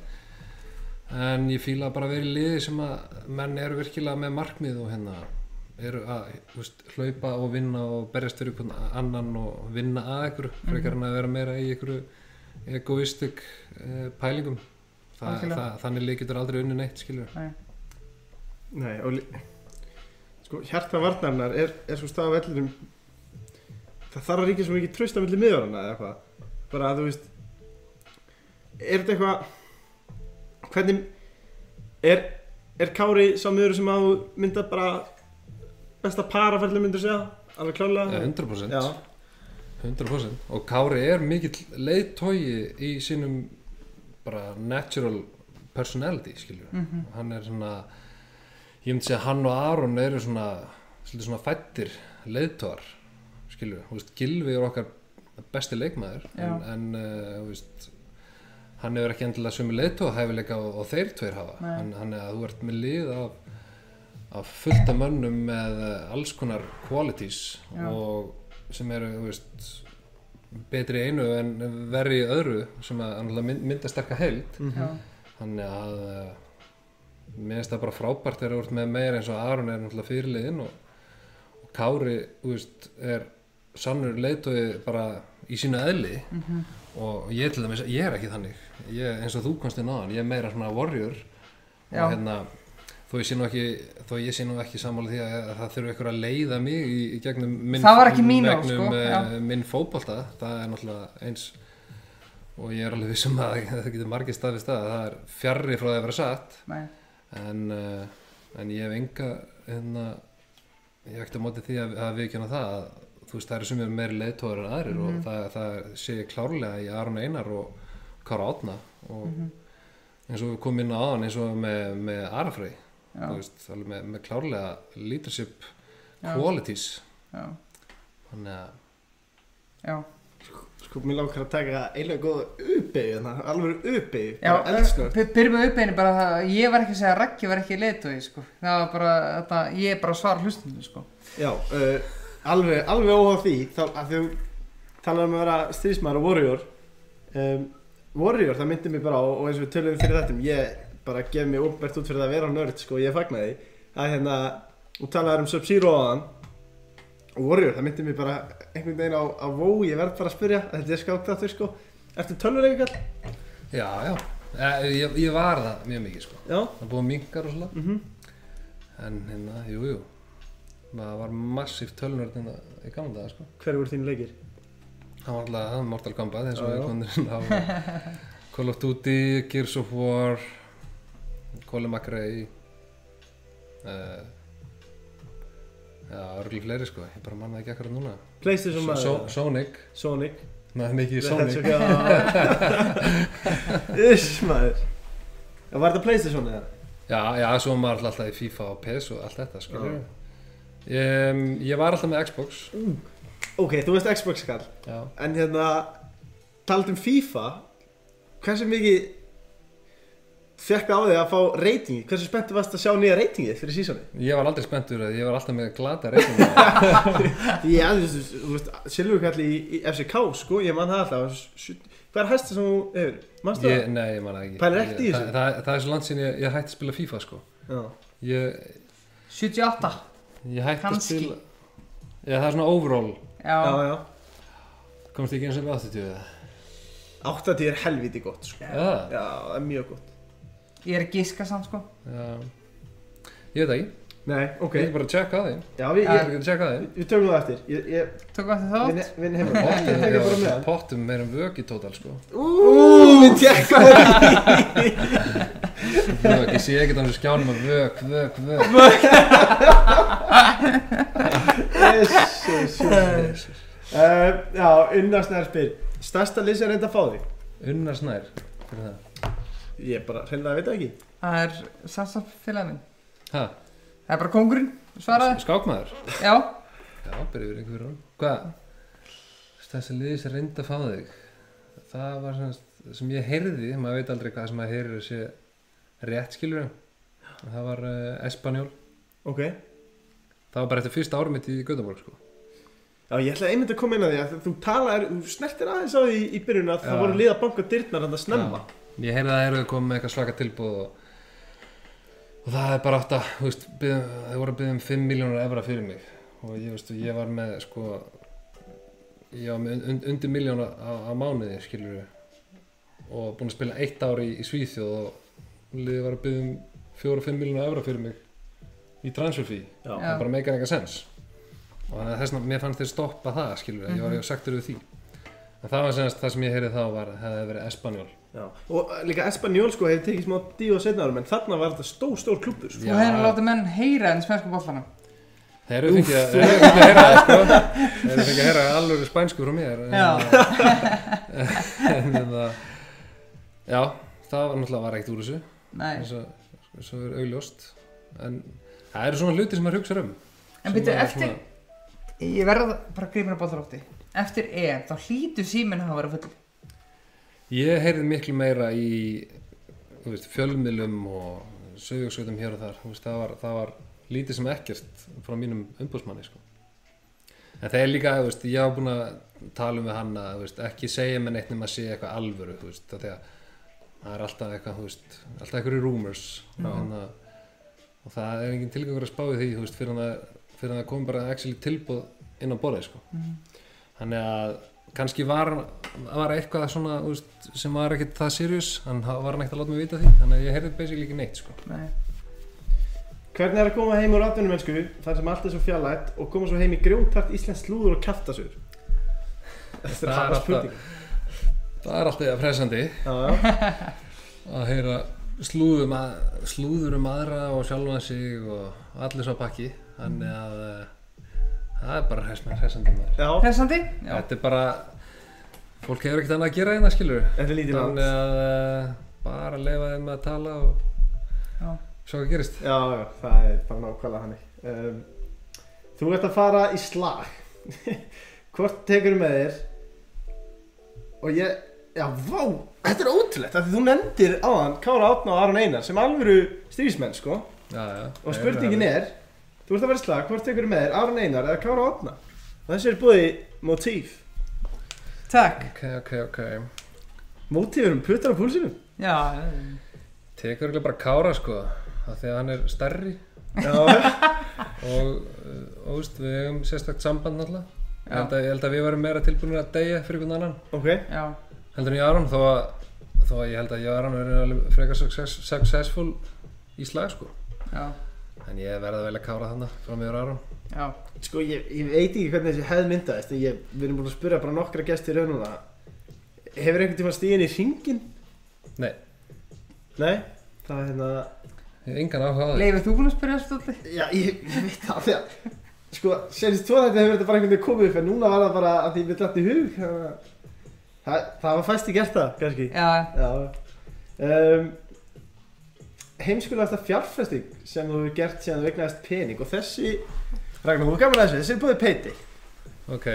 [SPEAKER 4] en ég fíla bara að vera í liði sem að menn eru virkilega með markmið og hérna eru að þú veist, hlaupa og vinna og berjast fyrir einhvern annan og vinna að ykkur
[SPEAKER 3] Mhm.
[SPEAKER 4] frekar en að vera meira í ykkur egoistik uh, pælingum Þa,
[SPEAKER 3] Algjörlega.
[SPEAKER 4] það, þannig lið getur aldrei unni neitt skilur
[SPEAKER 3] nei.
[SPEAKER 2] Nei, og lí- sko, hjarta varnarinnar er, er svo stað á vellinum það þarf að ríkja svo mikið trösta millir miðvarana eða eitthvað bara að þú veist er þetta eitthvað hvernig er, er Kári sá miður sem að þú mynda bara besta paraferðlu myndur segja alveg klálega
[SPEAKER 4] Eh, 100%
[SPEAKER 2] Já,
[SPEAKER 4] 100% og Kári er mikill leiðtogi í sínum bara natural personality skilur
[SPEAKER 3] mhm,
[SPEAKER 4] hann er svona ég myndi segja að hann og Aron eru svona svolítið svona fættir leiðtogar skilur, þú veist, Gilvi er okkar besti leikmaður en,
[SPEAKER 3] Já.
[SPEAKER 4] en uh, þú veist hann hefur ekki endilega sömu leiðtoga hæfileika og, og þeir tveir hafa
[SPEAKER 3] Nei.
[SPEAKER 4] hann, hann er að þú ert með lið af af fullta mönnum með eh, alls konar qualities
[SPEAKER 3] Já.
[SPEAKER 4] og sem eru þú veist, betri í einu en verri í öðru sem að náttúrulega mynd- mynda sterka held
[SPEAKER 3] Já,
[SPEAKER 4] þannig að eh, mér finnst það bara frábært þegar þú ert með meira eins og Aron er náttúrulega fyrirliðin og, og Kári þú veist, er sannur leiðtogi bara í sínu eðli og ég til dæmis, ég er ekki þannig ég, eins og þú komst inn á ég er meira svona warrior
[SPEAKER 3] já,
[SPEAKER 4] og hérna þó ég sé nú ekki, þó ég sé nú ekki sammála því að það þurfi ykkur að leiða mig í, í gegnum minn,
[SPEAKER 3] Það var ekki mín orð,
[SPEAKER 4] gegnum,
[SPEAKER 3] sko,
[SPEAKER 4] eh,
[SPEAKER 3] já.
[SPEAKER 4] minn fótbolta það er náttúrulega eins og ég er alveg vissum að það getur margir staðið stað það er fjarrri frá það að vera satt
[SPEAKER 3] nei.
[SPEAKER 4] en, eh, en ég hef enga hérna, ég hef ekkert á móti því að, að við kjöna það að, þú veist það eru sumir meiri leiðtóður en aðrir
[SPEAKER 3] Mhm.
[SPEAKER 4] og það, það sé ég klárlega í Aron Einar og Kára Átna og
[SPEAKER 3] Mhm.
[SPEAKER 4] eins og við komum inn á aðan eins og með, með Arafrey
[SPEAKER 3] Já.
[SPEAKER 4] þú veist, alveg með, með klárlega leadership
[SPEAKER 3] Já.
[SPEAKER 4] qualities
[SPEAKER 3] Já,
[SPEAKER 4] þannig að
[SPEAKER 3] já,
[SPEAKER 2] sko, mér langar að taka eiginlega góða uppeyju þannig, alveg uppeyju,
[SPEAKER 3] já
[SPEAKER 2] bara eldsnögt
[SPEAKER 3] by- Byrjum með uppeinu bara það að Ég var ekki að segja að Raggi var ekki leiðtói sko. Það var bara, þetta, ég er bara að svara hlustinu sko.
[SPEAKER 2] Já, uh, alveg, alveg óháð því þá, að þú talar um að vera strísmaður og warrior um, Warrior, það myndi mér bara á og eins og við töluðum fyrir þetta ég bara gef mér óbært út fyrir það að vera nörd sko, ég fagna því að hérna, þú talaði um Sub-Zero áðan og Warrior, það myndi mér bara einhvern veginn á, á vó, ég verð bara að spyrja að þetta er skátt aftur sko Ertu tölvuleikar?
[SPEAKER 4] já, já, Eh, ég, ég var það mjög mikið sko
[SPEAKER 2] Já,
[SPEAKER 4] það er búið minkar og svona
[SPEAKER 2] Mhm.
[SPEAKER 4] en hérna, jú, jú maður var massíft tölunörd hérna í gamla daga sko
[SPEAKER 2] hver voru þín leikir?
[SPEAKER 4] það var alltaf það, Mortal Kombat eins og
[SPEAKER 2] Já,
[SPEAKER 4] við
[SPEAKER 2] já.
[SPEAKER 4] komum inn á Call of Duty, Gears of War Colin McRae uh, já, örgulega fleiri sko ég bara manna ekki akkurat núna
[SPEAKER 2] Playstation
[SPEAKER 4] so,
[SPEAKER 2] maður?
[SPEAKER 4] so, Sonic,
[SPEAKER 2] Sonic
[SPEAKER 4] maður mikið í
[SPEAKER 2] That's
[SPEAKER 4] Sonic
[SPEAKER 2] okay. Uss maður Já, Var þetta Playstation eða?
[SPEAKER 4] já, já, svo var maður alltaf í FIFA og PES og allt þetta sko um, ég var alltaf með Xbox
[SPEAKER 2] Ok, þú veist Xbox kall
[SPEAKER 4] já
[SPEAKER 2] En hérna, talað um FIFA Hversu mikið Fekk á þig að fá reytingi Hversu spenntu varst að sjá nýja reytingið fyrir sísoni
[SPEAKER 4] Ég var aldrei spenntur að ég var alltaf með glata reyninga
[SPEAKER 2] Því að þú veist, þú veist Silvur kalli í, í FCK sko Ég man það alltaf Sjut- Hvað er hæsta sem þú hefur? Manstu
[SPEAKER 4] ég,
[SPEAKER 2] það?
[SPEAKER 4] Nei, ég man það ekki
[SPEAKER 2] Pælir ekkert í
[SPEAKER 4] Ég-
[SPEAKER 2] þessu?
[SPEAKER 4] það, það, það er svo langt sín ég, ég hætti að spila FIFA sko
[SPEAKER 2] Já,
[SPEAKER 4] Ég,
[SPEAKER 3] 78
[SPEAKER 4] ég hætti að
[SPEAKER 3] Kannski.
[SPEAKER 4] spila Já, það er svona overall
[SPEAKER 3] Já,
[SPEAKER 2] já,
[SPEAKER 3] já,
[SPEAKER 2] já
[SPEAKER 4] Komst ekki eins og með 80 eða?
[SPEAKER 2] 80 er helviti gott sko
[SPEAKER 4] Já,
[SPEAKER 2] Já, það er mjög gott
[SPEAKER 3] ég er að gíska samt sko.
[SPEAKER 4] já Ég veit það ekki,
[SPEAKER 2] Nei, ok
[SPEAKER 4] ég er bara að checka á því Ég
[SPEAKER 2] Já, við,
[SPEAKER 4] er
[SPEAKER 2] ég,
[SPEAKER 4] ekki að checka á því
[SPEAKER 2] við tökum það eftir Ég, ég
[SPEAKER 3] Tökum við þetta þátt?
[SPEAKER 2] Vinn- Vinn heima Þetta
[SPEAKER 4] Pottum,
[SPEAKER 2] er bara
[SPEAKER 4] já,
[SPEAKER 2] meðan
[SPEAKER 4] pottum meir um vöki tótal sko
[SPEAKER 2] Úúúú, við tjekka það
[SPEAKER 4] Vök, ég sé ekkert á þessu skjánum að vök, vök, vök
[SPEAKER 2] Jesus uh, Já, unnarsnæðar spyr Stærsta lið sem reynda að fá þig?
[SPEAKER 4] Unnar snær fyrir það
[SPEAKER 2] Ég bara hreinlega veit það ekki
[SPEAKER 3] Það er samstarfélagin minn
[SPEAKER 4] Ha,
[SPEAKER 3] Það er bara kongurinn, svaraði
[SPEAKER 4] skákmaður?
[SPEAKER 3] Já,
[SPEAKER 4] Já, byrjuð við einhverjum Hvað? Þessi liði sem reyndi að fá þig Það var sem, sem ég heyrði Maður veit aldrei hvað sem maður heyrir að sé rétt skilur það var uh, Espanjól
[SPEAKER 2] Ok
[SPEAKER 4] það var bara eftir fyrsta árum mitt í Göteborg sko.
[SPEAKER 2] Já, ég ætlaði einmitt að koma inn að því að þú talar, þú snertir aðeins á því í byrjun að það
[SPEAKER 4] Já.
[SPEAKER 2] voru liða banka dyrnar hann að snemma.
[SPEAKER 4] ég heyrði að það eru komið með eitthvað svaka tilbúð og, og það er bara átt að þú veist, byðum, þau voru að byggja um 5 miljónur evra fyrir mig og ég, veist, ég var með sko ég var með und, undir miljón á, á mánuði skilur og búin að spila eitt ár í, í Svíþjóð og liðið var að byggja um 4-5 miljónur evra fyrir mig í transferfí
[SPEAKER 2] Já.
[SPEAKER 4] það bara meikar eitthvað sens og þannig að þess vegna, mér fannst þeir stoppa það skilur, ég var ég sagtur við því en það var senast það sem ég heyrði þá var að það hefði verið Espanjól
[SPEAKER 2] Já. Og uh, líka Espanjól sko hefur tekið smá díu á setna árum en þarna var þetta stór, stór klubur sko.
[SPEAKER 4] Já.
[SPEAKER 3] Þú hefur látið hérna menn heyra enn spænsku bollanum.
[SPEAKER 4] Þeir eru fengið að- þeir eru fengið að heyra það sko Þeir eru fengið að heyra alveg spænsku frá mér en-
[SPEAKER 3] Já.
[SPEAKER 4] en það Já, það var náttúrulega var ekkert úr þessu
[SPEAKER 3] Nei.
[SPEAKER 4] eins og eins og er augljóst en það eru svona hluti sem maður hugsa um
[SPEAKER 3] En
[SPEAKER 4] Sem
[SPEAKER 3] byrju,
[SPEAKER 4] að
[SPEAKER 3] eftir, ég verða bara að grípa mér að bóta lótti. Eftir EM, þá hlýtur síminn að hafa verið full.
[SPEAKER 4] Ég heyrði miklu meira í þú veist, fjölmiðlum og sögjóksveitum hér og þar Þú veist, það, var, það var lítið sem ekkert frá mínum umbúsmanni sko. en það er líka, þú veist, ég hafa búin að tala um við hann að þú veist, ekki segja mér neitt nema að segja eitthvað alvöru þú veist, af því að það er alltaf eitthvað þú veist, alltaf eitthvað rumors en að, og það er engin tilgangur að spáði því þú veist, fyrir, hann að, fyrir hann að kom bara actually tilbúð inn á borðið sko.
[SPEAKER 3] Mhm.
[SPEAKER 4] þannig að kannski var, var eitthvað svona þú veist, sem var ekkert það serious hann var hann ekkert að láta mig vita því þannig að ég heyrði basically ekki neitt sko.
[SPEAKER 3] Nei.
[SPEAKER 2] Hvernig er að koma heim úr atvinnum mennsku, þar sem allt er svo fjallægt og koma svo heim í grjótart íslensk slúður og kaftasur? Þetta er
[SPEAKER 4] Það er
[SPEAKER 2] alltaf
[SPEAKER 4] alltaf-
[SPEAKER 2] spurning.
[SPEAKER 4] það er alltaf pressandi
[SPEAKER 2] Já, já.
[SPEAKER 4] að heyra slúðum að, slúður um aðra og sjálfan sig og allir svo pakki þannig að eh, það er bara hressna- hressandi maður
[SPEAKER 2] Já,
[SPEAKER 3] Hressandi? Já.
[SPEAKER 4] þetta er bara fólk hefur ekkert annað að gera hérna skilur
[SPEAKER 2] þetta er lítið land.
[SPEAKER 4] þannig að eh, bara leifa þeim að tala og
[SPEAKER 3] Já.
[SPEAKER 4] sjá hvað gerist
[SPEAKER 2] Já, já, það er bara nákvæmlega hannig. Um, þú ert að fara í slag. Hvort tekur með þér? Og ég, já, vá, þetta er ótrúlegt. af því Þú nefndir áðan Kára Átna og Aron Einar sem alvöru stríðismenn, sko.
[SPEAKER 4] já, já,
[SPEAKER 2] Og spurningin er, þú ert að vera í slag, hvort tekur með þér, Aron Einar eða Kára Átna? Og þessi er búið motíf.
[SPEAKER 3] Takk.
[SPEAKER 4] ok, ok, ok
[SPEAKER 2] Mótífur um puttar á púlsinum.
[SPEAKER 3] Já.
[SPEAKER 4] tekur eiginlega bara Kára sko af því að hann er stærri
[SPEAKER 2] Já,
[SPEAKER 4] og uh, óst, við hefum sérstakt samband náttúrulega ég
[SPEAKER 3] Já.
[SPEAKER 4] held, að, ég held að við varum meira tilbúinir að deyja fyrir einhvern annan
[SPEAKER 2] ok.
[SPEAKER 3] Já.
[SPEAKER 4] heldur en ég Aron þó að, þó að ég held að ég og Aron verið alveg frekar success, successful í slag sko
[SPEAKER 3] Já.
[SPEAKER 4] en ég verði að velja Kára þannig frá mér og Aron
[SPEAKER 3] Já.
[SPEAKER 2] Sko, ég, ég veit ekki hvernig þessi hefð myndaðist, en ég, við erum búin að spyrja bara nokkra gesti í raununa. Hefur einhvern tíma stíðin í hringin?
[SPEAKER 4] nei,
[SPEAKER 2] Nei, það er hérna,
[SPEAKER 4] ég hef engan áhuga á því
[SPEAKER 3] Leifur, þú búinn að spyrja þessu allir?
[SPEAKER 2] já, ég, ég veit það, því að, sko, senst tvo þetta hefur þetta bara einhvern veginn komið upp, en núna var það bara að því við dætt í hug, þannig að, það, það var fæsti gert það, kannski.
[SPEAKER 3] Já.
[SPEAKER 2] Já um, Heimskulegasta fjárfesting sem þú hefur gert síðan þú eignaðist pening og þessi Ragnar, þú er gaman að þessu, þessi er búið peiti
[SPEAKER 4] ok,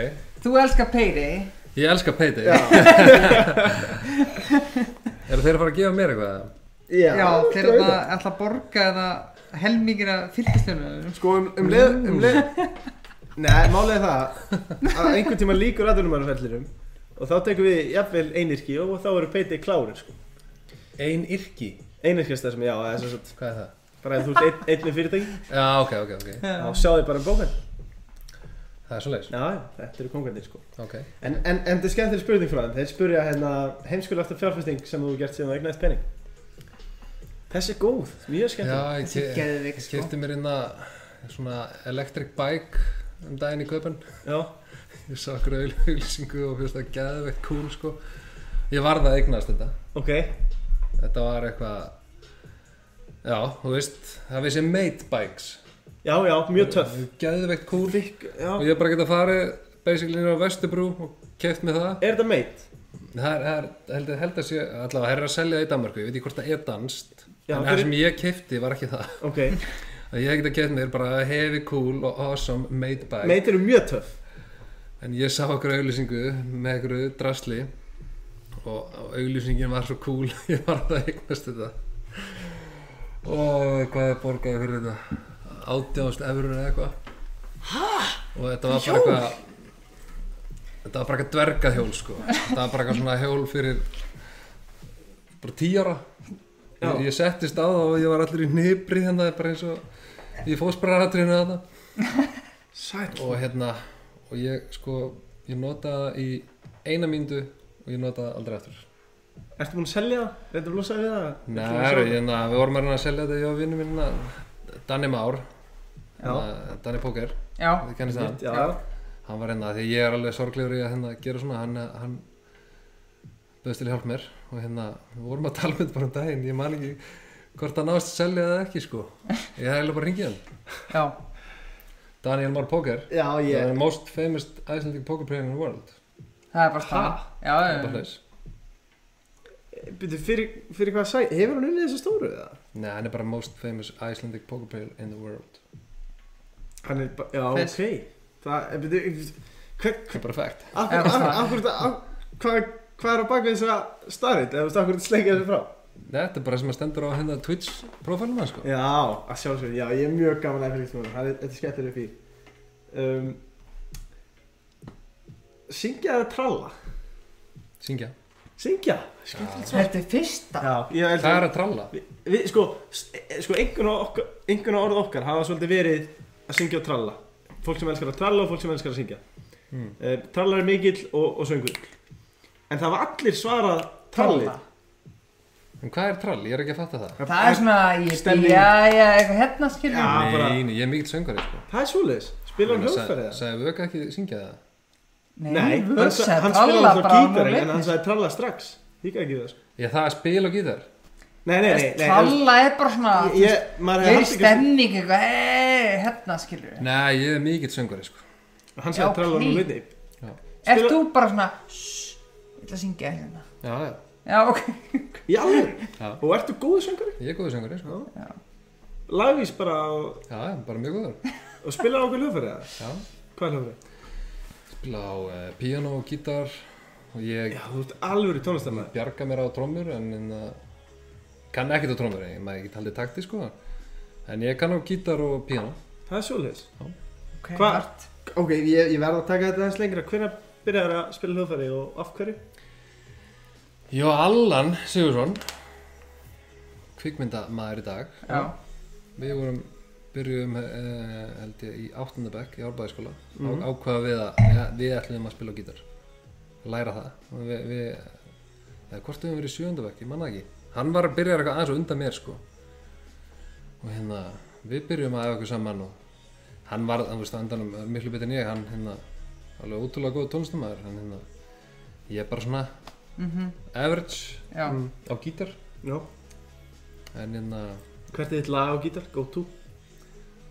[SPEAKER 3] Þú elskar payday.
[SPEAKER 4] ég elska Payday
[SPEAKER 2] Já,
[SPEAKER 4] eru þeir að fara að gefa mér eitthvað?
[SPEAKER 2] já,
[SPEAKER 3] Já, þeir eru
[SPEAKER 2] draugur.
[SPEAKER 3] að ætla að borga það helmingir að fylgistunum.
[SPEAKER 2] Sko um, um leið, um leið Nei, málið er það að einhvern tíma líkur aðvunumannarfellirum og þá tekum við jafnvel einirki og þá eru peiti klárir sko.
[SPEAKER 4] ein yrki,
[SPEAKER 2] Einirkjast þessum, já, það er svo svo
[SPEAKER 4] hvað er það?
[SPEAKER 2] bara ef þú ert einn, einn með fyrirtæki
[SPEAKER 4] já, ok, ok, ok,
[SPEAKER 3] Já.
[SPEAKER 2] þá sjáðu bara um bókan
[SPEAKER 4] það er svo leiðis
[SPEAKER 2] Já, já, þetta eru kongarnir sko
[SPEAKER 4] ok,
[SPEAKER 2] En, en, en þetta er skemmtileg spurning frá þeim, þeir spurja hérna heimskulegasta fjárfesting sem þú hefur gert síðan þú eignaðist pening. Þessi er góð, mjög
[SPEAKER 4] já,
[SPEAKER 2] skemmtileg.
[SPEAKER 4] ég
[SPEAKER 3] Þessi
[SPEAKER 4] ke-
[SPEAKER 3] geðvik,
[SPEAKER 4] ég
[SPEAKER 3] sko.
[SPEAKER 4] kefti mér inn að svona electric bike um daginn í köpun
[SPEAKER 2] Já.
[SPEAKER 4] Ég sá okkur auðlýsingu og fyrst það geðveitt cool sko. Ég varð að eignast þetta.
[SPEAKER 2] ok,
[SPEAKER 4] Þetta var eitthvað, já, þú veist, það vissi mate bikes.
[SPEAKER 2] já, já, mjög töff.
[SPEAKER 4] Geðveitt cool.
[SPEAKER 2] Vik, já.
[SPEAKER 4] Og ég bara geta farið basically inn á Vesturbrú og keft með það.
[SPEAKER 2] Er þetta meit?
[SPEAKER 4] Það er, það er held, held að sé, allavega, það er að selja það í Danmarku, ég veit ekki hvort það er danst.
[SPEAKER 2] Já,
[SPEAKER 4] en
[SPEAKER 2] fyrir-
[SPEAKER 4] það sem ég kefti var ekki það.
[SPEAKER 2] Ok,
[SPEAKER 4] Ég hef geta keft mér bara heavy cool og awesome mate bike.
[SPEAKER 2] meit eru mjög töff.
[SPEAKER 4] En ég sá okkur auglýsingu með okkur drasli og auglýsingin var svo cool, ég var að eignast þetta. og hvað er borgaði fyrir þetta? 18.000 eurur eða eitthvað og þetta var bara eitthvað þetta var bara eitthvað dvergahjól sko þetta var bara eitthvað svona hjól fyrir bara 10 ára
[SPEAKER 2] Já.
[SPEAKER 4] ég, ég settist á það og ég var allir í hnibri þannig að bara eins og ég fóðs bara aðtrinu að það
[SPEAKER 2] Sæl
[SPEAKER 4] og hérna og ég sko, ég notaði það í eina mínútu og ég notaði það aldrei aftur
[SPEAKER 2] Ertu búin að selja það? Reyndu að losa við það?
[SPEAKER 4] Nei,
[SPEAKER 2] Ertu búin að sjá það?
[SPEAKER 4] hérna, við vorum að reyna að selja þetta ég og vinnum minna Danni Már
[SPEAKER 2] Já.
[SPEAKER 4] hérna, Danni Póker,
[SPEAKER 3] Já,
[SPEAKER 4] þið kennist það
[SPEAKER 2] Mitt, Já, já
[SPEAKER 4] hann var hérna, því ég er alveg sorglegur í að hérna, gera svona hann, hann bauðst til að hjálpa mér og hérna, við vorum að tala með þetta bara um daginn ég man ekki hvort það náðist að selja eða ekki sko ég hef eiginlega bara ringið hann
[SPEAKER 3] já,
[SPEAKER 4] Daniel Már Póker,
[SPEAKER 2] Já,
[SPEAKER 4] yeah.
[SPEAKER 2] ég
[SPEAKER 4] the most famous Icelandic poker player in the world
[SPEAKER 3] það er bara staðan. Já,
[SPEAKER 4] Það
[SPEAKER 2] Eh.
[SPEAKER 4] er
[SPEAKER 3] já,
[SPEAKER 4] bara
[SPEAKER 3] já.
[SPEAKER 4] hlaus.
[SPEAKER 2] Byrju, fyrir, fyrir hvað sæl? Hefur hann unnið þessu stóru eða?
[SPEAKER 4] Nei, hann er bara most famous Icelandic poker player in the world
[SPEAKER 2] Hann er bara, já,
[SPEAKER 3] Fyrst.
[SPEAKER 2] ok Það, eh, byrju, hver,
[SPEAKER 4] það er bara fact
[SPEAKER 2] Akkur,
[SPEAKER 3] Eða
[SPEAKER 2] akkur,
[SPEAKER 3] það.
[SPEAKER 2] akkur, akkur, hvað, hvað er á bak við þessa starrið? Eða, veistu, akkur þetta sleikja þessu frá?
[SPEAKER 4] Nei, þetta er bara sem að stendur á hérna Twitch profilum hans sko
[SPEAKER 2] Já, að sjálfsögur, já, ég er mjög gaman að fylgjast með honum. hann. er- Þetta er skemmtileg fyrir. Um, syngja eða tralla?
[SPEAKER 4] Syngja
[SPEAKER 2] Syngja? Skemmtilegt svar.
[SPEAKER 3] Þetta er fyrsta.
[SPEAKER 2] Já, ég
[SPEAKER 4] Það er
[SPEAKER 2] held
[SPEAKER 4] að tralla
[SPEAKER 2] við, við, sko, s- eh, sko, einhvern og okkar, einhvern og orð okkar hafa svolítið verið að syngja og tralla. Fólk sem elskar að tralla og fólk sem elskar að syngja.
[SPEAKER 4] Mm.
[SPEAKER 2] Um, trallar er mikill og, og söngur. En það var allir svarað trallið.
[SPEAKER 4] En hvað er trall? Ég er ekki að fatta það
[SPEAKER 3] Það er svona, ég
[SPEAKER 2] Stemning.
[SPEAKER 3] býja, já, eitthvað hérna skilur.
[SPEAKER 2] Já.
[SPEAKER 3] Já.
[SPEAKER 2] bara-
[SPEAKER 4] Nei, nei, ég er mikill söngari sko
[SPEAKER 2] Það er svoleiðis, spilar hann hljóðfærið eða?
[SPEAKER 4] Sæði Vöka ekki syngja það?
[SPEAKER 3] Nei,
[SPEAKER 2] hann,
[SPEAKER 3] vöks
[SPEAKER 2] sa-
[SPEAKER 3] að
[SPEAKER 2] hann spilaði
[SPEAKER 3] tralla
[SPEAKER 2] alltaf
[SPEAKER 3] bara á
[SPEAKER 2] gítari en hann
[SPEAKER 3] núleiknis.
[SPEAKER 2] sagði tralla strax Líka ekki það sko
[SPEAKER 4] Ég það er spil og gítar
[SPEAKER 2] Nei, nei, nei, nei þú
[SPEAKER 3] Tralla er bara svona,
[SPEAKER 2] veist,
[SPEAKER 3] þú veist,
[SPEAKER 2] ég, maður
[SPEAKER 3] ég er í
[SPEAKER 2] hefði haldið
[SPEAKER 3] stemning eitthvað, hei, hérna skilur.
[SPEAKER 4] Nei, ég er mikill söngari sko
[SPEAKER 2] ekki Hann
[SPEAKER 3] Já,
[SPEAKER 2] sagði tralla
[SPEAKER 3] ok.
[SPEAKER 2] nú liti
[SPEAKER 3] Ert
[SPEAKER 2] Spila-
[SPEAKER 3] þú bara svona, shhh, ég ætla að syngja hérna.
[SPEAKER 4] Já, já
[SPEAKER 3] Já, ok.
[SPEAKER 2] Í alveg
[SPEAKER 4] Já.
[SPEAKER 2] Og ertu góðu söngari?
[SPEAKER 4] Ég er góður söngari sko
[SPEAKER 2] Lagvís bara og,
[SPEAKER 4] Já, já, bara mjög góður
[SPEAKER 2] og spilar okkur hljóðfærið eða?
[SPEAKER 4] Já
[SPEAKER 2] Hvað er hljóðfærið?
[SPEAKER 4] Spila á uh, piano og gítar Og ég
[SPEAKER 2] Já, þú ert alvöru tónlistamæður
[SPEAKER 4] bjarga mér á trommur En, en uh, kann ekkert á trommur Ég maður ekki talið takti sko En ég kann á gítar og piano
[SPEAKER 2] Það er svoleiðis
[SPEAKER 3] Ok,
[SPEAKER 2] Hva-
[SPEAKER 3] vart.
[SPEAKER 2] Ok, ég, ég verð að taka þetta eins lengra Hvernig byrjar að spila hljóðfærið og af hverju?
[SPEAKER 4] Jó, Allan Sigursson Kvikmyndamaður í dag
[SPEAKER 3] Já,
[SPEAKER 4] Við vorum byrjuðum uh, held ég í áttundabæk í árbæðiskóla og ákvaða við að ja, við ætlum að spila á gítar læra það og við, við eða hvort við höfum verið í sjöundabæk, ég manna ekki hann var að byrja eitthvað aðeins og undan mér sko og hérna við byrjuðum að efa okkur saman og hann var, hann veist, á endanum er miklu betur en ég hann hérna, alveg ótrúlega góð tónlistamæður hann hérna, ég er bara svona average
[SPEAKER 3] mhm, já.
[SPEAKER 4] á gítar
[SPEAKER 2] Já
[SPEAKER 4] en hérna,
[SPEAKER 2] Hvert er þitt lag á gítar? Go to?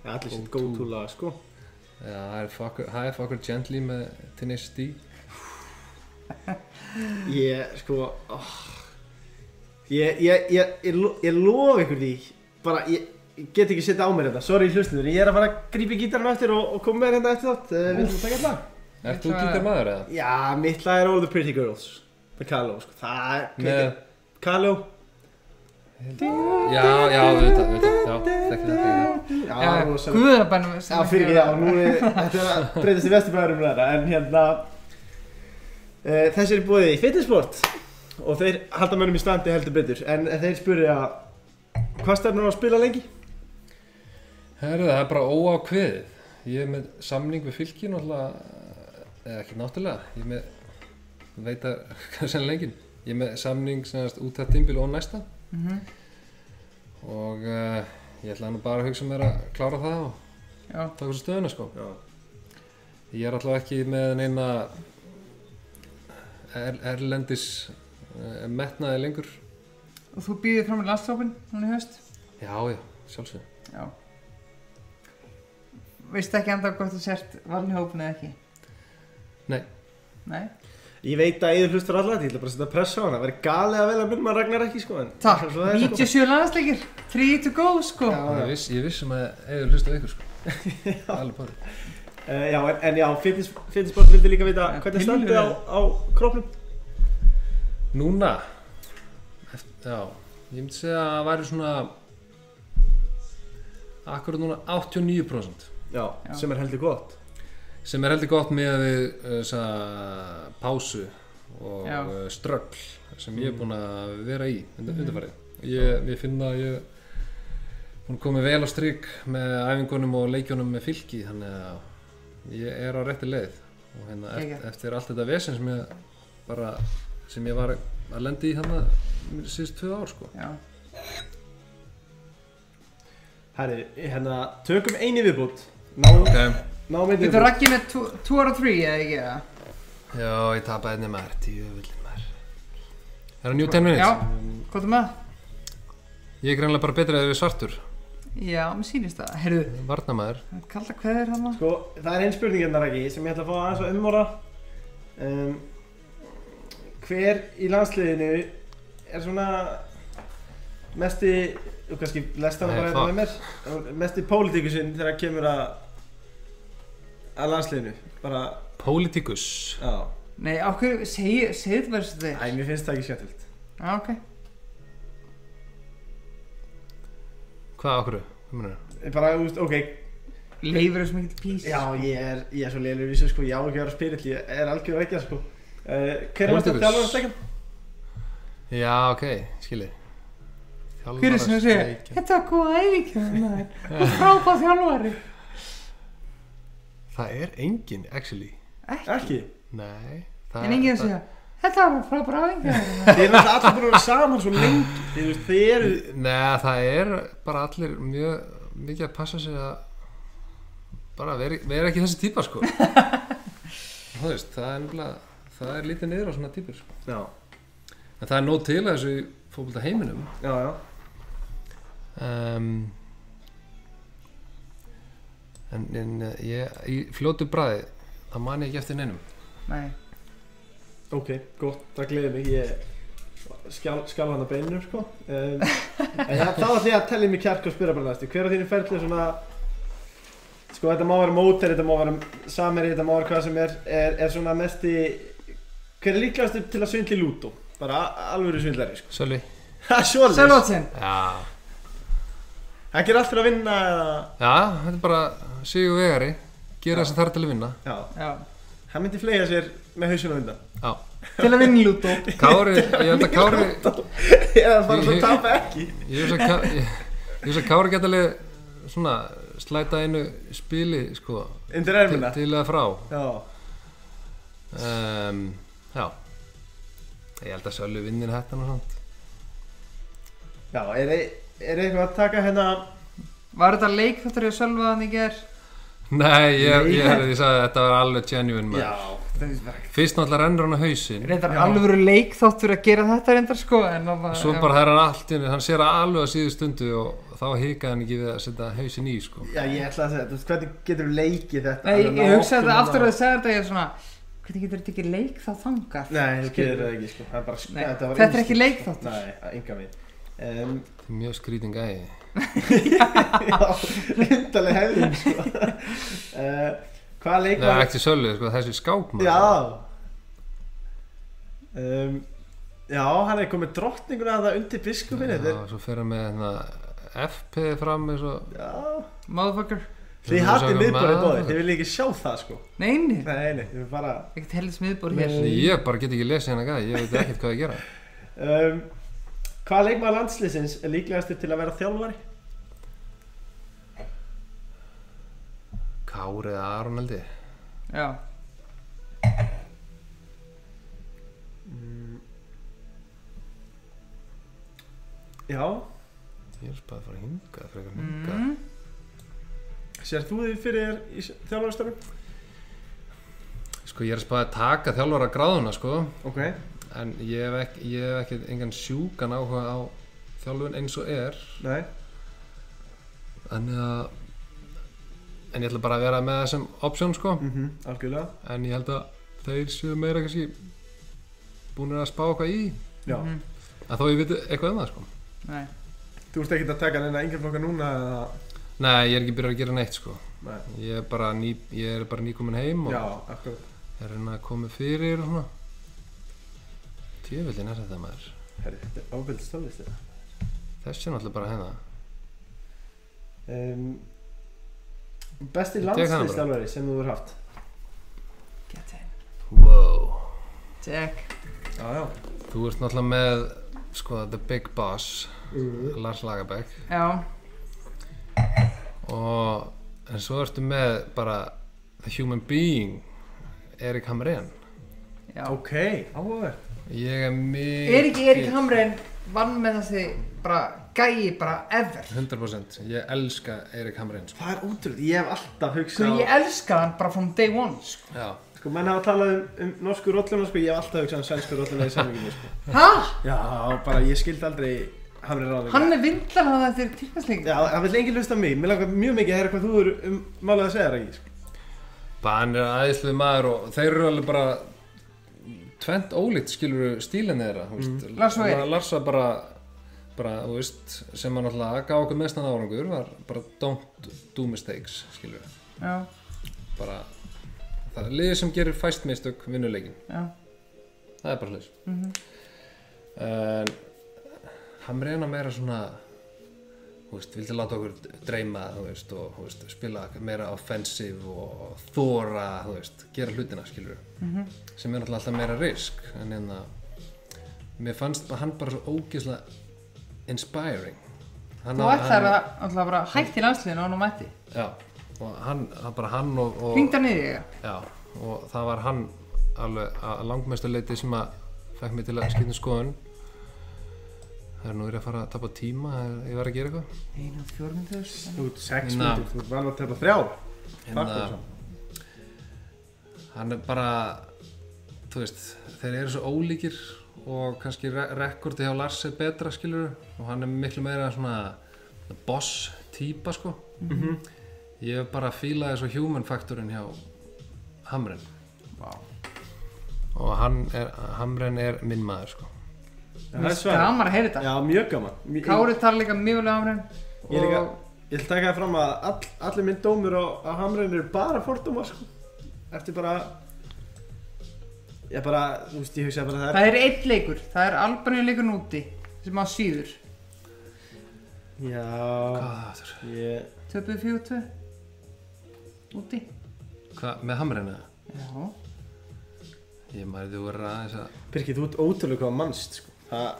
[SPEAKER 2] Ja, allir sitt go
[SPEAKER 4] Go to.
[SPEAKER 2] to lag sko
[SPEAKER 4] Já, það er fucker, það er fucker gently með Tenacious D
[SPEAKER 2] Ég, sko oh. ég, ég, ég, ég, lo- ég lofa ykkur því bara, ég, ég get ekki setja á mér þetta sorry hlustundur, ég er að fara að grípa í gítarinn á eftir og, og koma með þetta eftir þátt uh, Viltu að taka þetta?
[SPEAKER 4] Ert
[SPEAKER 3] Ég
[SPEAKER 4] þú
[SPEAKER 3] ætla-
[SPEAKER 4] gítar maður eða?
[SPEAKER 2] Já, mitt lag er All the Pretty Girls með Kaló, sko, það er
[SPEAKER 4] Með,
[SPEAKER 2] kveikja- Kaló
[SPEAKER 4] já, já, auðvitað, auðvitað, já, þekki það, þekki það
[SPEAKER 2] Já,
[SPEAKER 3] Já,
[SPEAKER 2] rosalega.
[SPEAKER 3] guðabænum
[SPEAKER 2] Já, fyrir ekki, já, nú er þetta er að breytast í vesturbæðurum þetta, en hérna uh, Þessi er búið í fitnessport og þeir halda mönnum í standi heldur betur en þeir spurði að hvað stefnum að spila lengi?
[SPEAKER 4] Herðu, það er bara óákveðið Ég er með samning við fylki náttúrulega eða ekki náttúrulega, ég er með veit að, hvað sem lengin ég er með samning sem semast út af tímbil og næsta
[SPEAKER 3] Mhm,
[SPEAKER 4] og uh, ég ætla nú bara að hugsa mér að klára það og
[SPEAKER 3] Já,
[SPEAKER 4] taka svo stöðuna sko
[SPEAKER 2] Já,
[SPEAKER 4] Ég er alltaf ekki með neina er, erlendis uh, metnaði lengur.
[SPEAKER 3] og þú býðir fram í landstofin núna í höst.
[SPEAKER 4] Já, já, sjálfsög.
[SPEAKER 3] Já. Veist ekki enda hvort þú sért valin í hópinu eða ekki?
[SPEAKER 4] Nei.
[SPEAKER 3] Nei?
[SPEAKER 2] Ég veit að yður hlustar allat, ég ætla bara að setja press á hana Það verður galið að velja minn, maður ragnar ekki sko en
[SPEAKER 3] Takk,
[SPEAKER 2] Svo það er, sko.
[SPEAKER 3] 97 landsleikir, 3 to go sko.
[SPEAKER 2] Já,
[SPEAKER 4] Ég
[SPEAKER 2] já.
[SPEAKER 4] viss, ég vissum að eður hlusta ykkur sko. Alveg bara.
[SPEAKER 2] Uh, já, en, en já, fitness- fitnessport vildi líka vita
[SPEAKER 3] En
[SPEAKER 2] hvernig
[SPEAKER 3] pillur
[SPEAKER 2] standið á,
[SPEAKER 3] eða?
[SPEAKER 2] á kroppnum
[SPEAKER 4] Núna, eftir, já, ég myndi segja að það væri svona akkur núna 89%
[SPEAKER 2] já,
[SPEAKER 3] Já.
[SPEAKER 2] sem er heldur gott
[SPEAKER 4] sem er heldur gott með að við uh, þessa pásu og
[SPEAKER 3] Já. Mm.
[SPEAKER 4] uh, ströggl sem ég er búinn að vera í
[SPEAKER 3] Mhm.
[SPEAKER 4] undanfarið. Ég, ég finn að ég er búinn að koma vel á stryk með æfingunum og leikjunum með fylki þannig að ég er á rétti leið og hérna
[SPEAKER 3] Geggjað.
[SPEAKER 4] eftir, eftir allt þetta vesen sem ég bara sem ég var að lenda í hérna síðust tvö ár sko.
[SPEAKER 3] Já,
[SPEAKER 2] herri, hérna, tökum eini viðbútt ná,
[SPEAKER 4] Ok,
[SPEAKER 2] ná með
[SPEAKER 3] Þetta rakki með 2 out of 3 eða ekki eða?
[SPEAKER 4] já ég tapaði henni maður, tíu villin maður. Er það New 10 minutes?
[SPEAKER 3] Já, hvað er með?
[SPEAKER 4] Ég er greinlega bara betrið að við svartur,
[SPEAKER 3] Já, mér sýnist það Herru,
[SPEAKER 4] varnamaður.
[SPEAKER 3] kalla hvað er hann?
[SPEAKER 2] Sko, það er einn spurning hérna Raki sem ég ætla að fá aðeins að umvora um, Hver í landsliðinu er svona mesti og kannski lest hana
[SPEAKER 4] Nei,
[SPEAKER 2] bara hérna með mér um, mesti pólitíkusinn þegar kemur að að landsliðinu bara,
[SPEAKER 4] Politikus
[SPEAKER 2] já,
[SPEAKER 3] Nei, á hverju, segið segi þetta verður þetta
[SPEAKER 2] æ, mér finnst það ekki skemmtilegt
[SPEAKER 3] Já, ok
[SPEAKER 4] Hvað okkur? Hvað meinar
[SPEAKER 2] Ég bara, þú veist, ok,
[SPEAKER 3] Leifur er svo mikill pís
[SPEAKER 2] já, ég er, ég er svo leiður í þessu sko, ég á ekki að vera spyrill, ég er algjör ekki að sko uh, Hver er mest
[SPEAKER 4] Pólitíkus.
[SPEAKER 2] að þjálfara stekan?
[SPEAKER 4] Já, ok, skilji
[SPEAKER 3] Hver er sem að segja, þetta var góð æfing hjá þér, maður. Þú ert frábæð þjálfari
[SPEAKER 4] Það er engin, actually
[SPEAKER 2] Ekki?
[SPEAKER 4] Nei það
[SPEAKER 3] En enginn að segja, þetta var frábæð æfing hjá þér, maður.
[SPEAKER 2] Þið erum alltaf allir búin að vera saman svo lengi, þið, þú veist, þið eru
[SPEAKER 4] Nei, það er bara allir mjög mikið að passa sig að bara vera, vera ekki þessi típa sko Þú veist, það er nefnilega það er lítið niður á svona típur sko.
[SPEAKER 2] Já,
[SPEAKER 4] En það er nóg til að þessu fókbalta heiminum
[SPEAKER 2] já, já
[SPEAKER 4] um, en, en eh, ég, í fljótu bræði það man ég ekki eftir neinum
[SPEAKER 3] Nei,
[SPEAKER 2] Ok, gott, það gleður mig Ég skal, skal hann að beinum sko um, En já, þá ætlum ég að tellja mig kjark og spyrja bara næstu Hver á þínu ferli er svona Sko, þetta má vera móter, þetta má vera sameri, þetta má vera hvað sem er Er, er svona mesti Hver er líklegastur til að svindla í lútu? Bara a- alvöru svindlari sko
[SPEAKER 4] Sölvi
[SPEAKER 2] Ha, sjóðlega
[SPEAKER 3] Sælótsinn
[SPEAKER 4] já.
[SPEAKER 2] Það gerir allt fyrir að vinna eða
[SPEAKER 4] já, þetta er bara sigur vegari gera þess að þar til að vinna
[SPEAKER 2] Já,
[SPEAKER 3] Já,
[SPEAKER 2] hann myndi flega sér með hausinu að vinna
[SPEAKER 4] já.
[SPEAKER 3] til að vinna í lútó
[SPEAKER 4] Kári, ég held að Kári
[SPEAKER 2] Eða bara svo tapa ekki
[SPEAKER 4] ég veist að Kári ég, ég veist að Kári geta alveg svona slæta einu spili sko,
[SPEAKER 2] Undir
[SPEAKER 4] til,
[SPEAKER 2] ermina
[SPEAKER 4] til eða frá
[SPEAKER 2] Já,
[SPEAKER 4] um, já ég held að Sölvi vinnir hættan og svona
[SPEAKER 2] já, er, er eitthvað að taka hérna
[SPEAKER 3] Var þetta leik þetta er að sölva hann í ger?
[SPEAKER 4] Nei, ég,
[SPEAKER 2] Nei.
[SPEAKER 4] ég, ég, ég sagði að þetta var alveg genuine maður.
[SPEAKER 2] Já,
[SPEAKER 3] Það finnst mér ekki
[SPEAKER 4] Fyrst náttúrulega rennur hann á hausinn
[SPEAKER 3] Reyndar alvöru leik þáttur að gera þetta reyndar sko En það var
[SPEAKER 4] Svo bara það er hann allt inni, hann sér alveg á síðu stundu og þá hikaði hann ekki við að setja hausinn í sko
[SPEAKER 2] Já, ég ætla að segja, þú veist, hvernig getur við leikið þetta?
[SPEAKER 3] Nei, ég,
[SPEAKER 2] alveg
[SPEAKER 3] ég
[SPEAKER 2] ná
[SPEAKER 3] hugsaði þetta
[SPEAKER 2] optimum
[SPEAKER 3] aftur
[SPEAKER 2] að-
[SPEAKER 3] að það segja þetta Ég er svona, hvernig getur þetta ekki leik þá þangað?
[SPEAKER 2] Nei, þú
[SPEAKER 3] Skilur.
[SPEAKER 2] getur það ekki, sko, það er bara,
[SPEAKER 3] Nei,
[SPEAKER 2] þetta var
[SPEAKER 3] þetta er ekki
[SPEAKER 2] instinkt, sko.
[SPEAKER 3] leikþáttur.
[SPEAKER 2] Nei, að ynga við um,
[SPEAKER 4] Þetta er mjög skrýting gæði
[SPEAKER 2] Já, reyndaleg hefðin, sko uh, Hvaða leik
[SPEAKER 4] Nei,
[SPEAKER 2] var?
[SPEAKER 4] ekki sölvið, sko, þessi skákmaður
[SPEAKER 2] Já um, Já, hann er komið drottninguna að það undir biskupin, þetta er
[SPEAKER 4] Já, svo fer hann með hérna FP fram eins og
[SPEAKER 2] Já,
[SPEAKER 3] Motherfucker
[SPEAKER 2] þið
[SPEAKER 4] Við
[SPEAKER 2] hattir
[SPEAKER 4] sögum
[SPEAKER 2] miðbúrið
[SPEAKER 4] um að-
[SPEAKER 2] bóðið, þið viljið ekki sjá það, sko
[SPEAKER 3] Nei, nei,
[SPEAKER 2] Nei, nei, þið vil bara
[SPEAKER 3] ekkert helðis miðbúr hér
[SPEAKER 4] Nei, Ég bara get ekki lesið hennar gæði, ég veit ekkert hvað ég gera
[SPEAKER 2] um, Hvaða leikmaður landslýsins er líklegastur til að vera þjálfari?
[SPEAKER 4] Kári eða Aron held ég
[SPEAKER 3] Já,
[SPEAKER 2] Já,
[SPEAKER 4] Ég er spæðið að fara hingað, frekar hingað
[SPEAKER 3] mm.
[SPEAKER 2] sér þú þið fyrir þér í þjálfarastöfum?
[SPEAKER 4] Sko, ég er spæðið að taka þjálfara gráðuna, sko
[SPEAKER 2] Ok
[SPEAKER 4] En ég hef ekki, ég hef ekki engan sjúkan áhuga á þjálfun eins og er
[SPEAKER 2] Nei
[SPEAKER 4] Þannig að En ég ætla bara að vera með þessum option sko
[SPEAKER 2] mm -hmm. Algjörlega
[SPEAKER 4] En ég held að þeir séu meira kannski Búinir að spá eitthvað í
[SPEAKER 2] Já
[SPEAKER 3] mhm,
[SPEAKER 4] Að þó ég viti eitthvað um það sko
[SPEAKER 3] Nei,
[SPEAKER 2] Þú ert ekkert að taka neina yngjum flokka núna eða
[SPEAKER 4] Nei, ég er ekki byrjað að gera neitt sko
[SPEAKER 2] Nei
[SPEAKER 4] Ég er bara, ný, ég er bara nýkomin heim og
[SPEAKER 2] Já, akkurat
[SPEAKER 4] er að reyna að koma fyrir og svona Tjöfellin er þetta maður
[SPEAKER 2] Herri, þetta er ábyrðið stóðlist þetta
[SPEAKER 4] Þessi er náttúrulega bara hérna
[SPEAKER 2] um, Besti
[SPEAKER 4] Ég tek hana bara.
[SPEAKER 2] landsliðstalvari sem þú hefur haft
[SPEAKER 3] Get in
[SPEAKER 4] Wow
[SPEAKER 3] Jack
[SPEAKER 2] Já, já
[SPEAKER 4] Þú ert náttúrulega með sko, The Big Boss Lars Lagerbäck
[SPEAKER 3] Já,
[SPEAKER 4] og en svo ertu með bara The Human Being Erik Hamrén
[SPEAKER 3] já
[SPEAKER 2] Ok, áhugaverð
[SPEAKER 4] Ég er mikið
[SPEAKER 3] Er ekki Erik Hamrein vann með þessi bara gæi bara ever
[SPEAKER 4] 100% Ég elska Erik Hamrén sko.
[SPEAKER 2] Það er ótrúlega, ég hef alltaf
[SPEAKER 3] Sko
[SPEAKER 2] hugsað
[SPEAKER 3] ég elska hann bara from day one sko.
[SPEAKER 4] Já
[SPEAKER 2] Sko, menn hafa talað um, um norsku rolluna, sko, ég hef alltaf hugsað um sænsku rolluna í samvíkinu, sko
[SPEAKER 3] Hæ?
[SPEAKER 2] Já, bara ég skildi aldrei Hamri ráðið
[SPEAKER 3] Hann er vindlar hann þetta er tilkvæmsleik
[SPEAKER 2] Já, það vil enginn hlusta á mig, mér langar mjög mikið að heyra hvað þú eru um málið að segja, Raki, sko
[SPEAKER 4] Bara hann er aðeinslega maður og þeir eru alveg bara tvent ólíkt skilur stílinni þeirra þú veist.
[SPEAKER 3] Mm. Lars og Erik.
[SPEAKER 4] Lars var bara, bara þú veist, sem hann alltaf gaf okkur mestan árangur var bara don't do mistakes skilur
[SPEAKER 3] Já,
[SPEAKER 4] bara það er liðið sem gerir fæst mistök vinnuleikin
[SPEAKER 3] já
[SPEAKER 4] það er bara hlis mm
[SPEAKER 3] Mhm.
[SPEAKER 4] en hann reyna meira svona þú veist, vildi láta okkur dreyma þú veist, og þú veist, spila meira offensive og þóra þú veist, gera hlutina skilur
[SPEAKER 3] Mhm.
[SPEAKER 4] sem er náttúrulega alltaf meira risk en hérna mér fannst hann bara svo ógeðslega inspiring hann,
[SPEAKER 3] Þú ætlar að alltaf bara hætti landsliðinu og hann á mætti
[SPEAKER 4] já, og hann, hann bara hann og, og
[SPEAKER 3] Hringda niður í það
[SPEAKER 4] Já, og það var hann alveg að langmestu leiti sem að fekk mig til að skipta um skoðun Það er nú verið að fara að tapa tíma, það er- ég var að gera eitthvað
[SPEAKER 3] Einu og fjórmyndur
[SPEAKER 2] Þú ert sex
[SPEAKER 4] Ná.
[SPEAKER 2] myndir, þú ert vanað að tepa þrjá
[SPEAKER 4] að Hérna, hann er bara, þú veist, þeir eru svo ólíkir og kannski re rekordi hjá Lars er betra skilur og hann er miklu meira svona boss típa sko Ég hef bara fílaði svo human factorinn hjá Hamren og hann er, Hamren er minn maður sko
[SPEAKER 2] Það er svar
[SPEAKER 3] Gaman að heyra þetta
[SPEAKER 2] Já, mjög gaman Mjög-
[SPEAKER 3] Kári talar líka um mjög vel á Hamrein
[SPEAKER 2] Ég er líka,
[SPEAKER 3] og
[SPEAKER 2] ég ætla að taka það fram að all, allir minn dómur á, á hamræðinu eru bara fordómar sko. Eftir bara, ég bara, þú veist, ég hugsa bara það er,
[SPEAKER 3] það er einn leikur það er Albaníu leikur úti sem á síður
[SPEAKER 2] já,
[SPEAKER 4] Hvað er það aftur?
[SPEAKER 2] ég,
[SPEAKER 3] töpuð 4-2 úti
[SPEAKER 4] Hvað, með hamrina?
[SPEAKER 3] Já.
[SPEAKER 4] Ég maður þú verður aðeins að
[SPEAKER 2] Birgir, þú ert ótrúlega hvað mannst, sko. Það,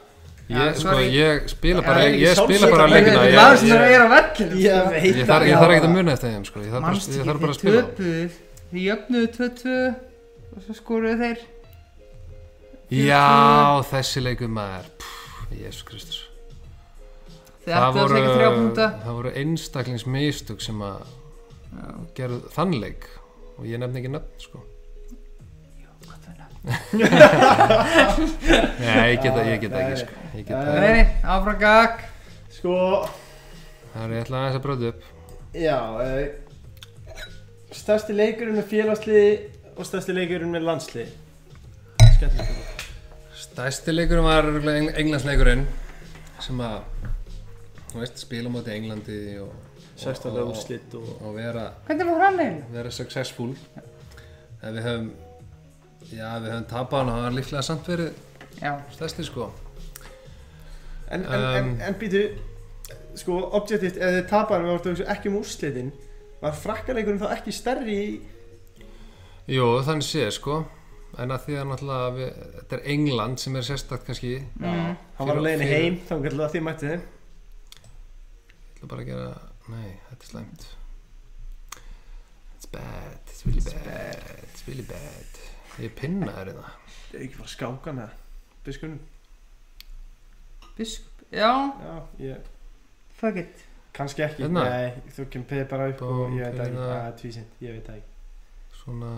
[SPEAKER 3] Já,
[SPEAKER 4] Ég, sko,
[SPEAKER 3] sorry.
[SPEAKER 4] ég spila bara,
[SPEAKER 2] Já,
[SPEAKER 4] ég,
[SPEAKER 2] ég
[SPEAKER 4] ég spila bara
[SPEAKER 2] sjálfsögðu-
[SPEAKER 4] leikina
[SPEAKER 3] Ég-
[SPEAKER 4] Ég,
[SPEAKER 3] maður sem
[SPEAKER 4] ég,
[SPEAKER 3] er á vellinu
[SPEAKER 2] ég
[SPEAKER 3] sko.
[SPEAKER 2] veit
[SPEAKER 4] ég, þarf, ég þarf ekkert að muna eftir þeim, sko Ég þarf bara,
[SPEAKER 3] manstu
[SPEAKER 4] ég þarf
[SPEAKER 3] ekki
[SPEAKER 4] bara að
[SPEAKER 3] þeir
[SPEAKER 4] spila þá.
[SPEAKER 3] töpuð þeir jöfnuðu 2-2 og svo skoruðu þeir
[SPEAKER 4] Já, þessi leikum maður Pff, Jésus Kristus
[SPEAKER 3] þeir ættu að segja þrjá punta
[SPEAKER 4] það voru einstaklingsmistug sem að gerðu þann leik og ég nefn ekki nöfn, sko Nei, ég geta, ég geta
[SPEAKER 2] Nei,
[SPEAKER 4] ekki, sko
[SPEAKER 2] nei.
[SPEAKER 4] Ég geta,
[SPEAKER 3] Nei, nei, áfram gag
[SPEAKER 2] Sko,
[SPEAKER 4] það er ég ætla aðeins að bröðu upp
[SPEAKER 2] já, e, stærsti leikurinn með félagsliði og stærsti leikurinn með landsliði. Skemmtilegt.
[SPEAKER 4] Stærsti leikurinn var örugglega Eng- Englandsleikurinn sem að þú veist, spila á móti Englandi og, og,
[SPEAKER 2] 16
[SPEAKER 4] og,
[SPEAKER 2] úrslit og...
[SPEAKER 4] og vera,
[SPEAKER 3] hvernig var hann einu?
[SPEAKER 4] vera successful en við höfum já, við höfum tapað hann og hann var líklega samt verið
[SPEAKER 3] já,
[SPEAKER 4] stærsti sko
[SPEAKER 2] En, en, en,
[SPEAKER 4] Um,
[SPEAKER 2] en býtu, sko, objektivt, ef þið tapar við vartum ekki um úrslitin, var frakkaleikurinn þá ekki stærri í...
[SPEAKER 4] Jú, þannig sé sko en að því að náttúrulega við, þetta er England sem er sérstakt kannski ég
[SPEAKER 3] Mm.
[SPEAKER 2] Hann var á
[SPEAKER 4] Fyrir-
[SPEAKER 2] leiðinni
[SPEAKER 4] fyrir-
[SPEAKER 2] heim, þá kallar það þið mætti þeim.
[SPEAKER 4] ætla bara að gera, nei, þetta er slæmt it's bad, it's really bad it's really bad ég pinna þér í það
[SPEAKER 2] Það er ekki bara að skáka með biskunum.
[SPEAKER 3] biskup, já,
[SPEAKER 2] Já, ég...
[SPEAKER 3] fuck it
[SPEAKER 2] Kannski ekki.
[SPEAKER 4] Hérna?
[SPEAKER 2] Nei, þú kemur peðið bara upp og
[SPEAKER 4] Búm,
[SPEAKER 2] ég veit það ekki.
[SPEAKER 4] hérna.
[SPEAKER 2] Það er tvísind, ég veit það ekki.
[SPEAKER 4] svona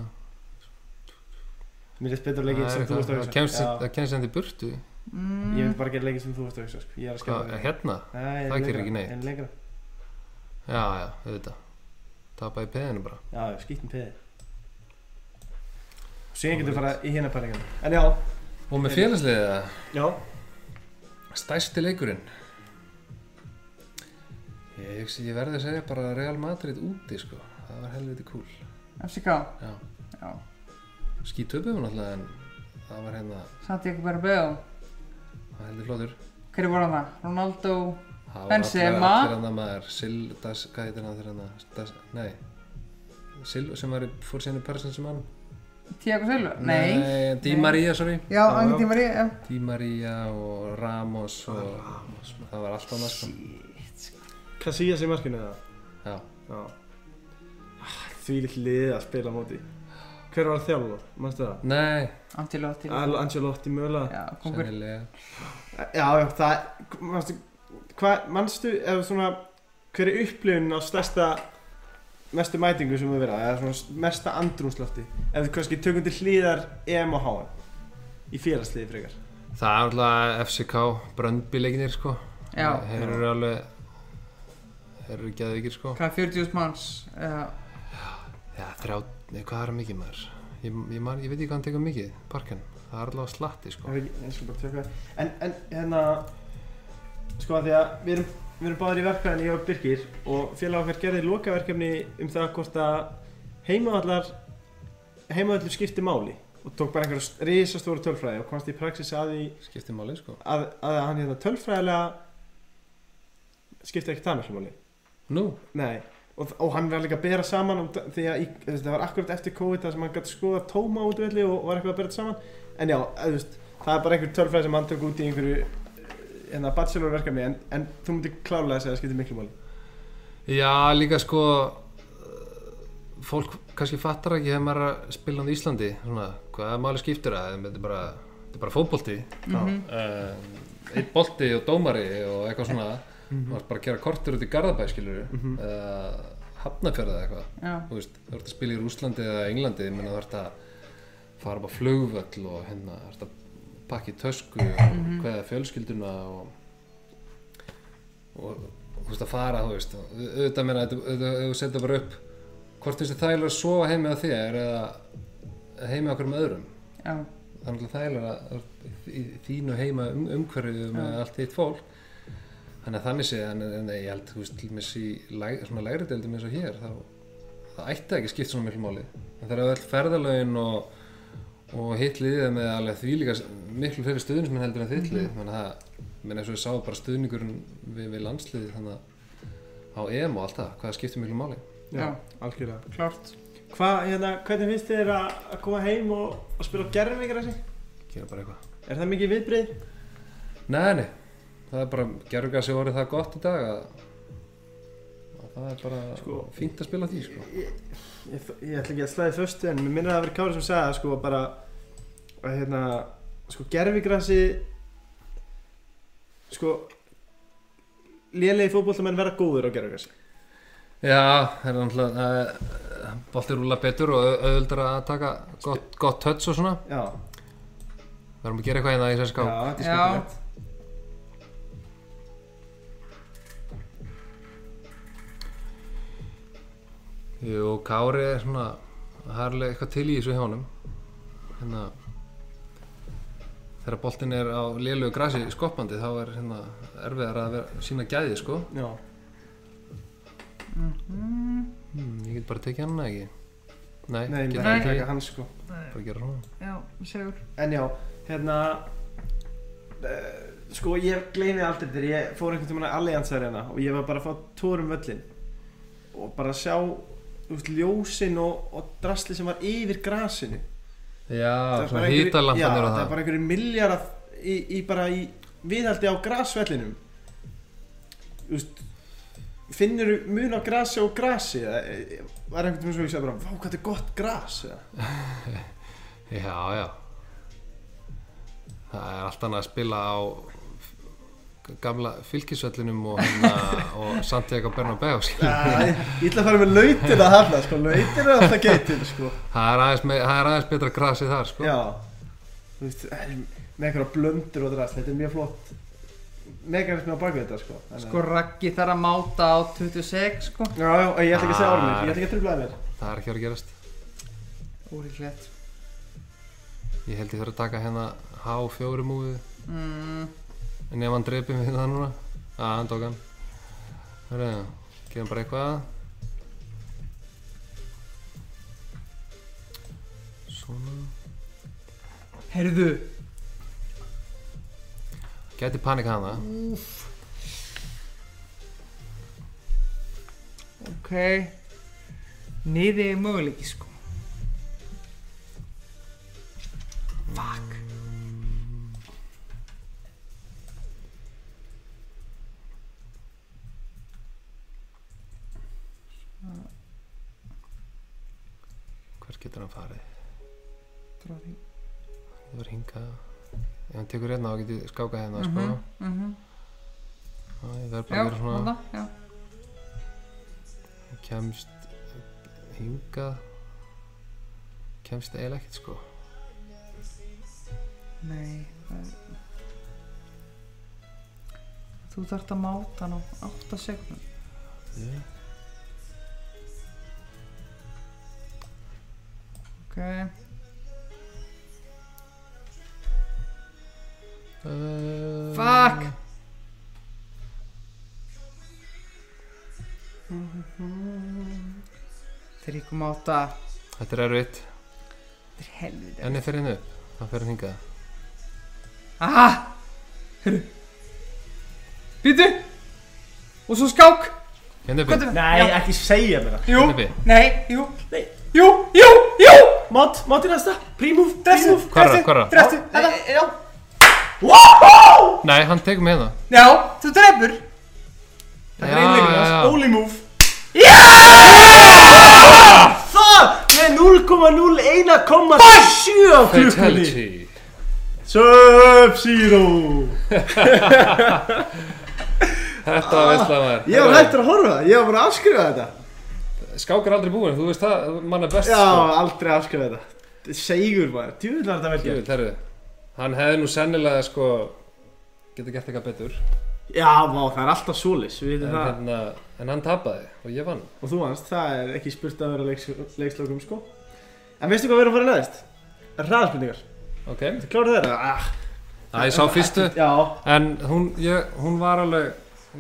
[SPEAKER 2] Mér leist betur
[SPEAKER 4] Það
[SPEAKER 2] leikinn
[SPEAKER 4] er
[SPEAKER 2] sem þú
[SPEAKER 4] eitthvað,
[SPEAKER 2] varst að
[SPEAKER 4] það
[SPEAKER 2] hugsa.
[SPEAKER 4] kemst-
[SPEAKER 2] Já.
[SPEAKER 4] það kemst henni í burtu
[SPEAKER 3] mm.
[SPEAKER 2] Ég vil bara gera leikinn sem þú varst að hugsa, sko. Ég er að
[SPEAKER 4] Hvað,
[SPEAKER 2] skemma þig.
[SPEAKER 4] hérna?
[SPEAKER 2] Nei, ég er
[SPEAKER 4] það gerir
[SPEAKER 2] lengra,
[SPEAKER 4] ekki neitt.
[SPEAKER 2] ég er lengra.
[SPEAKER 4] Já, já, auðvitað Tapa í peðinu bara
[SPEAKER 2] Já, já, skýttum peðið. Síðan getur við fara í hérna pælingarna. En já,
[SPEAKER 4] Og með félagsliðið,
[SPEAKER 2] já,
[SPEAKER 4] stæsti leikurinn Ég, ég, ég verði að segja bara Real Madrid úti, sko Það var helviti cool
[SPEAKER 3] FCK,
[SPEAKER 4] Já,
[SPEAKER 3] já,
[SPEAKER 4] skítöpum náttúrulega en það var hérna,
[SPEAKER 3] Santiago Bernabeu
[SPEAKER 4] það var heldur flottur
[SPEAKER 3] hverju voru hann það? Ronaldo
[SPEAKER 4] Það var
[SPEAKER 3] Benzema.
[SPEAKER 4] allir- Allir hann maður, Sil, das, hvað heitir hann þegar hann, das, nei, Sil, sem var, í- fór síðan í Paris Saint-Germain.
[SPEAKER 3] Tiago Silva? Nei.
[SPEAKER 4] nei Di
[SPEAKER 3] Nei.
[SPEAKER 4] Maria, sorry.
[SPEAKER 3] Já,
[SPEAKER 4] Það var-
[SPEAKER 3] Angi Tímari, já.
[SPEAKER 4] Di Maria og Ramos og
[SPEAKER 2] Ah.
[SPEAKER 4] Ramos, það var allt annað sko.
[SPEAKER 2] Casillas í markinu eða?
[SPEAKER 4] Já,
[SPEAKER 2] Já Ah, Því lill liðið að spila á móti Hver var þjálfur? Manstu það?
[SPEAKER 4] nei,
[SPEAKER 3] Antilotti.
[SPEAKER 2] Al Ancelotti mögulega
[SPEAKER 3] Já, kongur.
[SPEAKER 4] sennilega.
[SPEAKER 2] Já, já, það Manstu, hvað, manstu, eða svona Hver er upplifun á stærsta Mestu mætingu sem við verða Eða svona mesta andrúnslofti Ef við kannski tökum til hlýðar EM og HM Í félagsliði frekar
[SPEAKER 4] Það er alltaf FCK, Bröndby leikinir sko.
[SPEAKER 3] Já.
[SPEAKER 4] Þeir eru alveg, þeir eru geðvikir sko.
[SPEAKER 3] Hvað, 40.000 manns? Já.
[SPEAKER 4] Já, þrjá, nei, hvað er það mikið maður? Ég, ég, man, ég veit ekki hvað hann tekur mikið, parkinn. Það er allavega slatti sko.
[SPEAKER 2] Ég veit ekki, ég skal bara tjóka En, en, hérna Sko að því að við erum, við erum báðir í verkefni Ég og Birgir og félag okkar gerði lokaverkefni Um það hvort að heimavallar Heimavallur skipti máli Og tók bara einhverja risastóra tölfræði Og komst í praxis að því
[SPEAKER 4] Skiptir máli sko.
[SPEAKER 2] Að, að hann hérna tölfræðilega Skipti ekki það miklu máli
[SPEAKER 4] Nú,
[SPEAKER 2] Nei Og, og hann var líka að bera saman um, því að í, það var akkurat eftir COVID þar sem hann gæti skoða tóma útvelli og var eitthvað að bera þetta saman en já, að, þú veist, það er bara einhver tölfræði sem hann tök út í einhverju eh, hérna, bachelorverkefni en, en þú myndir klálega að segja að það skiptir miklu máli
[SPEAKER 4] Já, líka sko uh, fólk kannski fattar ekki þegar maður er að spila á Íslandi svona, hvað máli skiptir það þetta er bara, þetta er bara fótbolti uh, eitt bolti og dómari og eitthvað svona maður er bara að gera kortur út í Garðabæ skilur eða mm hafnafjörða eitthvað
[SPEAKER 3] Já.
[SPEAKER 4] þú veist, þú ert að spila í Rúslandi eða Englandi menn þú ert að fara upp á flugvöll og hérna, þú ert að pakka í tösku og hvaða fjölskylduna og og þú veist að fara þú veist, og au- auðvitað meina þetta- auðvitað ef þú setja bara upp hvort finnst þér þægilega að sofa heimi á þér eða heimi á okkur með öðrum
[SPEAKER 3] Já.
[SPEAKER 4] það er náttúrulega þægilega að vera í þínu heima um, umhverfið með allt þitt fólk þannig að þannig sé en, en ég held þú veist til dæmis í læg, svona lægri deildum eins og hér þá það ætti ekki að skipta svona miklu máli en það er öll ferðalögin og og hitt liðið er með alveg því líka miklu fyrir stuðnismenn heldur en þitt lið þannig að það menn eins og ég sá bara stuðningurinn við, við landsliðið þannig að á EM og allt það, hvað skiptir miklu máli
[SPEAKER 3] Já.
[SPEAKER 2] algjörlega
[SPEAKER 3] Klárt.
[SPEAKER 2] Hva, hérna, Hvernig finnst þér að, að koma heim og, og spila á gerfingarassi?
[SPEAKER 4] gera bara eitthvað
[SPEAKER 2] Er það mikið viðbrið?
[SPEAKER 4] Nei, nei, það er bara gerðugas í orðið það gott í dag að, að það er bara
[SPEAKER 2] Sko-
[SPEAKER 4] fínt að spila því sko.
[SPEAKER 2] Ég, ég ætla ekki að slæði föstu en mér minnir að það verið Kári sem sagði að sko bara að hérna sko gerfigrassi sko lélegi fótbollamenn verða góður á gerfigrassi
[SPEAKER 4] Já, það er náttúrulega eh, bolti rúla betur og au- auðveldara að taka gott, gott touch og svona
[SPEAKER 2] já,
[SPEAKER 4] verðum að gera eitthvað hérna í þessu
[SPEAKER 2] já,
[SPEAKER 4] ská
[SPEAKER 2] þetta er
[SPEAKER 3] Já.
[SPEAKER 2] skemmtilegt
[SPEAKER 4] Jú, Kári er svona það er alveg eitthvað til í þessu hjá honum hérna þegar boltin er á lélugu grasi skoppandi þá er hérna erfiðar að vera, sína gæði sko
[SPEAKER 2] já,
[SPEAKER 4] hmm, ég get bara tekið hann ekki Nei,
[SPEAKER 2] nei, nei,
[SPEAKER 4] get bara
[SPEAKER 2] nei.
[SPEAKER 4] tekið-
[SPEAKER 2] taka hann sko
[SPEAKER 4] bara gera svona
[SPEAKER 3] Já, segur.
[SPEAKER 2] en já, hérna uh, sko ég gleymi aldrei þér ég fór einhvern tímann að alliansar hérna og ég var bara að fá tórum völlin og bara að sjá þú veist, ljósin og, og drasli sem var yfir grasinu
[SPEAKER 4] Já,
[SPEAKER 2] er
[SPEAKER 4] svona
[SPEAKER 2] bara einhverjir-
[SPEAKER 4] hýtalampanir
[SPEAKER 2] já,
[SPEAKER 4] og
[SPEAKER 2] það er
[SPEAKER 4] það
[SPEAKER 2] bara einhverju milljar í, í bara í viðhaldi á grasvellinum Þú veist finnur mun á grasi og grasi eða e, var einhvern veginn sem ég segja bara vá hvað þetta er gott gras eða?
[SPEAKER 4] Já, já Það er allt annað að spila á gamla fylkisvellinum og, hérna, og Santiago sko. Bernabeu skilur.
[SPEAKER 2] Æ, ég ætla að fara með lautina þarna sko, lautin er alltaf geitin sko.
[SPEAKER 4] það, er aðeins með, það er aðeins betra grasið þar sko.
[SPEAKER 2] já Þú veist, eh, með einhverja blöndur og drast þetta er mjög flott meganismi á bakvið þetta sko, Þannig að-
[SPEAKER 3] Sko, Raggi þarf að máta á 26, sko.
[SPEAKER 2] já, já, ég ætla ekki að segja ormir, ég ætla ekki að trubla að mér
[SPEAKER 4] Það er ekki að vera að gerast
[SPEAKER 3] Úrlegt.
[SPEAKER 4] Ég held ég þurfa að taka hérna H4 múfið
[SPEAKER 3] Mm,
[SPEAKER 4] en ef hann dreipir mig það núna að hann tók hann Hörru, gefum bara eitthvað Svona
[SPEAKER 3] herðu.
[SPEAKER 4] Gæti panikað hana
[SPEAKER 3] ok niði er möguleiki sko fuck
[SPEAKER 4] Hvert getur hann farið?
[SPEAKER 3] Drá því.
[SPEAKER 4] Það var hingað Ef hann tekur hérna þá getur ég skákað hérna
[SPEAKER 3] Mhm,
[SPEAKER 4] sko
[SPEAKER 3] mhm.
[SPEAKER 4] Það ég verð bara
[SPEAKER 3] já,
[SPEAKER 4] að vera svona
[SPEAKER 3] þarna, já
[SPEAKER 4] Kemst hingað Kemst eiginlega ekkert sko
[SPEAKER 3] Nei, það er... Þú þarft að máta hann á 8 sekundum.
[SPEAKER 4] yeah.
[SPEAKER 3] Ok,
[SPEAKER 4] uh,
[SPEAKER 3] fuck! Mm. Mhm. Þeir ykkur máta.
[SPEAKER 4] Þetta er erfitt
[SPEAKER 3] Þetta er helvita.
[SPEAKER 4] Enni fer hérna upp Hann fer hérna hingað
[SPEAKER 3] Aha! Hörru. Býtu! Og svo skák!
[SPEAKER 4] Hérna uppi
[SPEAKER 3] Hvað er
[SPEAKER 2] Nei, ekki segja mér það
[SPEAKER 3] Jú,
[SPEAKER 4] Hérna uppi
[SPEAKER 3] nei, jú,
[SPEAKER 2] Nei.
[SPEAKER 3] jú, jú, jú!
[SPEAKER 2] Mott, mott í næsta Prímúf, prímúf
[SPEAKER 4] Hvar er hann? Hvar er hann?
[SPEAKER 3] Drestu, þetta.
[SPEAKER 2] Já
[SPEAKER 4] Nei, hann tekur mig hérna
[SPEAKER 3] Já, þú drefur.
[SPEAKER 2] Það er einleikur
[SPEAKER 4] já,
[SPEAKER 2] hans
[SPEAKER 4] já.
[SPEAKER 2] Only move Það með 0,01,7 á klukkunni
[SPEAKER 4] Fatality
[SPEAKER 2] Sub-Zero
[SPEAKER 4] Þetta ah, veist það maður
[SPEAKER 2] Ég var hættur að horfa, ég var bara að afskrifa þetta
[SPEAKER 4] Skák er aldrei búin, þú veist það, mann er best
[SPEAKER 2] Já,
[SPEAKER 4] sko.
[SPEAKER 2] aldrei að afskrifa þetta Þetta er Segur maður, djúvill var þetta vel
[SPEAKER 4] Jú,
[SPEAKER 2] gert
[SPEAKER 4] herru, hann hefði nú sennilega sko geta gert eitthvað betur
[SPEAKER 2] Já, vá, það er alltaf svolis, við
[SPEAKER 4] en,
[SPEAKER 2] veitum það
[SPEAKER 4] hérna, en hann tapaði og ég vann
[SPEAKER 2] Og þú hans, það er ekki spurt að vera leiks, leikslokum sko En veistu hvað við erum að fara neðist? Hraðarspurningar,
[SPEAKER 4] ok,
[SPEAKER 2] þú kláru þeirra? Ah,
[SPEAKER 4] það ég sá fyrstu
[SPEAKER 2] já,
[SPEAKER 4] en hún, ég, hún var alveg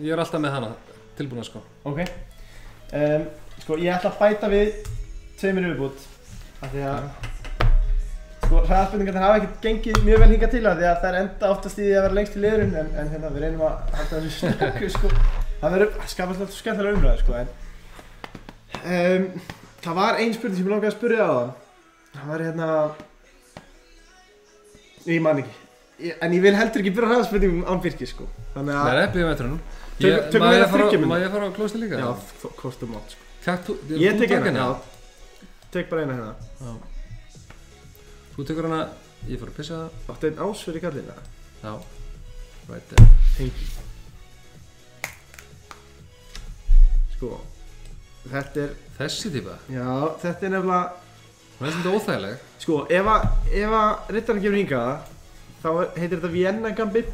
[SPEAKER 4] ég er alltaf með hana tilbúna sko
[SPEAKER 2] ok um, Sko, ég ætla að bæta við tveimur yfirbútt Af því að Sko, hraðarspurningar hafa ekkert gengið mjög vel hingað til af Því að það er enda oftast í því að vera lengst í liðurinn En, en hérna, við reynum að halda þessu snöku sko Það verður, það skapast alltaf skemmtilega umræði sko En um, Það var ein spurning sem ég langaði að spurja á það Það var hérna Ég man ekki Ég- En ég vil heldur ekki byrja hraðarspurningum án Birki sko Þannig
[SPEAKER 4] það
[SPEAKER 2] að
[SPEAKER 4] er eppið með trunum
[SPEAKER 2] Tökum- tökum við það þriggja mínútur?
[SPEAKER 4] Má ég fara á klósti líka?
[SPEAKER 2] Já, þó- hvort þú mátt sko
[SPEAKER 4] Takk, þú,
[SPEAKER 2] Ég
[SPEAKER 4] þú
[SPEAKER 2] tek
[SPEAKER 4] tók
[SPEAKER 2] hana, já Tek bara eina hérna
[SPEAKER 4] Þú tekur hana, ég fór að pissa
[SPEAKER 2] Áttu einn ás fyrir kallina
[SPEAKER 4] það Já, right there
[SPEAKER 2] Tengi Sko Þetta er,
[SPEAKER 4] Þessi típa,
[SPEAKER 2] já, þetta er nefnilega
[SPEAKER 4] hún er svolítið óþægileg
[SPEAKER 2] Sko, ef að, ef að rittarinn kemur hingað Þá er- heitir þetta Vienna Gambit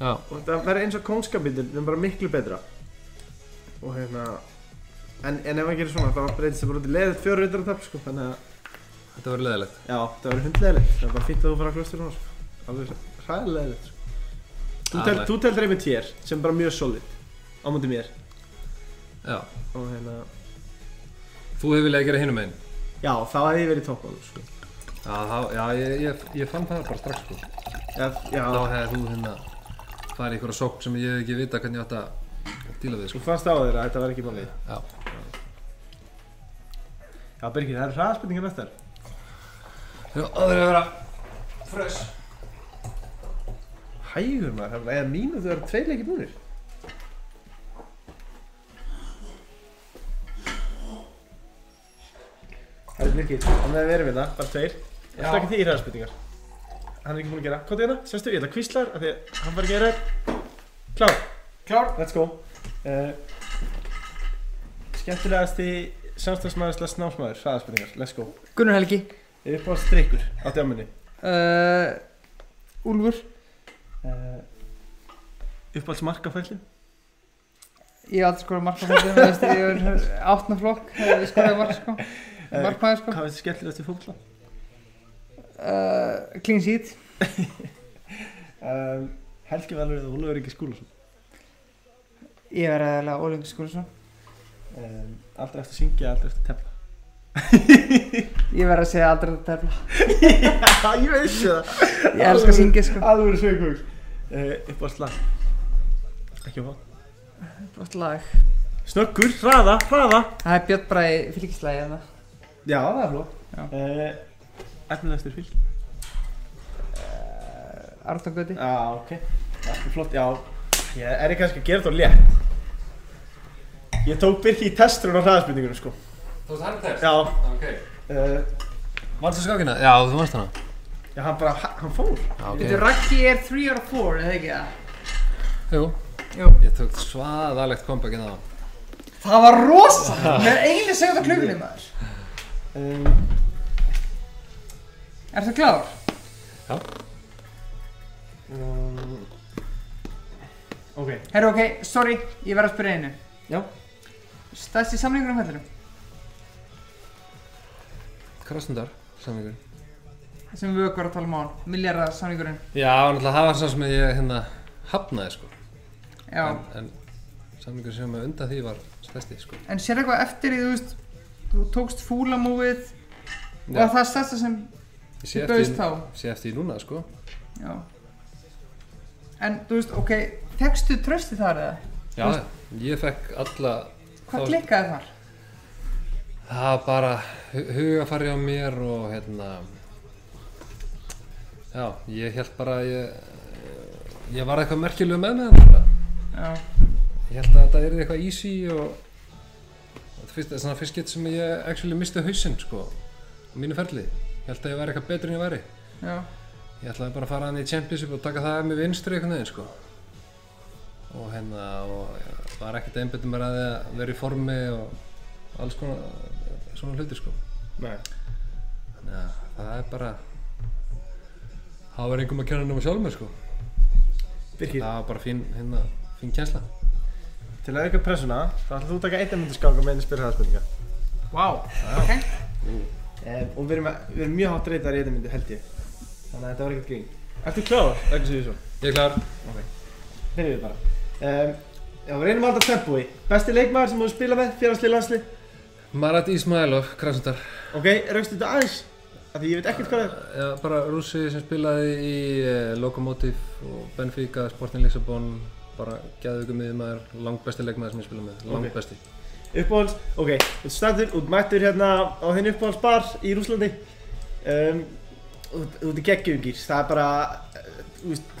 [SPEAKER 4] Já,
[SPEAKER 2] Og þetta verður eins og Kónsgambitin En bara miklu betra Og hérna En, en ef að gera svona, þá breytist það bara út í leiðið fjóru rittarantap, sko Þannig að,
[SPEAKER 4] þetta var leðilegt
[SPEAKER 2] já, það verður hundleiðilegt Það er bara fínt að þú fara að klostur hún, sko Alveg hræðilegilegt, sko Þú tel-
[SPEAKER 4] Alveg.
[SPEAKER 2] Þú teldur einmitt hér, sem er bara mjög solid Á múti mér
[SPEAKER 4] Já,
[SPEAKER 2] Og hérna,
[SPEAKER 4] þú hefur viljað gera hinum einn
[SPEAKER 2] Já, þá hefði ég verið í toppmálum, sko.
[SPEAKER 4] Já, þá- já ég, ég, ég fann það bara strax sko
[SPEAKER 2] Já, já.
[SPEAKER 4] þá hefði þú hérna farið í einhverja sókn sem ég hef ekki vita hvernig ég átt að díla við
[SPEAKER 2] Þú
[SPEAKER 4] sko.
[SPEAKER 2] fannst á þér að þetta var ekki málið.
[SPEAKER 4] Já.
[SPEAKER 2] Já, Birgir, það eru hraðspurningar næstar.
[SPEAKER 4] Já, það er að vera fresh.
[SPEAKER 2] Hægur maður, það er bara eða mínu þau eru tveir leikir búnir. Það er Birgir, hann hefði verið við það, bara tveir. Það er ekki því í hraðspurningar. Hann er ekki búinn að gera. Kóti hérna, sérstu, ég ætla að kvísla þér af því að hann var að gera þér. Klár. Klár. Let's go. Uh, skemmtilegasti samstagsmaður slags námsmaður, hraðspurningar. Let's go.
[SPEAKER 3] Gunnar Helgi.
[SPEAKER 2] Upp á streikur á djáminni
[SPEAKER 3] Uh, Úlfur.
[SPEAKER 2] uh, Uppáhalds markafællin
[SPEAKER 3] Ég hef aldrei skorað markmannfólk, þú veist, ég er átna flokk, eh, ég skoraði mark, sko. Markmaður, sko.
[SPEAKER 2] Eh, Hvað finnst þið skemmtilegast í fólkla?
[SPEAKER 3] Uh, clean sheet.
[SPEAKER 2] Um, Helgi Valur eða Ólafur Ingi Skúlason
[SPEAKER 3] Ég verði aðeinslega Ólingur Skúlason.
[SPEAKER 2] um, Aldrei eftir að syngja, aldrei eftir að tefla
[SPEAKER 3] Ég verði að segja aldrei að tefla.
[SPEAKER 2] Já, ég veist það
[SPEAKER 3] Ég elska að syngja, sko.
[SPEAKER 2] Alveg Eh, sveikvöld uh, Uppáhalds lag Ekki á hótt
[SPEAKER 3] Brott lag.
[SPEAKER 2] Snöggur, hraða, hraða
[SPEAKER 3] Það er Björn Bræði fylgislægi hérna.
[SPEAKER 2] Já, það er fló
[SPEAKER 3] Já.
[SPEAKER 2] uh, Efnilegastur fylg
[SPEAKER 3] Artangöti.
[SPEAKER 2] Já, ok Allt er flott, já Ég er ég kannski að gera þetta á létt Ég tók Birki í testurinn á hraðaspurningunum sko
[SPEAKER 4] Þú veist hann þess?
[SPEAKER 2] Já
[SPEAKER 4] Ok.
[SPEAKER 2] uh,
[SPEAKER 4] Varst þú skákina? Já, þú varst hana.
[SPEAKER 2] Já, hann bara, ha- hann fór
[SPEAKER 4] Já, ok.
[SPEAKER 3] Þetta Raggi er 3 or 4, eða ekki það?
[SPEAKER 4] Jú,
[SPEAKER 3] Jú.
[SPEAKER 4] ég tók svaðalegt comeback inn á það.
[SPEAKER 3] Það var rosa! Mér er eiginlega segð á klukkunni maður.
[SPEAKER 2] um,
[SPEAKER 3] Er það klár?
[SPEAKER 2] um, Ok
[SPEAKER 3] Herru, ok, sorry, ég verð að spyrja einu.
[SPEAKER 2] Já.
[SPEAKER 3] Stæðst í samlingunum fellinu,
[SPEAKER 4] Krasnudar, samlingur.
[SPEAKER 3] sem við okkur að tala um á hann. Milljara samlingurinn.
[SPEAKER 4] Já, náttúrulega það var svo sem ég hérna hafnaði sko.
[SPEAKER 3] Já.
[SPEAKER 4] En, en samlingur sem er undan því var stærsti sko.
[SPEAKER 3] En sér eitthvað eftir í, þú veist, þú tókst fúlamúið og
[SPEAKER 4] Já.
[SPEAKER 3] var það stærsta sem
[SPEAKER 4] Ég sé
[SPEAKER 3] þú
[SPEAKER 4] eftir,
[SPEAKER 3] bauðst þá.
[SPEAKER 4] sé eftir því núna sko.
[SPEAKER 3] Já. En, þú veist, ok, fegstu trösti þar eða?
[SPEAKER 4] Já, ég fekk alla,
[SPEAKER 3] Hvað
[SPEAKER 4] Þá-
[SPEAKER 3] klikkaði þar?
[SPEAKER 4] það var bara hu- hugarfari á mér og hérna, já, ég held bara að ég, ég var eitthvað merkjulega með með hann bara.
[SPEAKER 3] Já.
[SPEAKER 4] Ég held að þetta er eitthvað easy og þetta er fyrst- þetta er svona fyrst gett sem ég actually misti hausinn sko, á mínu ferli. Ég held að ég væri eitthvað betur en ég væri.
[SPEAKER 3] Já.
[SPEAKER 4] Ég ætlaði bara að fara hann í Championship og taka það með vinstri einhvern veginn sko. Og hérna, og ég var ekkert einbjöndum mér að því að vera í formi og alls konar eh, svona hluti sko.
[SPEAKER 2] Nei
[SPEAKER 4] Þannig að það er bara, það var einhverjum að kenna nema sjálf mér sko.
[SPEAKER 2] Birkir,
[SPEAKER 4] Það var bara fín, hérna, fín kjensla.
[SPEAKER 2] til að auka pressuna, þá ætlar þú að taka eitt eminntu skáka með einu spyrir hraðaspurninga
[SPEAKER 3] Vá. Ok.
[SPEAKER 2] um, Og við erum, að- við erum mjög hátt reytar í eitt emindu, held ég Þannig að þetta var ekkert grín Ertu kláður? Ekki séu svo
[SPEAKER 4] Ég er klár.
[SPEAKER 2] Byrjum við bara um, Já, við reynum að halda tempói Besti leikmaður sem þú spila með, fjárhastlið landsli
[SPEAKER 4] Marat Ismailov, Krasnodar.
[SPEAKER 2] Ok, raukstu þetta aðeins Af því ég veit ekkert hvað það
[SPEAKER 4] Já, bara rússi sem spilaði í eh, Lokomotiv og Benfica, Sporting Lissabon, bara gæðugum miðjumæður, langbesti leikmaður sem ég spilaði með, langbesti.
[SPEAKER 2] er Uppbóls, ok, þú standur, út mættur hérna á þinn uppbólsbar í Rúslandi um, og Þú þú ert í geggjungir, það er bara eh, Þú veist,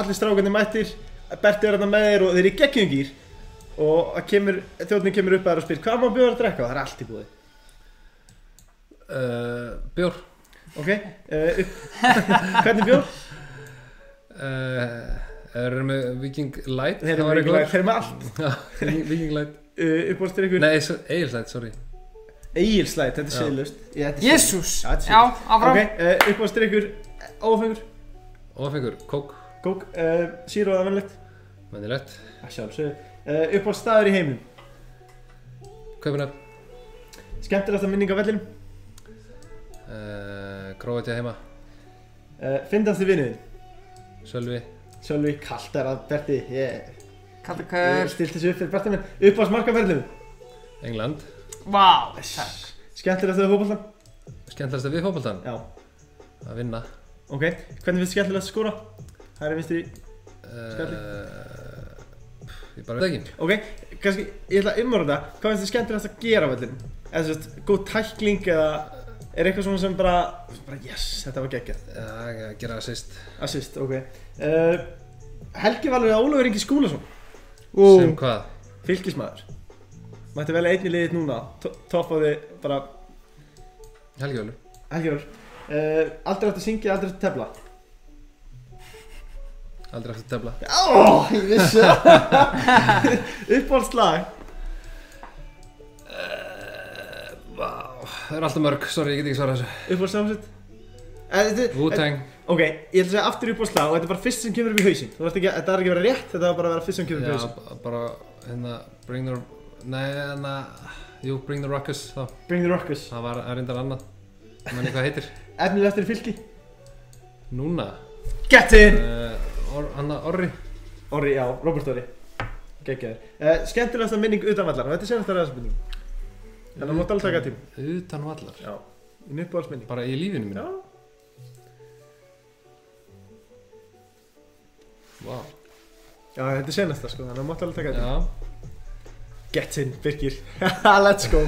[SPEAKER 2] allir strákarnir mættir Berti er hérna með þér og þeir eru í geggjungir Og það kemur, þjóðnin kemur upp að þér og spyr Hvað má bjóður að drekka? Og það er allt í búið
[SPEAKER 4] Uh, bjór
[SPEAKER 2] Ok, uh, upp, hvernig bjór?
[SPEAKER 4] uh, er með Viking Light
[SPEAKER 2] Þeir
[SPEAKER 4] það
[SPEAKER 2] eru
[SPEAKER 4] var
[SPEAKER 2] með
[SPEAKER 4] í
[SPEAKER 2] þeir eru með allt
[SPEAKER 4] góður. Já, Viking Viking Light
[SPEAKER 2] uh, uppbólstrykkur
[SPEAKER 4] nei, Eil Light, sorry
[SPEAKER 2] Egilslæð, þetta er
[SPEAKER 4] Já.
[SPEAKER 2] siðlust Ég, þetta er siðlaust.
[SPEAKER 3] Jésús.
[SPEAKER 2] Já, þetta er
[SPEAKER 3] Já, áfram.
[SPEAKER 2] Ok, uh, uppbólstrykkur, ófengur,
[SPEAKER 4] ofengur, kók,
[SPEAKER 2] kók, uh, síru eða vennlegt
[SPEAKER 4] mennilegt
[SPEAKER 2] Að sjálfsögðu uh, Uppbólstaður í heimum
[SPEAKER 4] Kaupinar,
[SPEAKER 2] Skemmtilegast að minninga vellinum
[SPEAKER 4] uh, Króatja heima
[SPEAKER 2] uh, Fyndast í vinniðin
[SPEAKER 4] Sölvi,
[SPEAKER 2] Sjálfur kallt er að Berti Ég
[SPEAKER 3] Kallar
[SPEAKER 2] yeah.
[SPEAKER 3] kaur.
[SPEAKER 2] stilt þessu upp fyrir Berti minn Uppbólst markaferðlum
[SPEAKER 4] England
[SPEAKER 3] Vá. Takk.
[SPEAKER 2] Skemmtilegast að fókbólta
[SPEAKER 4] skemmtilegast að við fótboltan
[SPEAKER 2] Já
[SPEAKER 4] að vinna
[SPEAKER 2] Ok, hvernig finnst skemmtilegast að skóra? Hæri vinstri Skalli.
[SPEAKER 4] uh, Eh, ég bara veit ekki
[SPEAKER 2] Ok, kannski, ég ætla að umorða Hvað finnst þið skemmtilegast að gera á vellinum? Eða svo veist, góð tækling eða Er eitthvað svona sem bara, bara Yes, þetta var geggjað
[SPEAKER 4] uh, gera það sýst
[SPEAKER 2] Assist, ok uh, Helgi Valur eða Ólafur Ingi Skúlason
[SPEAKER 4] sem hvað
[SPEAKER 2] Fylgismæður Mætti velja einni liðið núna to- Topp á því bara
[SPEAKER 4] Helgi Ölur
[SPEAKER 2] Helgi Valur uh, Aldrei átt að syngja, aldrei átt að tefla
[SPEAKER 4] aldrei eftir tefla
[SPEAKER 2] Ó, ég vissi það Uppáhaldslag
[SPEAKER 4] wow. það er alltaf mörg sorry ég get ekki svarað þessu
[SPEAKER 2] Uppáhaldsamsett Eh, Þetta
[SPEAKER 4] Wu-Tang
[SPEAKER 2] Ok, ég ætla að segja aftur uppáhaldslag Og þetta er bara fyrst sem kemur upp í hausinn Þú veist ekki, þetta er ekki að vera rétt Þetta var bara að vera fyrst sem kemur upp í
[SPEAKER 4] Já,
[SPEAKER 2] hausinn
[SPEAKER 4] b- bara hérna Bring the Nei, hérna Jú, Bring the Ruckus þá
[SPEAKER 2] Bring the Rockers
[SPEAKER 4] Það var það er reyndar annað Ég Man ég hvað heitir
[SPEAKER 2] Efnileg eftir fylgi
[SPEAKER 4] Núna
[SPEAKER 2] Get in
[SPEAKER 4] uh, or, Hanna Orri
[SPEAKER 2] Orri, já, Robert Orri Gekkjaður uh, Skemmtilegasta minning utan vallar og Þetta er senast að ræðast minning Þannig að mátt alveg taka tím
[SPEAKER 4] Utan vallar
[SPEAKER 2] Já Í uppáhaldsminning
[SPEAKER 4] Bara í lífinu mínu
[SPEAKER 2] Já
[SPEAKER 4] Vá
[SPEAKER 2] Já, þetta er senast sko Þannig að mátt alveg taka tím
[SPEAKER 4] Já
[SPEAKER 2] Get in, Birgir Let's go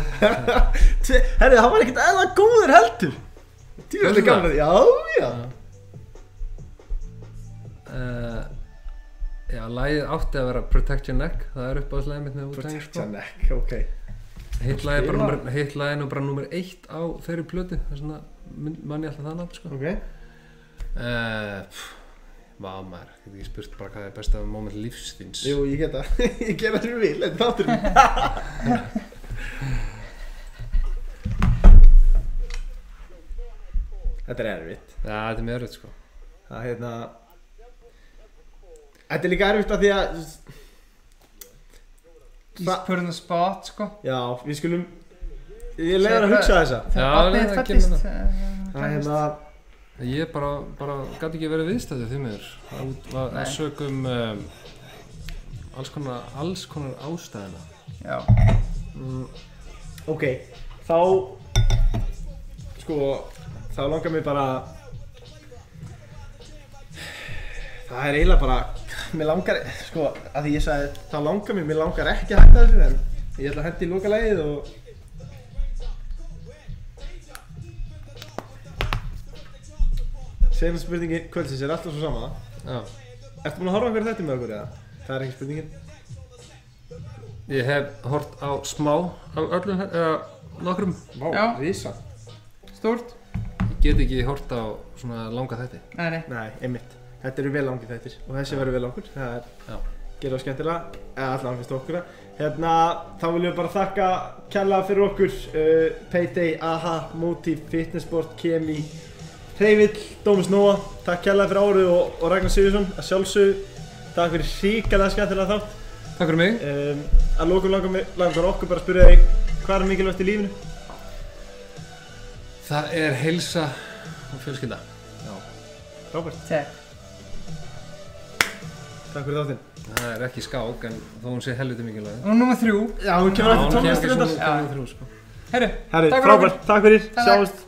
[SPEAKER 2] Tve- Herri, það var ekkert eða góður heldur Týra
[SPEAKER 4] Heldur
[SPEAKER 2] þetta gaman að því Já, já
[SPEAKER 4] uh, Já, lagið átti að vera Protect Your Neck Það er upp á slæðið mitt með Wu-Tang
[SPEAKER 2] Protect
[SPEAKER 4] sko.
[SPEAKER 2] your neck, ok
[SPEAKER 4] Hitt lagið bara
[SPEAKER 2] Spila.
[SPEAKER 4] númer- hitt lagið er nú bara nummer eitt á þeirri plötu Þess vegna mann ég alltaf það nátt sko.
[SPEAKER 2] Ok
[SPEAKER 4] uh, Vá maður, getur ekki spurt bara hvað er besta moment lífsþins
[SPEAKER 2] Jú, ég geta Ég gera það sem ég vil, þetta er þátturinn Þetta er erfitt
[SPEAKER 4] Já, þetta er mjög erfitt sko
[SPEAKER 2] Það er hérna Þetta er líka erfitt af því að
[SPEAKER 3] He's put on the spot sko
[SPEAKER 2] Já, við skulum Ég leiður að hugsa þessa
[SPEAKER 4] Já,
[SPEAKER 3] Þegar barnið
[SPEAKER 4] það
[SPEAKER 3] þitt
[SPEAKER 4] kemur
[SPEAKER 3] fæddist,
[SPEAKER 4] það.
[SPEAKER 3] eh,
[SPEAKER 2] Það er
[SPEAKER 3] fæddist.
[SPEAKER 2] hérna
[SPEAKER 4] Ég bara, bara gæti ekki verið viðstættu því mér að
[SPEAKER 3] Nei.
[SPEAKER 4] sögum um, alls konar, alls konar ástæðina
[SPEAKER 3] Já,
[SPEAKER 2] Ok, þá Sko, þá langar mér bara Það er eiginlega bara Mér langar, sko, að því ég sagði Það langar mér, mér langar ekki að hætta þessu En ég ætla að hætta í lokalægið og Segna spurningin kvöldsins er alltaf svo sama
[SPEAKER 4] Já,
[SPEAKER 2] Ertu búin að horfa einhverju þetta með okkur eða? Það er ekki spurningin
[SPEAKER 4] ég hef hort á smá af öllum, eða nokkrum
[SPEAKER 2] Vá,
[SPEAKER 3] Já.
[SPEAKER 2] rísa
[SPEAKER 3] stórt
[SPEAKER 4] Ég get ekki hort á svona langa þætti
[SPEAKER 3] Nei, nei,
[SPEAKER 2] Nei, einmitt. Þetta eru vel langir þættir og þessi verður vel langur. Það er,
[SPEAKER 4] Já.
[SPEAKER 2] gerir það skemmtilega, eða allan finnst okkur það. Hérna, þá viljum við bara þakka kærlega fyrir okkur. Uh, Payday, AHA, Motiv, Fitnessport, Kemi, Hreyvill, Dómus Nóa. Takk kærlega fyrir árið og, og Ragnar Sigursson að sjálfsögðu. Takk fyrir ríkalega skemmtilega þátt.
[SPEAKER 4] Takk fyrir mig
[SPEAKER 2] Um, að lókum langar, mig- langar okkur bara að spyrja þig hvað er mikilvægt í lífinu?
[SPEAKER 4] Það er heilsa og fjölskylda
[SPEAKER 2] Robert,
[SPEAKER 3] tek
[SPEAKER 2] takk fyrir þáttinn.
[SPEAKER 4] Það er ekki skák en þó hún sé helviti mikilvæg
[SPEAKER 3] Og nummer þrjú
[SPEAKER 2] Já, hún kemur
[SPEAKER 4] Já,
[SPEAKER 2] eftir
[SPEAKER 4] hún kemur
[SPEAKER 2] tónlistu
[SPEAKER 4] ekki
[SPEAKER 2] reyndar.
[SPEAKER 4] svona- kemur þrjú, sko.
[SPEAKER 2] Herri,
[SPEAKER 3] Herru, Takk fyrir okkur.
[SPEAKER 2] frábært, takk fyrir,
[SPEAKER 3] Bye bye.
[SPEAKER 2] sjáumst.